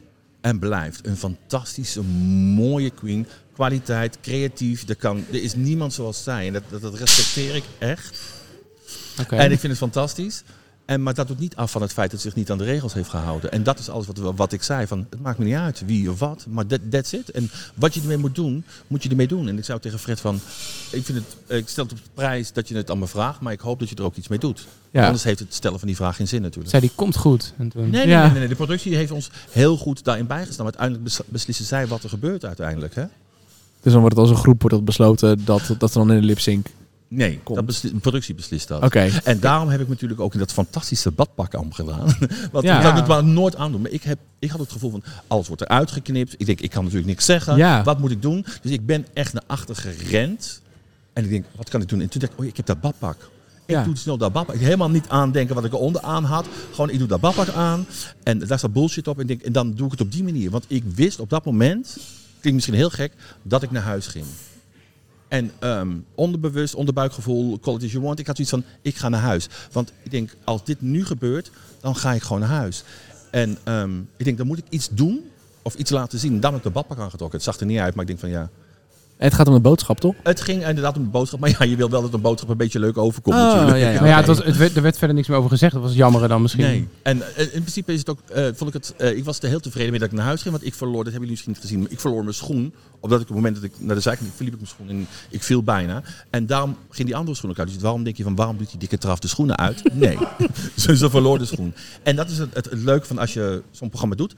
en blijft een fantastische, mooie queen. Kwaliteit, creatief. Er, kan, er is niemand zoals zij. En dat, dat, dat respecteer ik echt. Oké. En ik vind het fantastisch. En, maar dat doet niet af van het feit dat ze zich niet aan de regels heeft gehouden. En dat is alles wat, wat ik zei. Van, het maakt me niet uit wie of wat, maar that, that's it. En wat je ermee moet doen, moet je ermee doen. En ik zou tegen Fred van, ik, vind het, ik stel het op de prijs dat je het aan me vraagt, maar ik hoop dat je er ook iets mee doet. Ja. Anders heeft het stellen van die vraag geen zin natuurlijk. Zei die komt goed. En toen... Nee, nee, Ja. nee, nee, nee. De productie heeft ons heel goed daarin bijgestaan. Maar uiteindelijk bes- beslissen zij wat er gebeurt uiteindelijk. Hè? Dus dan wordt het als een groep wordt dat besloten dat, dat ze dan in de lipsync. Nee, Komt. dat besli- de productie beslist dat. Oké. En daarom heb ik natuurlijk ook in dat fantastische badpak aan gedaan. *laughs* Want Ja. ik kan het maar nooit aandoen. Maar ik, heb, ik had het gevoel van, alles wordt eruit geknipt. Ik denk, ik kan natuurlijk niks zeggen. Ja. Wat moet ik doen? Dus ik ben echt naar achter gerend. En ik denk, wat kan ik doen? En toen dacht ik, oh, ik heb dat badpak. Ik Ja. doe snel dat badpak. Ik helemaal niet aandenken wat ik eronder aan had. Gewoon, ik doe dat badpak aan. En daar staat bullshit op. En, ik denk, en dan doe ik het op die manier. Want ik wist op dat moment, klinkt misschien heel gek, dat ik naar huis ging. En ehm, onderbewust, onderbuikgevoel, quality as you want. Ik had zoiets van, ik ga naar huis. Want ik denk, als dit nu gebeurt, dan ga ik gewoon naar huis. En ehm, ik denk, dan moet ik iets doen of iets laten zien. En daarom heb ik de badpak aangetrokken. Het zag er niet uit, maar ik denk van ja, Het gaat om de boodschap, toch? Het ging inderdaad om de boodschap. Maar ja, je wil wel dat een boodschap een beetje leuk overkomt natuurlijk. Oh, ja, ja. Maar ja, het was, het werd, er werd verder niks meer over gezegd. Dat was jammer dan misschien. Nee. En eh, in principe is het ook, eh, vond ik het, eh, ik was er heel tevreden mee dat ik naar huis ging. Want ik verloor, dat hebben jullie misschien niet gezien, maar ik verloor mijn schoen. Omdat ik op het moment dat ik naar de zijkant liep, verliep ik mijn schoen en ik viel bijna. En daarom ging die andere schoen ook uit. Dus waarom denk je van, waarom doet die dikke traf de schoenen uit? Nee. *laughs* ze, ze verloor de schoen. En dat is het, het, het leuke van als je zo'n programma doet.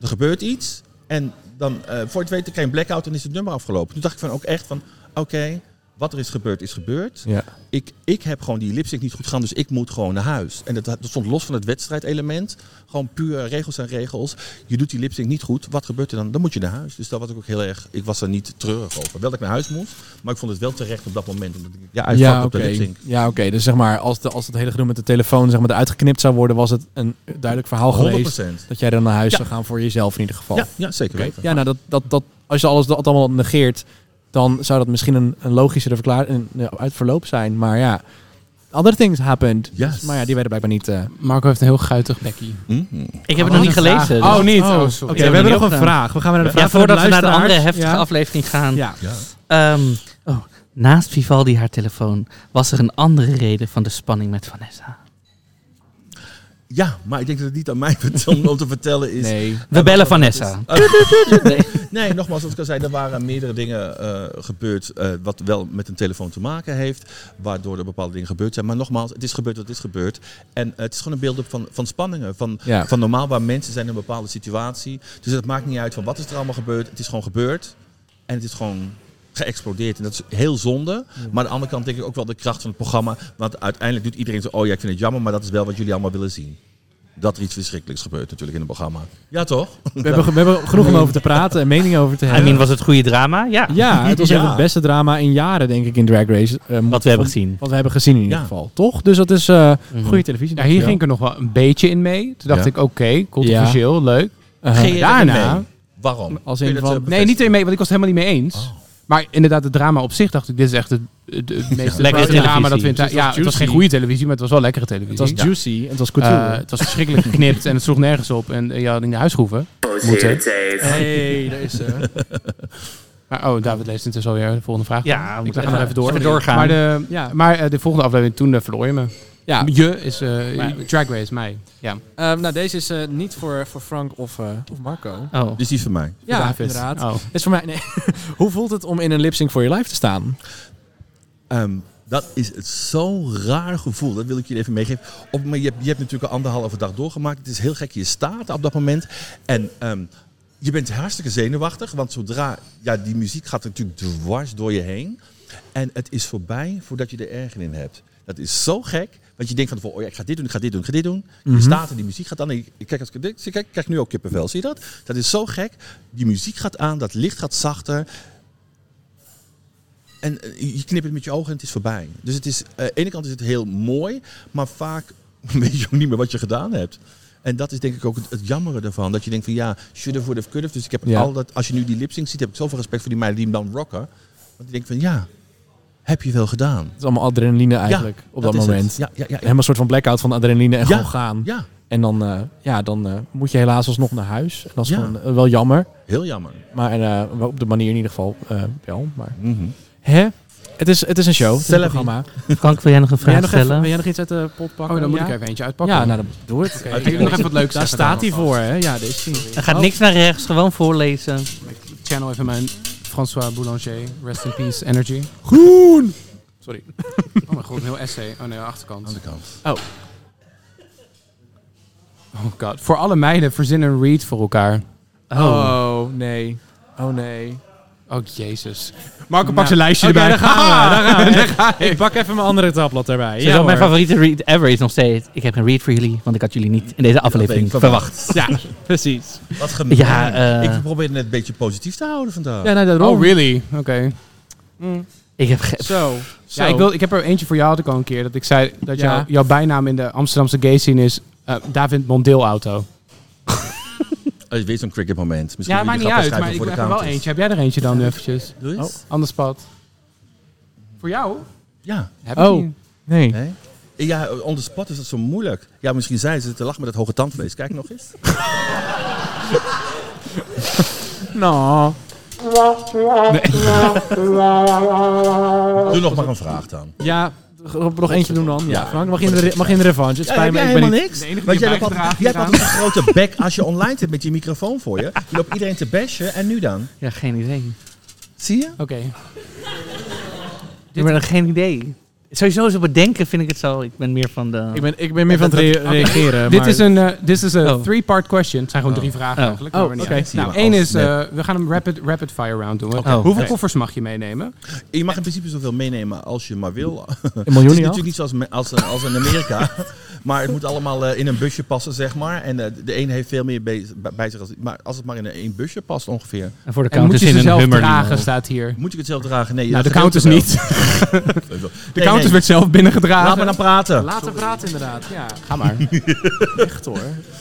Er gebeurt iets en dan, eh, voor het weten krijg je een blackout en is het nummer afgelopen. Toen dacht ik van ook echt van, oké, wat er is gebeurd is gebeurd Ja. ik, ik heb gewoon die lipstick niet goed gaan, dus ik moet gewoon naar huis. En dat, dat stond los van het wedstrijdelement. Gewoon puur regels en regels. Je doet die lipstick niet goed, wat gebeurt er dan? Dan moet je naar huis. Dus dat was ik ook heel erg, ik was er niet treurig over. Wel dat ik naar huis moest, maar ik vond het wel terecht op dat moment. Omdat ik, ja, ik Ja, op oké. de lipstick. Ja, oké. Dus zeg maar, als, de, als het hele gedoe met de telefoon zeg maar, eruit geknipt zou worden, was het een duidelijk verhaal 100%. geweest. Dat jij dan naar huis zou gaan voor jezelf in ieder geval. Ja, ja, zeker weten. Ja, nou, dat, dat, dat, als je alles dat allemaal negeert, dan zou dat misschien een, een logischere verklaring uit verloop zijn. Maar ja, other things happened. Yes. Dus- maar ja, die werden blijkbaar niet. eh, *laughs* Marco heeft een heel guitig bekkie. Mhm. Ik heb het nog niet gelezen. Oh, dus- niet. Oh, sorry. Ik we heb hebben het nog een niet vraag. We gaan weer naar de Ja, vraag van de voordat we naar de andere luisteraars. heftige Ja. aflevering gaan. Ja. Ja. Ehm, oh, naast Vivaldi haar telefoon was er een andere reden van de spanning met Vanessa. ja, maar ik denk dat het niet aan mij *laughs* om, om te vertellen is. nee. We bellen Vanessa. Nee, nogmaals, zoals ik al zei, er waren meerdere dingen eh, gebeurd eh, wat wel met een telefoon te maken heeft, waardoor er bepaalde dingen gebeurd zijn. Maar nogmaals, het is gebeurd wat is gebeurd. En eh, het is gewoon een beeld op van, van spanningen, van, Ja. van normaal waar mensen zijn in een bepaalde situatie. Dus het maakt niet uit van wat is er allemaal gebeurd, het is gewoon gebeurd en het is gewoon geëxplodeerd. En dat is heel zonde, maar aan de andere kant denk ik ook wel de kracht van het programma, want uiteindelijk doet iedereen zo, oh ja, ik vind het jammer, maar dat is wel wat jullie allemaal willen zien. Dat er iets verschrikkelijks gebeurt natuurlijk in het programma. Ja, toch? We, hebben, ge- we hebben genoeg om over te praten en meningen over te I hebben. mean, was het goede drama? Ja, ja, het was Ja. echt het beste drama in jaren, denk ik, in Drag Race. eh, wat we hebben van- gezien. Wat we hebben gezien in ieder Ja. geval, toch? Dus dat is eh Mhm. goede televisie. Ja, hier dankjewel. ging ik er nog wel een beetje in mee. Toen dacht Ja. ik, oké, controversieel, leuk. Uh-huh. Geen- Daarna... Nee. Waarom? Als Kun in je dat, van- eh, Nee, niet in mee, want ik was het helemaal niet mee eens. Oh. Maar inderdaad, het drama op zich dacht ik, dit is echt het, het, het meeste Lekkere drama dat we televisie. in Dus het was Ja, het was juicy. geen goede televisie, maar het was wel lekkere televisie. Het was Ja. juicy en het was Eh, couture. het was verschrikkelijk geknipt en het sloeg nergens op. En eh, je had in de huisgroeven. Moeten. hey, daar is ze. Maar, oh, David leest intussen alweer de volgende vraag. Ja, we ik moeten ga nog even door. even doorgaan. Maar, de, Ja. maar eh, de volgende aflevering, toen eh, verloor je me. Ja, Je is eh Maar- Drag Race, mij. Ja. Ehm, nou, deze is eh, niet voor, voor Frank of, eh, of Marco. Ah. Oh. Dus die is van mij. Ja, David. inderdaad. Oh. Is voor mij, nee. *laughs* Hoe voelt het om in een lipsync voor je live te staan? Ehm, dat is het zo'n raar gevoel. Dat wil ik jullie even meegeven. Op, maar je, hebt- je hebt natuurlijk een anderhalve dag doorgemaakt. Het is heel gek. Je staat op dat moment. En ehm, je bent hartstikke zenuwachtig. Want zodra... Ja, die muziek gaat natuurlijk dwars door je heen. En het is voorbij voordat je er erger in hebt. Dat is zo gek. Want je denkt van tevoren, oh ja, ik ga dit doen, ik ga dit doen, ik ga dit doen. Je staat en die muziek gaat aan. Ik, ik, kijk, als ik, dit, zie, kijk, ik krijg nu ook kippenvel, zie je dat? Dat is zo gek. Die muziek gaat aan, dat licht gaat zachter. En eh, je knipt het met je ogen en het is voorbij. Dus het is, eh, aan de ene kant is het heel mooi, maar vaak *laughs* weet je ook niet meer wat je gedaan hebt. En dat is denk ik ook het, het jammere ervan. Dat je denkt van ja, should have, would have, could have. Dus ik heb Ja. al dat, als je nu die lipsync ziet, heb ik zoveel respect voor die meiden die hem dan rocken. Want ik denk van ja, heb je wel gedaan. Het is allemaal adrenaline eigenlijk op dat, is het. moment. Ja, ja, ja, ja. Helemaal een soort van blackout van adrenaline en Ja. gewoon gaan. Ja, En dan, eh, ja, dan eh, moet je helaas alsnog naar huis. En dat is Ja. gewoon eh, wel jammer. heel jammer. Maar eh, op de manier in ieder geval eh, wel. Maar, Mhm. hè? Het is, het is een show. Het is een Stel even. programma. Frank, wil jij nog een Wil jij, vraag nog even, stellen? wil jij nog iets uit de pot pakken? oh, dan moet Ja? ik even eentje uitpakken. Ja, nou, dan doe het. Oké, ik wil nog even wat leuks Daar zeggen staat hij dan voor, hè? Ja, deze. Hij gaat niks naar rechts, gewoon voorlezen. alvast. Channel even mijn François Boulanger, Rest in Peace Energy. Groen! Sorry. *laughs* Oh mijn god, een heel essay. Oh nee, achterkant. Aan de kant. Oh god. Voor alle meiden, verzin een read voor elkaar. Oh, nee. Oh, nee. Oh jezus. Marco, pak Nou, zijn lijstje Oké, erbij. Ah. daar gaan we. Daar gaan we. *laughs* Ik pak even mijn andere tabblad erbij. Zo, mijn favoriete read ever is nog steeds. Ik heb een read voor jullie, want ik had jullie niet in deze aflevering verwacht. *laughs* Ja, precies. *laughs* Wat gemeen. Ja, eh. Ik probeer het net een beetje positief te houden vandaag. Ja, nou, daarom. Oh really? Oké. Ik heb ge- Zo. Zo. Ja, ik, wil, ik heb er eentje voor jou had ik al een keer. Dat ik zei dat Ja. jou- jouw bijnaam in de Amsterdamse gay scene is eh David Mondeel Auto. Oh, weer zo'n cricket moment. Misschien Ja, maakt niet uit, maar ik heb er wel eentje. Heb jij er eentje dan nu eventjes? Doe eens. Anders pad. Voor jou? Ja. Heb Oh. Nee. Nee? Ja, on the spot is dat zo moeilijk. Ja, misschien zijn ze te lachen met dat hoge tandvlees. Kijk nog eens. Nou. Doe nog maar een vraag dan. Ja, nog eentje doen dan. Ja, Ja. Frank, mag je in de, re- mag je in de revanche? Het Ja, spijt heb me, jij ik ben helemaal niet... niks? de enige Want die jij hebt bijgedragen altijd- heeft jij hebt altijd een grote bek als je online zit met je microfoon voor je. Je loopt iedereen te bashen en nu dan? Ja, geen idee. Zie je? Oké. Ik ben er geen idee. Sowieso zo bedenken vind ik het zo. Ik ben meer van de... Ik ben, ik ben meer van het re- reageren. Dit maar- is een eh, dit is een Oh. three-part question. Het zijn gewoon drie vragen Oh. eigenlijk. maar Oh, we niet- oké. Ja. Zie je Nou, maar één als- is, eh, we gaan hem rapid, rapid fire round doen. Oké. Hoeveel Oké. koffers mag je meenemen? Je mag in principe zoveel meenemen als je maar wil. Een *laughs* Het miljoen is niet natuurlijk niet zoals me- als, eh, als in Amerika. *laughs* maar het moet allemaal eh, in een busje passen, zeg maar. En eh, de een heeft veel meer bij, bij zich. Als, maar als het maar in een- één busje past ongeveer. En voor de En moet counters je in ze een zelf hummer. dragen, staat hier. Moet ik het zelf dragen? Nee, Nou, de dat counters gedeelte niet. De wel. De counters werd zelf binnengedragen. Laat me dan praten. Later praten inderdaad. Ja, ga *laughs* maar. echt hoor.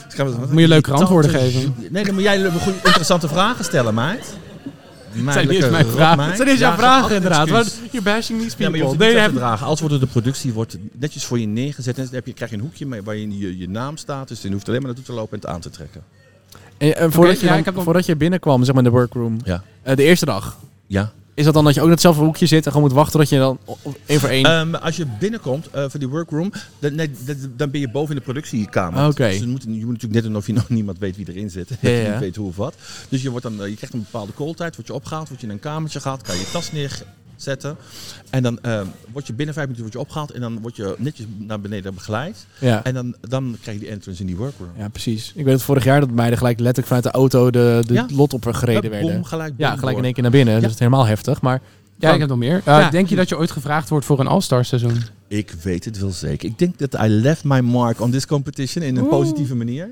Gaan we- Moet je leuke antwoorden geven. Nee, dan moet jij le- goede, interessante vragen stellen, meid. Zijn dit mijn vragen? Zijn deze jouw vragen inderdaad? Maar You're bashing these Ja, maar people. je hoeft het They niet zelf have- te dragen. Als wordt de productie wordt netjes voor je neergezet. En dan heb je, krijg je een hoekje mee waarin je, je naam staat. Dus je hoeft alleen maar naartoe te lopen en het aan te trekken. En, en Eh, voordat, Oké, je ja, dan- ik heb nog- voordat je binnenkwam, zeg maar in de workroom, Ja. eh, de eerste dag, Ja. is dat dan dat je ook in hetzelfde hoekje zit en gewoon moet wachten dat je dan op- op- één voor één... Eh, Ehm, als je binnenkomt eh, van die workroom, dan, nee, dat- dan ben je boven in de productiekamer. Ah, Oké. Dus dan moet, je moet natuurlijk net doen of je *laughs* nog niemand weet wie erin zit. *laughs* Ja, ja. Niet weet hoe of wat. Dus je, wordt dan, eh, je krijgt een bepaalde calltijd, word je opgehaald, word je in een kamertje gehaald, kan je je tas neerzetten. En dan ehm, word je binnen vijf minuten word je opgehaald en dan word je netjes naar beneden begeleid. ja. eh. En dan, dan krijg je die entrance in die workroom. ja, precies. Ik weet het vorig jaar dat meiden gelijk letterlijk vanuit de auto de, de Ja. lot op haar gereden Ja, werden. Bom, gelijk, Ja, bom gelijk in door. één keer naar binnen. Ja. Dus het is helemaal heftig. Maar Ja, ik heb nog meer. Eh, Ja. Denk je dat je ooit gevraagd wordt voor een All-Star seizoen? Ik weet het wel zeker. Ik denk dat I left my mark on this competition in een positieve manier.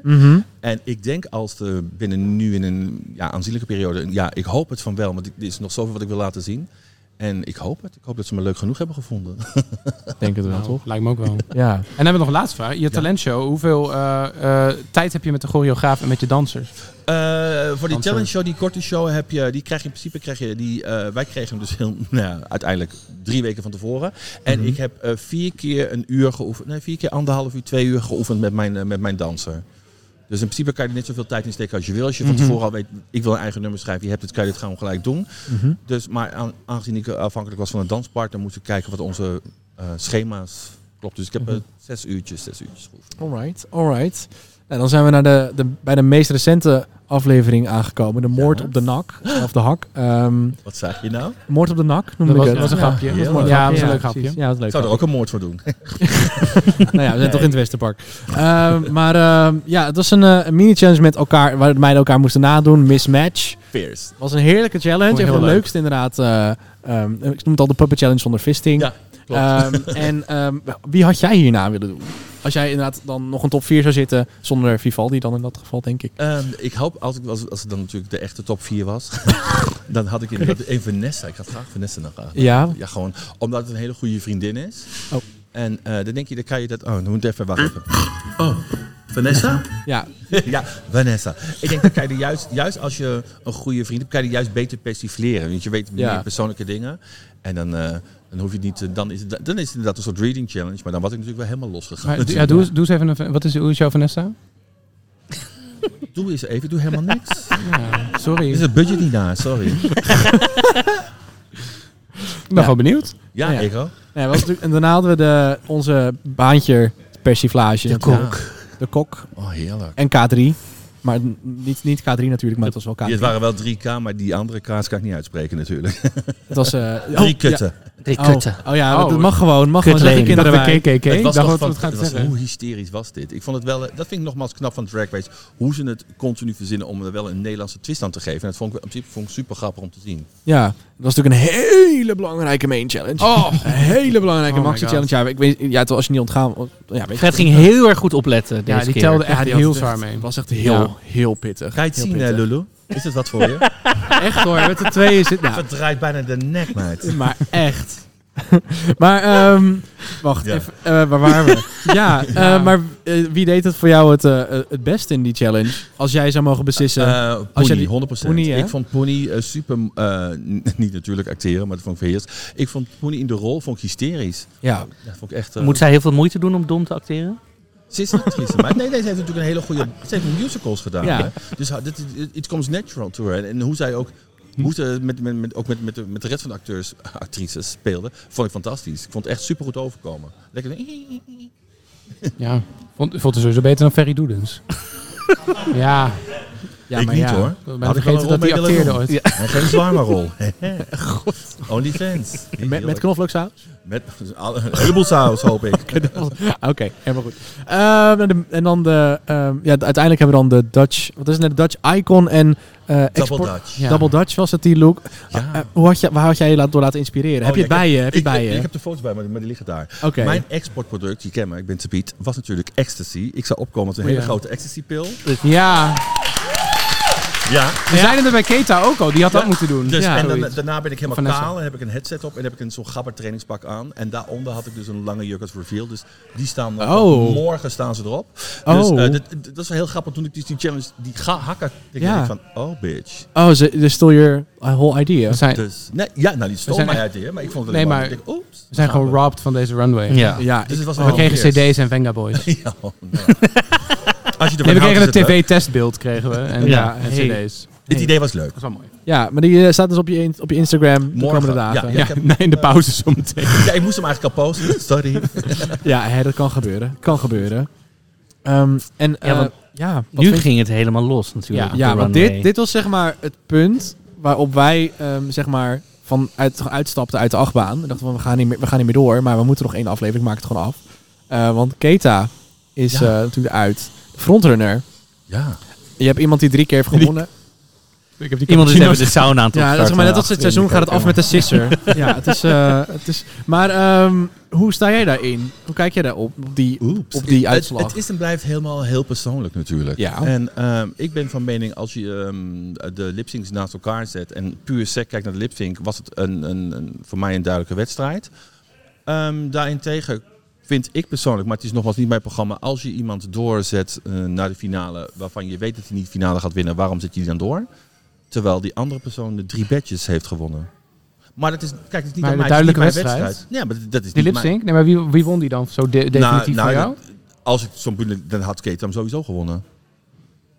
En ik denk als de binnen nu in een ja, aanzienlijke periode, ja, ik hoop het van wel, want ik- er is nog zoveel wat ik wil laten zien. En ik hoop het. Ik hoop dat ze me leuk genoeg hebben gevonden. ik denk het wel, Nou, toch? Lijkt me ook wel. Ja. En dan hebben we nog een laatste vraag. Je talentshow, hoeveel eh, eh, tijd heb je met de choreograaf en met je dansers? Eh, voor die Danser. challenge show, die korte show, heb je, die krijg je in principe, krijg je die, eh, wij kregen hem dus heel, *laughs* nou, ja, uiteindelijk drie weken van tevoren. En ik heb eh, vier keer een uur geoefend, nee, vier keer anderhalf uur, twee uur geoefend met mijn, eh, met mijn danser. Dus in principe kan je er net zoveel tijd in steken als je wil. Als je van tevoren al weet, ik wil een eigen nummer schrijven, je hebt het, kan je dit gewoon gelijk doen. Mhm. Dus, maar aan- aangezien ik eh, afhankelijk was van een danspartner, moest ik kijken wat onze eh, schema's klopt. Dus ik heb eh, zes uurtjes, zes uurtjes geoefend. Alright, alright. En dan zijn we naar de, de, bij de meest recente aflevering aangekomen. De moord op de nak. Of de hak. Ehm, Wat zeg je nou? moord op de nak noemde Dat was, ik dat was het. een Ja. grapje. Ja, Ja, dat was een leuk grapje. Ja, dat is leuk. Ik zou er ook een moord voor doen. Nou ja, we zijn toch in het Westerpark. Ehm, maar ehm, ja, het was een, eh, een mini-challenge met elkaar, waar de meiden elkaar moesten nadoen. Mismatch. Fierce. Het was een heerlijke challenge. Vond ik Een heel van de leuk. leukste inderdaad. eh, ehm, ik noem het al de puppet challenge zonder fisting. Ja, klopt. Ehm, en ehm, wie had jij hierna willen doen? Als jij inderdaad dan nog een top 4 zou zitten, zonder Vivaldi dan in dat geval, denk ik. Ehm, ik hoop, als, ik, als, als het dan natuurlijk de echte top 4 was, dan had ik inderdaad een Vanessa. Ik had graag Vanessa nog aan. Ja, Ja, gewoon omdat het een hele goede vriendin is. Oh. En eh, dan denk je, dan kan je dat... Oh, dan moet ik even wachten. *laughs* Oh, Vanessa? ja. ja, Vanessa. Ik denk, dan kan je er juist, juist als je een goede vriend hebt, kan je er juist beter persifleren. Want je weet Ja. meer persoonlijke dingen. En dan, eh, dan hoef je het niet... te- dan, is het, dan is het inderdaad een soort reading challenge. Maar dan was ik natuurlijk wel helemaal losgegaan. Dus Maar, ja, doe, eens- doe eens even een... Wat is, hoe is jouw Vanessa? Doe eens even, doe helemaal niks. *laughs* Ja, is sorry. het budget niet naar, sorry. Ik ben gewoon benieuwd. Ja, Ja. ik ook. Nee, was natuurlijk, en daarna hadden we de, onze baantje persiflage. De kok. De kok. Oh, heerlijk. En K3. Maar n- niet, niet K3 natuurlijk, maar het was wel K3. Ja, het waren wel drie K, maar die andere K's kan ik niet uitspreken natuurlijk. Het was... eh, oh, drie ja. kutten. Drie Oh, kutten. Oh, ja, Oh. dat mag gewoon. Mag gewoon. Zeg Kutleen. je kinderen Dacht bij. ik, KKK. Het was Dacht toch wat het van- gaat het was- zeggen. hoe hysterisch was dit? Ik vond het wel, eh, dat vind ik nogmaals knap van Drag Race. Hoe ze het continu verzinnen om er wel een Nederlandse twist aan te geven. En dat vond ik, in principe vond ik super grappig om te zien. Ja, dat was natuurlijk een hele belangrijke main challenge. Oh, Een hele belangrijke Oh my maxi challenge. Ja, ik weet, ja, het was als je niet ontgaan... Ja, weet je, Fred ging heel erg goed opletten deze ja, die keer. telde Ja, echt die had heel het zwaar echt- mee. Het was echt heel, Ja. heel pittig. Ga je het Heel zien, pittig. eh, Lulu? Is het wat voor *laughs* je? Echt hoor, met de tweeën zit... Nou, Verdraait bijna de nek, meid. maar echt. maar, ehm, wacht, Ja. even, eh, waar waren we? ja, eh, maar eh, wie deed het voor jou het, eh, eh, het beste in die challenge? Als jij zou mogen beslissen. Eh als jij Pony, die- 100%. Pony, hè? ik vond Pony eh, super, eh, n- niet natuurlijk acteren, maar dat vond ik verheerst. Ik vond Pony in de rol vond ik hysterisch. ja, Dat vond ik echt... eh, Moet zij heel veel moeite doen om dom te acteren? Ze is een actrice, maar nee, deze heeft natuurlijk een hele goede... Ze heeft musicals gedaan. ah, Ja. Hè? Dus ha- dit, it, it comes natural to her. En, en hoe zij ook Hoe ze met, met, met, ook met, met, de, met de rest van de acteurs, actrices speelden, vond ik fantastisch. Ik vond het echt super goed overkomen. Lekker. Ja, vond, vond het sowieso beter dan Ferry Doedens. *laughs* ja. ja, Ik maar niet, ja. hoor. Ik ben Had ik wel een vergeten rol dat mee hij willen doen. acteerde ooit. En geen *laughs* zwarmerrol. Only fans. Met, met knoflooksaus? Met *laughs* alle- een heleboel saus, hoop ik. *laughs* Oké, helemaal goed. Ehm, en, de- en dan de... ehm, ja, de- uiteindelijk hebben we dan de Dutch... Wat is het? net? Dutch Icon en... eh Double export, Dutch. Ja. Double Dutch was het, die look. Ja. Oh, Eh, hoe had je, waar had jij je laat- door laten inspireren? heb je ja, het bij ik je? Heb je het ik, bij eh- ik, je? ik heb de foto's bij me, maar die liggen daar. Oké. Mijn exportproduct, je kent me, ik ben Sabiet, was natuurlijk ecstasy. Ik zou opkomen met een hele Oh Ja. grote ecstasy-pil. Ja, Ja. we zeiden er bij Keta ook al. Die had dat Ja. moeten doen. Dus, ja, en dan- zoiets. daarna ben ik helemaal Vanessa. kaal en heb ik een headset op en heb ik een zo'n gabber trainingspak aan. En daaronder had ik dus een lange juk als reveal. Dus die staan nog- Oh. morgen staan ze erop. Dus Oh. eh, dit- dit- dat is wel heel grappig. Toen ik dus die challenge, die ga hakken, ik Ja. denk ik van, oh bitch. Oh, ze, they stole your eh, whole idea. we zijn, we Dus, nee, ja, nou die stond zijn mij echt- uit hier, maar ik vond het Nee, alleen maar ik denk, oeps. zijn gewoon robbed van deze runway. Ja. Ja, Dus het was We wel kregen verkeerd. cd's en Venga *laughs* Boys. Ja, oh, *laughs* nou. Als je er Nee, we van kregen een houdt, is het leuk. tv-testbeeld. kregen we. En, Ja, ja, en hey. cd's. Dit idee was leuk. Dat is wel mooi. ja maar die eh, staat dus op je, in- op je Instagram de Morgen. komende dagen. Ja, Ja, Ja, ik heb- *laughs* nee, in de pauze zometeen. Ja, ik moest hem eigenlijk al posten. Sorry. hè, dat kan gebeuren. Kan gebeuren. Ehm, en eh, Ja, want ja, wat nu vind- ging het helemaal los natuurlijk. Ja. op de ja want runway. dit, dit was zeg maar het punt waarop wij ehm, zeg maar van uit, uitstapten uit de achtbaan. We dachten van, we gaan, niet meer, we gaan niet meer door, maar we moeten nog één aflevering, maak het gewoon af. Eh, want Keta is Ja. eh, natuurlijk uit. Frontrunner. Ja. Je hebt iemand die drie keer heeft Die- gewonnen. Ik heb die Iemand is even cappuccino's- de sauna aan het Ja, dat is, opstarten maar net als achterin het seizoen de gaat het af met keuken. de sisser. *laughs* ja, het is, eh, het is, maar ehm, hoe sta jij daarin? Hoe kijk jij daarop? Op die, Oeps. op die Het- uitslag? Het, is en blijft helemaal heel persoonlijk natuurlijk. Ja. En ehm, ik ben van mening, als je ehm, de lipsyncs naast elkaar zet en puur sec kijkt naar de lipsync, was het een, een, een- voor mij een duidelijke wedstrijd. Ehm, daarentegen vind ik persoonlijk, maar het is nogmaals niet mijn programma, als je iemand doorzet eh, naar de finale waarvan je weet dat hij niet de finale gaat winnen, waarom zet je die dan door? Terwijl die andere persoon de drie badges heeft gewonnen. Maar dat is, kijk, het is niet Maar aan de mij, het is niet duidelijke mijn wedstrijd? Ja, maar dat- dat is Die niet lip mijn- sync? Nee, maar wie, wie won die dan zo de- definitief nou, voor jou? nou, dat- Als ik zo'n boende, dan had Kate hem sowieso gewonnen.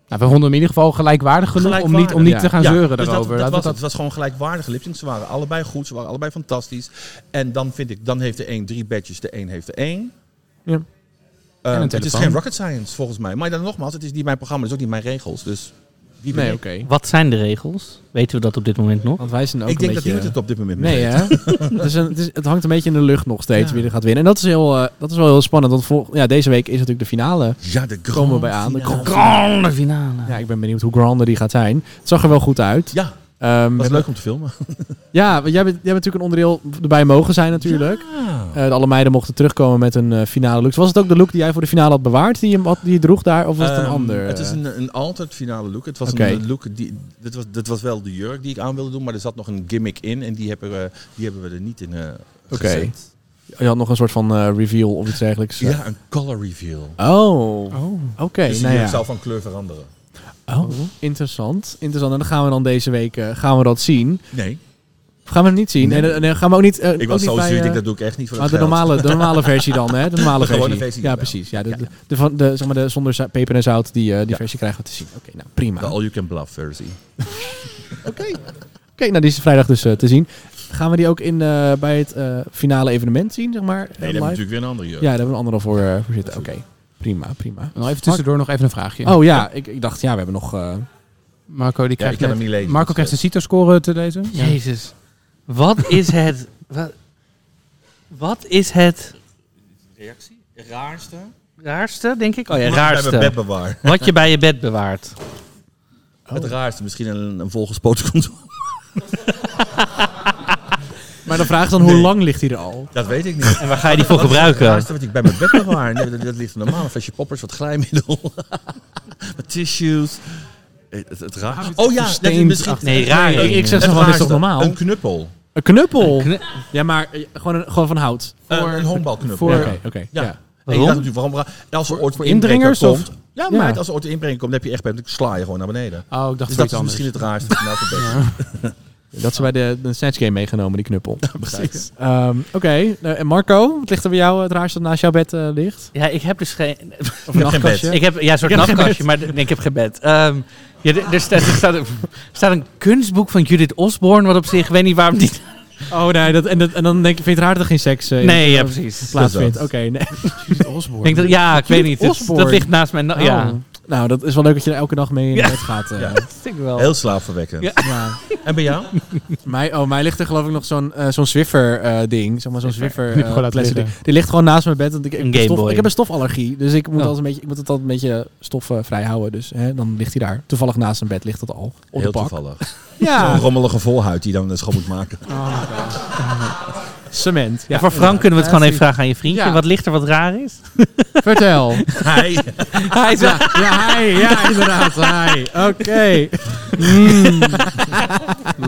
Nou, we vonden hem in ieder geval gelijkwaardig genoeg om niet, om Gelijkwaardig, niet te gaan ja, zeuren dus dat- daarover. Dat, Laten we was nou, het. Het was gewoon gelijkwaardige lipsync. Ze waren allebei goed, ze waren allebei fantastisch. En dan vind ik, dan heeft de een drie badges, de een heeft de één. Ja. Ehm, een het is telefoon. geen rocket science volgens mij. Maar dan nogmaals, het is niet mijn programma, het is ook niet mijn regels. Dus wie ben nee, ik? oké. Wat zijn de regels? Weten we dat op dit moment nog? Want wij zijn ook Ik een denk dat beetje... eh, niemand het op dit moment meer Nee, weet. *laughs* hè? het, is een, het, is- het hangt een beetje in de lucht nog steeds Ja. wie er gaat winnen. En dat is, heel, eh, dat is wel heel spannend, want vol- ja, deze week is natuurlijk de finale. Ja, de Komen we grand bij aan. De finale. grand- Grande finale. ja, ik ben benieuwd hoe grander die gaat zijn. Het zag er wel goed uit. Ja, Ehm, was leuk om te filmen. Ja, want jij bent, jij bent natuurlijk een onderdeel erbij mogen zijn natuurlijk. Eh, de alle meiden mochten terugkomen met een eh, finale look. Was het ook de look die jij voor de finale had bewaard, die je, had- die je droeg daar? Of was het een Ehm, ander? Het is eh? een, een alternate finale look. Het was Oké. een look die. Dit was, dit was wel de jurk die ik aan wilde doen, maar er zat nog een gimmick in en die hebben, we- die hebben we er niet in. eh Oké. gezet. Je had nog een soort van eh, reveal of iets dergelijks. eh. Ja, een color reveal. Oh, oké. dus die nou jurk ja. zou van kleur veranderen. Oh, interessant. Interessant. En dan gaan we dan deze week eh, gaan we dat zien. Nee, Of gaan we het niet zien? Nee, nee, nee, gaan we ook niet. eh, ik ook was niet zo bij, zuur. Ik eh, denk dat doe ik echt niet voor ah, het de, geld. normale, de normale versie dan, hè? De normale De gewone versie. versie, Ja, ja. preecie. Ja, de, de, de van, de, zeg maar de zonder za- peper en zout, die, eh, die Ja. versie krijgen we te zien. Oké, nou prima. De all you can bluff versie. Oké, nou die is vrijdag dus eh, te zien. Gaan we die ook in, eh, bij het eh, finale evenement zien, zeg maar? Nee, eh, live? daar heb je natuurlijk weer een andere Ja, jurk. daar hebben we een andere voor, eh, voor zitten. Oké, prima, prima. Nog even tussendoor nog even een vraagje. Oh ja, ik, ik dacht, ja, we hebben nog... eh, Marco, die Ja, ik krijgt kan hem net- niet dus, eh. lezen. Marco krijgt een CITO-score eh, te lezen. Ja. Jezus. Wat is het... wat, wat is het reactie. Raarste. raarste, denk ik? Oh ja, Bij mijn raarste. bed bewaar. Wat je bij je bed bewaart. Het Oh. raarste. Misschien een, een volgespoten controle. Maar de vraag is dan, hoe Nee. lang ligt hij er al? Dat weet ik niet. En waar ga je die voor Wat is Het gebruiken? raarste wat ik bij mijn bed bewaar. Nee, dat, dat ligt een normaal. Een flesje poppers, wat glijmiddel. *laughs* wat tissues. Het, het, het raar. Oh ja, dat is Versteend misschien... achter- Nee, raar. Ik, ik zeg Het zo van, dit is toch raarste, normaal? Een Een, knuppel. knuppel? Kne- ja, maar eh, gewoon, een, gewoon van hout. Een- een honkbalknuppel. voor- Ja, Oké, Eh, Ja. oké. Ja. ja. En je Waarom? dacht natuurlijk, waarom raar? Als er ooit voor indringers komt... of- Ja, Ja. maar het- als er ooit een inbreker komt, dan heb je echt bij... Ik sla je gewoon naar beneden. Oh, ik dacht Dus voor dat iets is anders. misschien het raarste. Nou, voor bed. Dat ze bij de, de Snatch Game meegenomen, die *laughs* knuppel. Precies. Ehm, oké, nou, en Marco, wat ligt er bij jou eh, het raarste dat naast jouw bed eh, ligt? Ja, ik heb dus geen... Of heb geen bed. nachtkastje? *laughs* Ik heb, ja, een soort Ik heb geen nachtkastje, bed. maar nee, ik heb geen bed. Ehm, Ja, er, er staat, er staat, er staat een kunstboek van Judith Osborne, wat op zich, ik weet niet waarom die... Oh nee, dat, en, dat, en dan denk je, vind je het raar dat er geen seks eh, in Nee, ja, precies. Ik plaatsvindt? Oké, nee. Denk dat, ja, ik weet niet. Het- Osborne. dat ligt naast mijn... na- Ja, Oh. Nou, dat is wel leuk dat je er elke dag mee in Ja. bed gaat. eh. Ja. dat denk ik wel. Heel slaapverwekkend. Ja. Ja. En bij jou? Mij, oh, mij ligt er geloof ik nog zo'n eh, zo'n Swiffer eh, ding. Zeg maar zo'n Swiffer Knip gewoon eh uit plastic liggen. ding. Die ligt gewoon naast mijn bed. Want ik, Een ik, heb stof- Gameboy. ik heb een stofallergie. Dus ik moet, Oh. altijd een beetje, ik moet het altijd een beetje stofvrij houden. Dus hè, dan ligt hij daar. Toevallig naast mijn bed ligt dat al. Op Heel de pak. toevallig. Een Ja, rommelige volhuid die dan schoon moet maken. cement. Ja, Ja. voor Frank kunnen we het gewoon even vragen aan je vriendje. Ja. Wat ligt er wat raar is? Vertel. *laughs* Hij. Hij is Ja, ja, hi, ja inderdaad. Hi. Oké. Mm.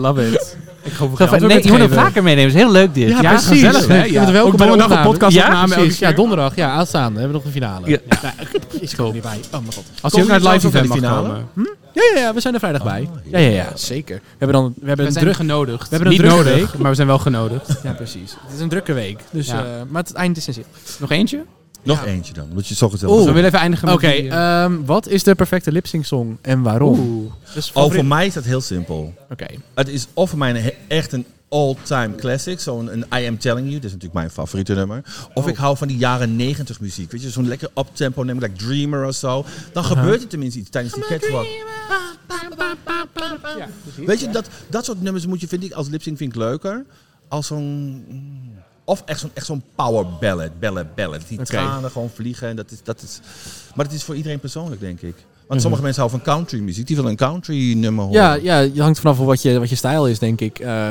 Love it. Ik hoop Gaf- geld nee, je moet hem geven. vaak meenemen. Het is heel leuk dit. Ja, Ja, precies. gezellig, hè? Je Ja. bent welkom Ook bij de donderdag opname. een podcastopname Ja, precies. elke Ja, keer. donderstaande. Ja, aanstaande. We hebben nog een finale. Ja. Ja, ik kom er niet bij. Oh mijn god. Als hij Komen ook naar het jullie live zelf ook event bij mag de finale? komen. Hm? Oh, Ja, ja, ja, we zijn er vrijdag bij. Ja, ja, ja, zeker. We hebben dan we hebben We een zijn druk... genodigd. We hebben hebben een Niet drukke nodig, maar we zijn wel genodigd. *laughs* Ja, precies. Het is een drukke week. Dus, Ja. eh, maar het eind is in zicht. Nog eentje? Nog eentje dan. Moet je zo Oh, gezellig Dus Oeh. we willen even eindigen Oké, met die, eh, ehm, wat is de perfecte lip-sync song en waarom? Dat is Oh, favoriet- voor mij is dat heel simpel. Oké. Het is of voor mij een he- echt een all-time classic. Zo'n een I Am Telling You. Dat is natuurlijk mijn favoriete nummer. Of ik hou van die jaren negentig muziek. Weet je, zo'n lekker up-tempo nummer, like Dreamer of zo. Dan gebeurt er tenminste iets tijdens die catwalk. Weet je, dat, dat soort nummers moet je, vind ik, als lipsync vind ik leuker. Als zo'n... mm, Of echt zo'n echt zo'n power ballad, ballad, ballad. Die tranen gewoon vliegen. En dat is, dat is, maar dat is voor iedereen persoonlijk, denk ik. Want sommige mensen houden van country muziek. Die willen een country nummer horen. Ja, ja, je hangt vanaf wat je, wat je stijl is, denk ik, eh,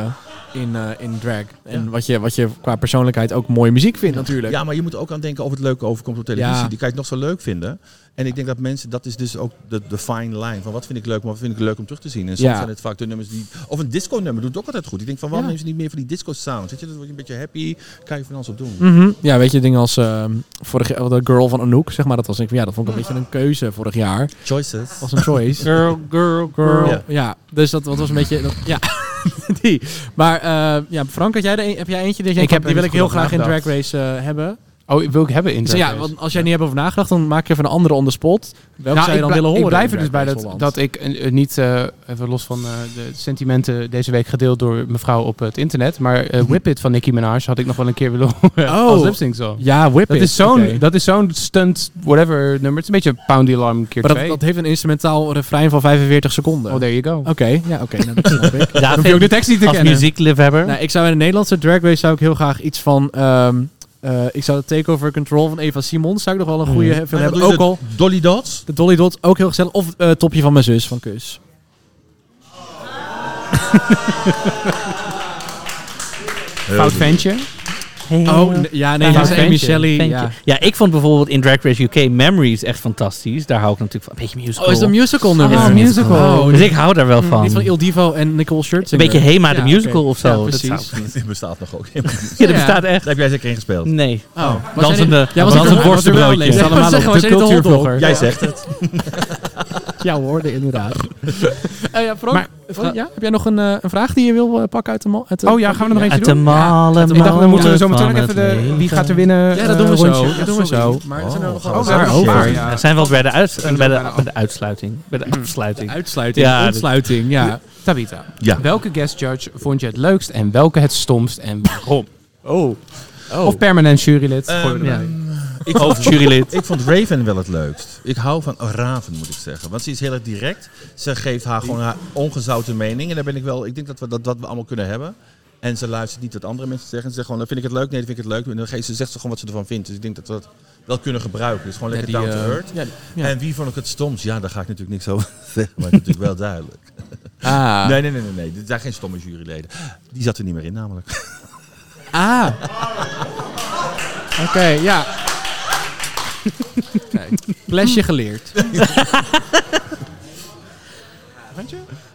in, eh, in drag. En wat, je, wat je qua persoonlijkheid ook mooie muziek vindt natuurlijk. Ja, maar je moet ook aan denken of het leuk overkomt op televisie. Ja. Die kan je het nog zo leuk vinden. En ik denk dat mensen, dat is dus ook de, de fine line. Van wat vind ik leuk, maar wat vind ik leuk om terug te zien. En soms Ja. zijn het vaak de nummers die... Of een disco nummer doet het ook altijd goed. Ik denk van, waarom Ja. nemen ze niet meer van die disco sound? Weet je, dan word je een beetje happy. Kan je van alles op doen. Mhm. Ja, weet je, dingen als ehm, vorig jaar, de girl van Anouk, zeg maar. Dat was ik, ja, dat vond ik een beetje een keuze vorig jaar. Choices. Als een choice. Girl, girl, *laughs* girl. Ja. dus dat, dat was een beetje. dat- ja, *laughs* die. Maar eh, ja, Frank, had jij er een- heb jij eentje? Dat jij Ik van, heb die wil er ik heel niet goed graag over in Drag nagedacht. Race eh, hebben. Oh, wil ik hebben in Dus ja, Drag Race? want als jij niet hebt over nagedacht, dan maak je even een andere on the spot. Welke zou je Nou, ik dan blij- willen horen? Ik blijf in er dus Drag bij Race dat, Holland? dat ik eh, eh, niet, eh, even los van eh, de sentimenten deze week gedeeld door mevrouw op het internet, maar *laughs* eh, Whip It van Nicki Minaj had ik nog wel een keer willen horen Oh. als lipsync song. Ja, whip Dat It, is zo'n oké. dat is zo'n stunt whatever nummer. Het is een beetje een Pound the Alarm keer Maar dat, twee. dat heeft een instrumentaal refrein van 45 seconden. oh, Oké, there you go. ja, oké. nou, dat snap *laughs* ik. David, Dan heb je ook de tekst niet te als kennen. muziekliefhebber. Nou, ik zou in de Nederlandse drag race zou ik heel graag iets van... ehm, eh, ik zou de Takeover Control van Eva Simons zou ik nog wel Oh, een goede film En dan hebben. doe je Ook al de Dolly Dots. *laughs* de Dolly Dot, ook heel gezellig. Of eh, Topje van mijn zus van Kus. Fout ventje. Oh, n- ja, nee, Ja, dat is ventje, Amy Shelley. ventje. Ja. Ja, ik vond bijvoorbeeld in Drag Race UK Memories echt fantastisch. Daar hou ik natuurlijk van. Een beetje musical. Oh, is dat een musical nummer? Ja, Oh, dus ik hou daar wel van. Niet van Il Divo en Nicole een Scherzinger. beetje Hema de Ja, musical oké. of zo. Ja, Dat precies. zou- Die bestaat nog ook. Daar *laughs* Ja, dat bestaat echt. heb jij zeker in gespeeld. Nee. Oh, Dansende, Jij was ook dansend een- worstenbroodje. was er wel Allemaal zeggen, op was de je niet een hotdog? cultuurvlogger. Jij zegt het. Ja hoor, de- inderdaad. Eh, ja, Frank, Maar- Frank, ja, heb jij nog een, eh, een vraag die je wil eh, pakken uit de mal? uit de- Oh ja, gaan we nog eentje Uit de doen? malen Ik dacht, we moeten zo meteen ook even de... Wie gaat er Ja, winnen? dat eh, doen we zo. rondje. Dat doen we zo. Maar zijn er nog wel- Oh, zijn er waar, ook- waar, waar, We zijn wel bij de, uits- bij de, bij de uitsluiting. Bij Hmm. de afsluiting. Uitsluiting, Ja, dat- ontsluiting, Ah, ja. Tabita, Ja. welke guest judge vond je het leukst en welke het stomst en waarom? Oh. Ehm, Of permanent jurylid. Gooi we ja. erbij. Ik Of jurylid. Ik vond Raven wel het leukst. Ik hou van Raven, moet ik zeggen. Want ze is heel erg direct. Ze geeft haar gewoon haar ongezouten mening. En daar ben ik wel... Ik denk dat we dat, dat we allemaal kunnen hebben. En ze luistert niet wat andere mensen zeggen. Ze zegt gewoon, "Nou, vind ik het leuk? Nee, dat vind ik het leuk. En dan geeft ze, zegt ze gewoon wat ze ervan vindt. Dus ik denk dat we dat wel kunnen gebruiken. Dus gewoon lekker down eh, to earth. En wie vond ik het stomst? Ja, daar ga ik natuurlijk niks over *laughs* zeggen. Maar het is natuurlijk wel duidelijk. Ah. Nee, nee, nee, nee. nee. Dit zijn geen stomme juryleden. Die zat er niet meer in namelijk. Ah. Oké, ja. Lesje *laughs* geleerd.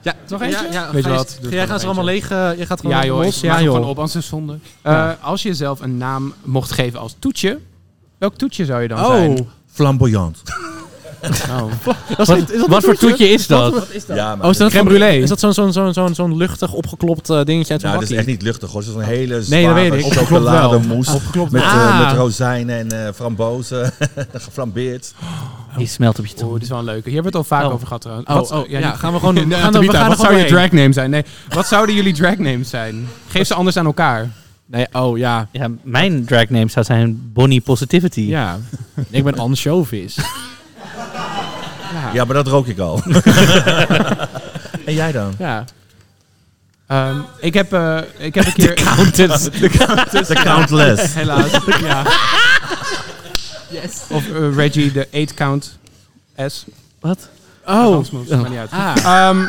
Ja, nog eentje? Ja, Weet je Gijs, wat? jij Doe gewoon gaat ze nog allemaal leeg. eh, je gaat gewoon Ja joh, los. ik maak hem gewoon op, anders is het zonde. Eh, als je zelf een naam mocht geven als toetje, welk toetje zou je dan Oh. zijn? Flamboyant. Dat is niet- is dat Wat een voor toetje is dat? Ja, maar Oh, is dat Crème zo'n- brûlée. Is dat zo'n zo'n zo'n zo'n zo'n luchtig opgeklopt eh, dingetje uit zo'n Nou, dat is bakkie? echt niet luchtig hoor. Het is een hele Nee, dat zware weet ik. chocolademoes. Opgeklopt. Met, eh, Ah. met rozijnen en eh, frambozen. *laughs* geflambeerd. Die smelt op je tong. Oeh, dit is wel een leuke. Hier hebben we het al vaak Oh. over gehad trouwens. Oh, Wat- oh, ja, niet- gaan we *laughs* gewoon... we gaan Nee, er- we Tabitha, gaan er wat zou gewoon je heen. dragname zijn? Nee, wat zouden jullie dragnames zijn? Geef ze anders aan elkaar. Nee, oh ja. Ja, mijn drag name zou zijn Bonnie Positivity. Ja. ik *laughs* ben anchovies. Ja, maar dat rook ik al. en jij dan? Ja. Ehm, ik, heb, eh, ik heb een *laughs* keer... *laughs* The Countless. Helaas. ja. Of eh, Reggie, de 8 count S. Wat? Oh. Oh. Ah. Ehm,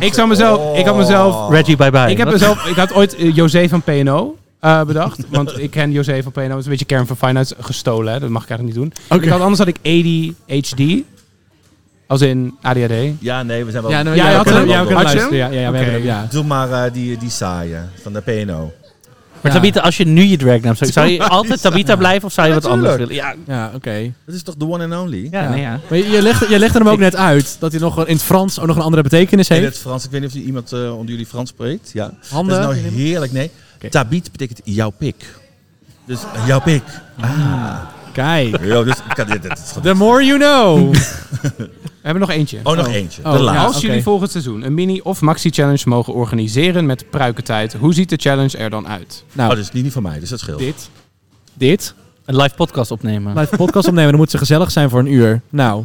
ik zou mezelf... Ik Oh. had mezelf... Reggie, bye bye. Ik, heb Wat? mezelf, ik had ooit eh, José van P&O eh, *laughs* bedacht. Want ik ken José van P&O. Het is een beetje kern van Finance gestolen. Hè? Dat mag ik eigenlijk niet doen. Ik had, anders had ik ADHD. Als in ADHD. Ja, nee, we zijn wel... Ja, nou, Jij ja, had we kunnen- hem? ja, we kunnen Had je luisteren. Ja, ja, ja, we Oké. hebben hem, ja. Doe maar eh, die, die saaie van de P&O. Maar Ja. Tabita, als je nu je drag name zou... Zou *laughs* je altijd Tabita blijven of zou je wat anders Natuurlijk. willen? Ja, Ja, oké. Dat is toch de one and only? ja, Ja. nee, ja. Maar je- je legde, je legde hem ook net uit dat hij nog een- in het Frans ook nog een andere betekenis In heeft. het Frans. Ik weet niet of iemand eh, onder jullie Frans spreekt. Ja. Handen. Dat is nou heerlijk. Nee. Tabit betekent jouw pik. Dus eh, jouw pik. Kijk. Yo, dus, ik kan, dit, dit is The gewoon- more you know. *laughs* *laughs* We hebben nog eentje. oh, nog eentje. Oh, de ja. laatste. Als oké. jullie volgend seizoen een mini- of maxi-challenge mogen organiseren met pruikentijd, hoe ziet de challenge er dan uit? Oh, Nou, dat is niet, niet van mij, dus dat scheelt. dit. Dit. Een live podcast opnemen. Live podcast opnemen, dan moet ze gezellig zijn voor een uur. Nou,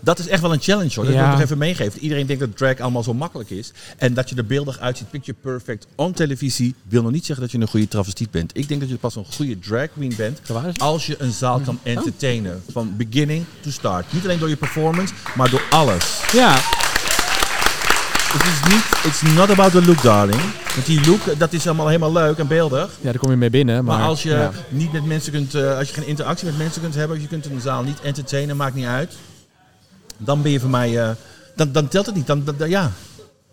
Dat is echt wel een challenge hoor. Dat Ja. wil ik nog even meegeven. Iedereen denkt dat drag allemaal zo makkelijk is. En dat je er beeldig uitziet, picture perfect, on televisie, wil nog niet zeggen dat je een goede travestiet bent. Ik denk dat je pas een goede drag queen bent als je een zaal kan entertainen. Van beginning to start. Niet alleen door je performance, maar door alles. ja. Het is niet, it's not about the look darling. Want die look, eh, dat is allemaal helemaal leuk en beeldig. Ja, daar kom je mee binnen. Maar, Maar, als je ja. niet met mensen kunt, eh, als je geen interactie met mensen kunt hebben, als je kunt een zaal niet entertainen, maakt niet uit. Dan ben je voor mij, eh, dan, dan telt het niet. Dan, dan- dan- ja.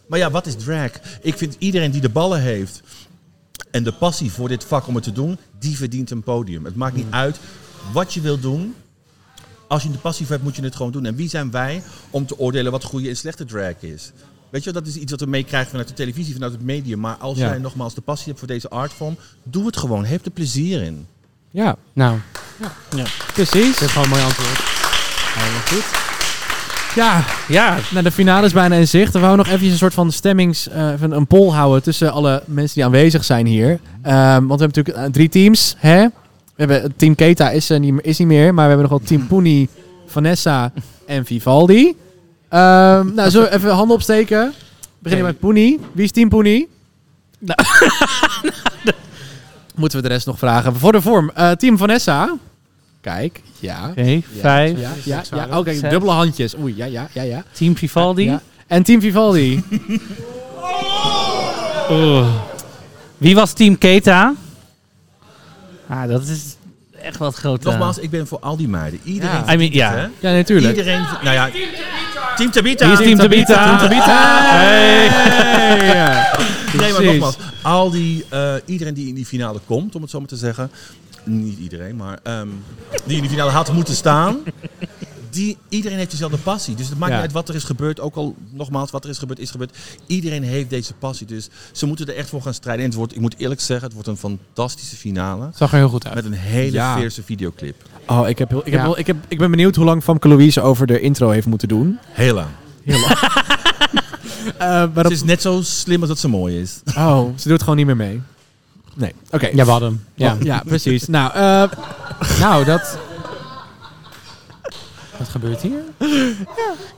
Maar ja, wat is drag? Ik vind iedereen die de ballen heeft en de passie voor dit vak om het te doen, die verdient een podium. Het maakt niet uit wat je wilt doen. Als je de passie voor hebt, moet je het gewoon doen. En wie zijn wij om te oordelen wat goede en slechte drag is? Weet je, dat is iets wat we meekrijgen vanuit de televisie, vanuit het medium. Maar als Ja. jij nogmaals de passie hebt voor deze artvorm, doe het gewoon. Heb er plezier in. Ja, Nou, precies. dat is gewoon een mooi antwoord. Ja, Ja, nou, de finale is bijna in zicht. We wou nog even een soort van stemmings... eh, van een poll houden tussen alle mensen die aanwezig zijn hier. Ehm, want we hebben natuurlijk eh, drie teams. Hè? We hebben, team Keta is, eh, niet, meer- is niet meer. Maar we hebben nog wel Team Poenie, Vanessa en Vivaldi. Ehm, nou, zullen we even handen opsteken? We beginnen Oké. met Poenie. Wie is Team Poenie? Nou. *laughs* Moeten we de rest nog vragen. Voor de vorm, eh, Team Vanessa. Kijk, ja. oké. vijf. Ja, ja, Zes ja. waren Oh, kijk, Zes. dubbele handjes. Oei, ja, ja, ja, ja. Team Vivaldi. Ja. En Team Vivaldi. Oeh. Wie was Team Keta? Ah, dat is echt wat groot. eh. Nogmaals, ik ben voor al die meiden. Iedereen. Ja. I mean, ja. hè? ja, natuurlijk. Iedereen. Nou ja. Team Tabita. Wie is Team Tabita? Team Tabita. Hey. Nee, maar Precies. nogmaals. Al die, eh, iedereen die in die finale komt, om het zo maar te zeggen. Niet iedereen, maar ehm, die in die finale had moeten staan. Die, iedereen heeft dezelfde passie. Dus het maakt Ja. niet uit wat er is gebeurd. Ook al nogmaals, wat er is gebeurd, is gebeurd. Iedereen heeft deze passie. Dus ze moeten er echt voor gaan strijden. En het wordt, ik moet eerlijk zeggen, het wordt een fantastische finale. Zag er heel goed uit. Met een hele Ja. veerse videoclip. Oh, ik, heb, heel- ik, heb, Ja. wel- ik, heb, ik ben benieuwd hoe lang Famke Louise over de intro heeft moeten doen. Heel lang. Eh, maar Het dat- is net zo slim als dat ze mooi is. oh, ze doet gewoon niet meer mee. Nee, oké. Ja, we hadden hem. Ja, Ja. ja, precies. Nou, eh, *laughs* Nou, dat... Wat gebeurt hier?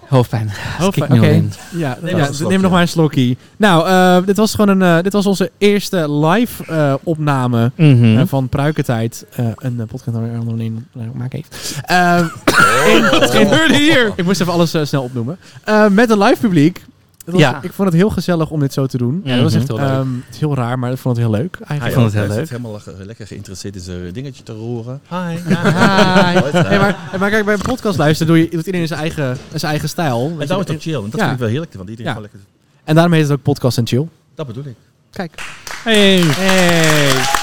Hoofdpijn. Hoofdpijn, Oké. oké. ja, maar ja, een slokje. neem nog maar een slokkie. Nou, eh, dit was gewoon een, eh, dit was onze eerste live eh, opname Mhm. eh, van Pruikentijd. eh, een eh, podcast waar Arno een maak heeft. *laughs* Eh, in- Oh. in- Ik moest even alles eh, snel opnoemen. Eh, met een live publiek. Het was- Ja. Ik vond het heel gezellig om dit zo te doen. Ja, dat was echt heel Ehm, het is heel raar, maar ik vond het heel leuk Ik eigenlijk. vond het heel Hij leuk. is helemaal ge- lekker geïnteresseerd in zijn dingetje te roeren. Hi. Hi. Hey, maar, hey, maar kijk, bij een podcast luisteren doe je doet iedereen zijn eigen, zijn eigen stijl. Weet En je, daar wordt het ook chill. Want dat Ja. vind ik wel heerlijk. Want iedereen Ja. gewoon lekker... en daarom heet het ook podcast en chill. Dat bedoel ik. Kijk. Hey. Hey.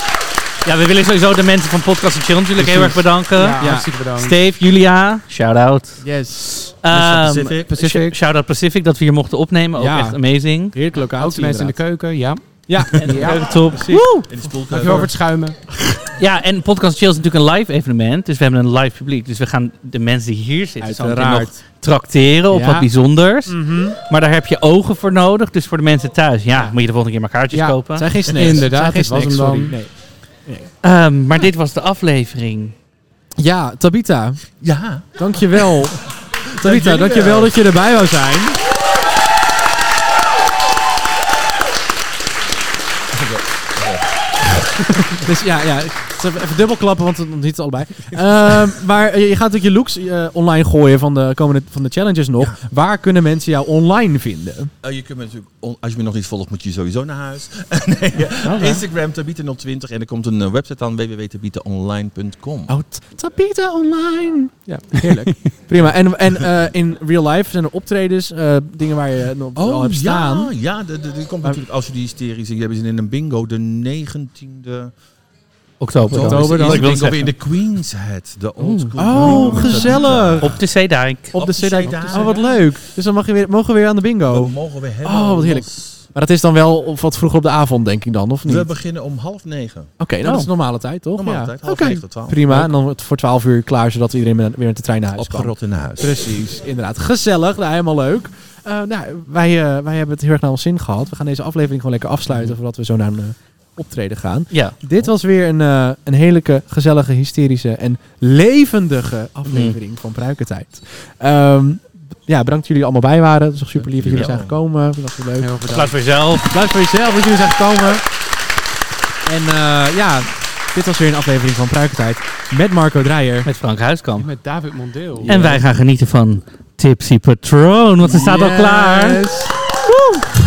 Ja, we willen sowieso de mensen van Podcast en Chill natuurlijk heel erg Precies. bedanken. Ja, hartstikke bedankt. Steve, Julia, shout-out. Yes. Ehm, Ehm, Pacific. Pacific. Shout-out Pacific dat we hier mochten opnemen. Ook Ja. echt amazing. Heerlijk locatie. Ook de mensen in de keuken, ja. Ja. En ja. top. Woe! In eh, de Dankjewel voor spoelkeuken. het schuimen. Ja, en Podcast Chill is natuurlijk een live evenement. Dus we hebben een live publiek. Dus we gaan de mensen die hier zitten zo meteen nog Uiteraard. trakteren op Ja. wat bijzonders. Maar daar heb je ogen voor nodig. Dus voor de mensen thuis, ja, moet je de volgende keer maar kaartjes Ja. kopen. Het zijn geen snacks. Het zijn Inderdaad, geen het was snacks, hem dan. sorry. Nee. Ehm, maar dit was de aflevering. Ja, Tabita. Ja. *laughs* Dankjewel. Tabita, jullie dankjewel wel. dat je erbij wou *laughs* zijn. dus ja, ja. ik zal Even even dubbelklappen, want het niet allebei. Ehm, maar je gaat natuurlijk je looks eh, online gooien van de komende van de challenges nog. Waar kunnen mensen jou online vinden? Eh, je kunt me natuurlijk, on- als je me nog niet volgt, moet je sowieso naar huis. *laughs* nee, eh, Instagram, Tabita020. En er komt een eh, website aan, www.tabitaonline.com. Oh, T- Tabita online. Ja, *laughs* heerlijk. Prima. En, en eh, in real life zijn er optredens, eh, dingen waar je nog al hebt staan. Oh, ja, ja de, de, die komt natuurlijk als je die hysterie zingt. Hebben ze in een bingo de 19e Oktober. oktober. Dan Ik ik wil bingo weer zeggen. in de Queen's Head. De old school Oh, bingo. gezellig. Op de Zeedijk. Op de Op de CD. CD. Oh, wat leuk. Dus dan mag je weer, mogen we weer aan de We bingo. mogen weer helemaal Oh, wat heerlijk. los. Maar dat is dan wel op wat vroeger op de avond, denk ik dan, of niet? We Oké, beginnen om half negen. nou, dat is normale tijd, Oh, toch? Normaal Ja. tijd, half Oké. negen tot twaalf. Prima, en dan voor 12 uur klaar, zodat iedereen met- weer met de trein naar huis kan. Opgerot in huis. Precies, inderdaad. Gezellig, nou, helemaal leuk. Eh, nou, wij, eh, wij hebben het heel erg naar ons zin gehad. We gaan deze aflevering gewoon lekker afsluiten, voordat we zo naar een eh, optreden gaan. Ja. Dit was weer een, eh een heerlijke, gezellige, hysterische en levendige Mhm. aflevering van Pruikentijd. Ehm, ja, bedankt dat jullie allemaal bij waren. Het is toch super lief dat jullie Ja. zijn gekomen. Dat was leuk. Heel bedankt. Applaus voor jezelf. Bedankt voor jezelf dat jullie zijn gekomen. En eh, ja, dit was weer een aflevering van Pruikentijd met Marco Dreyer. Met Frank Huiskamp. Met David Mondeel. En wij gaan genieten van Tipsy Patroon, want ze staat al klaar. Yes. Woe!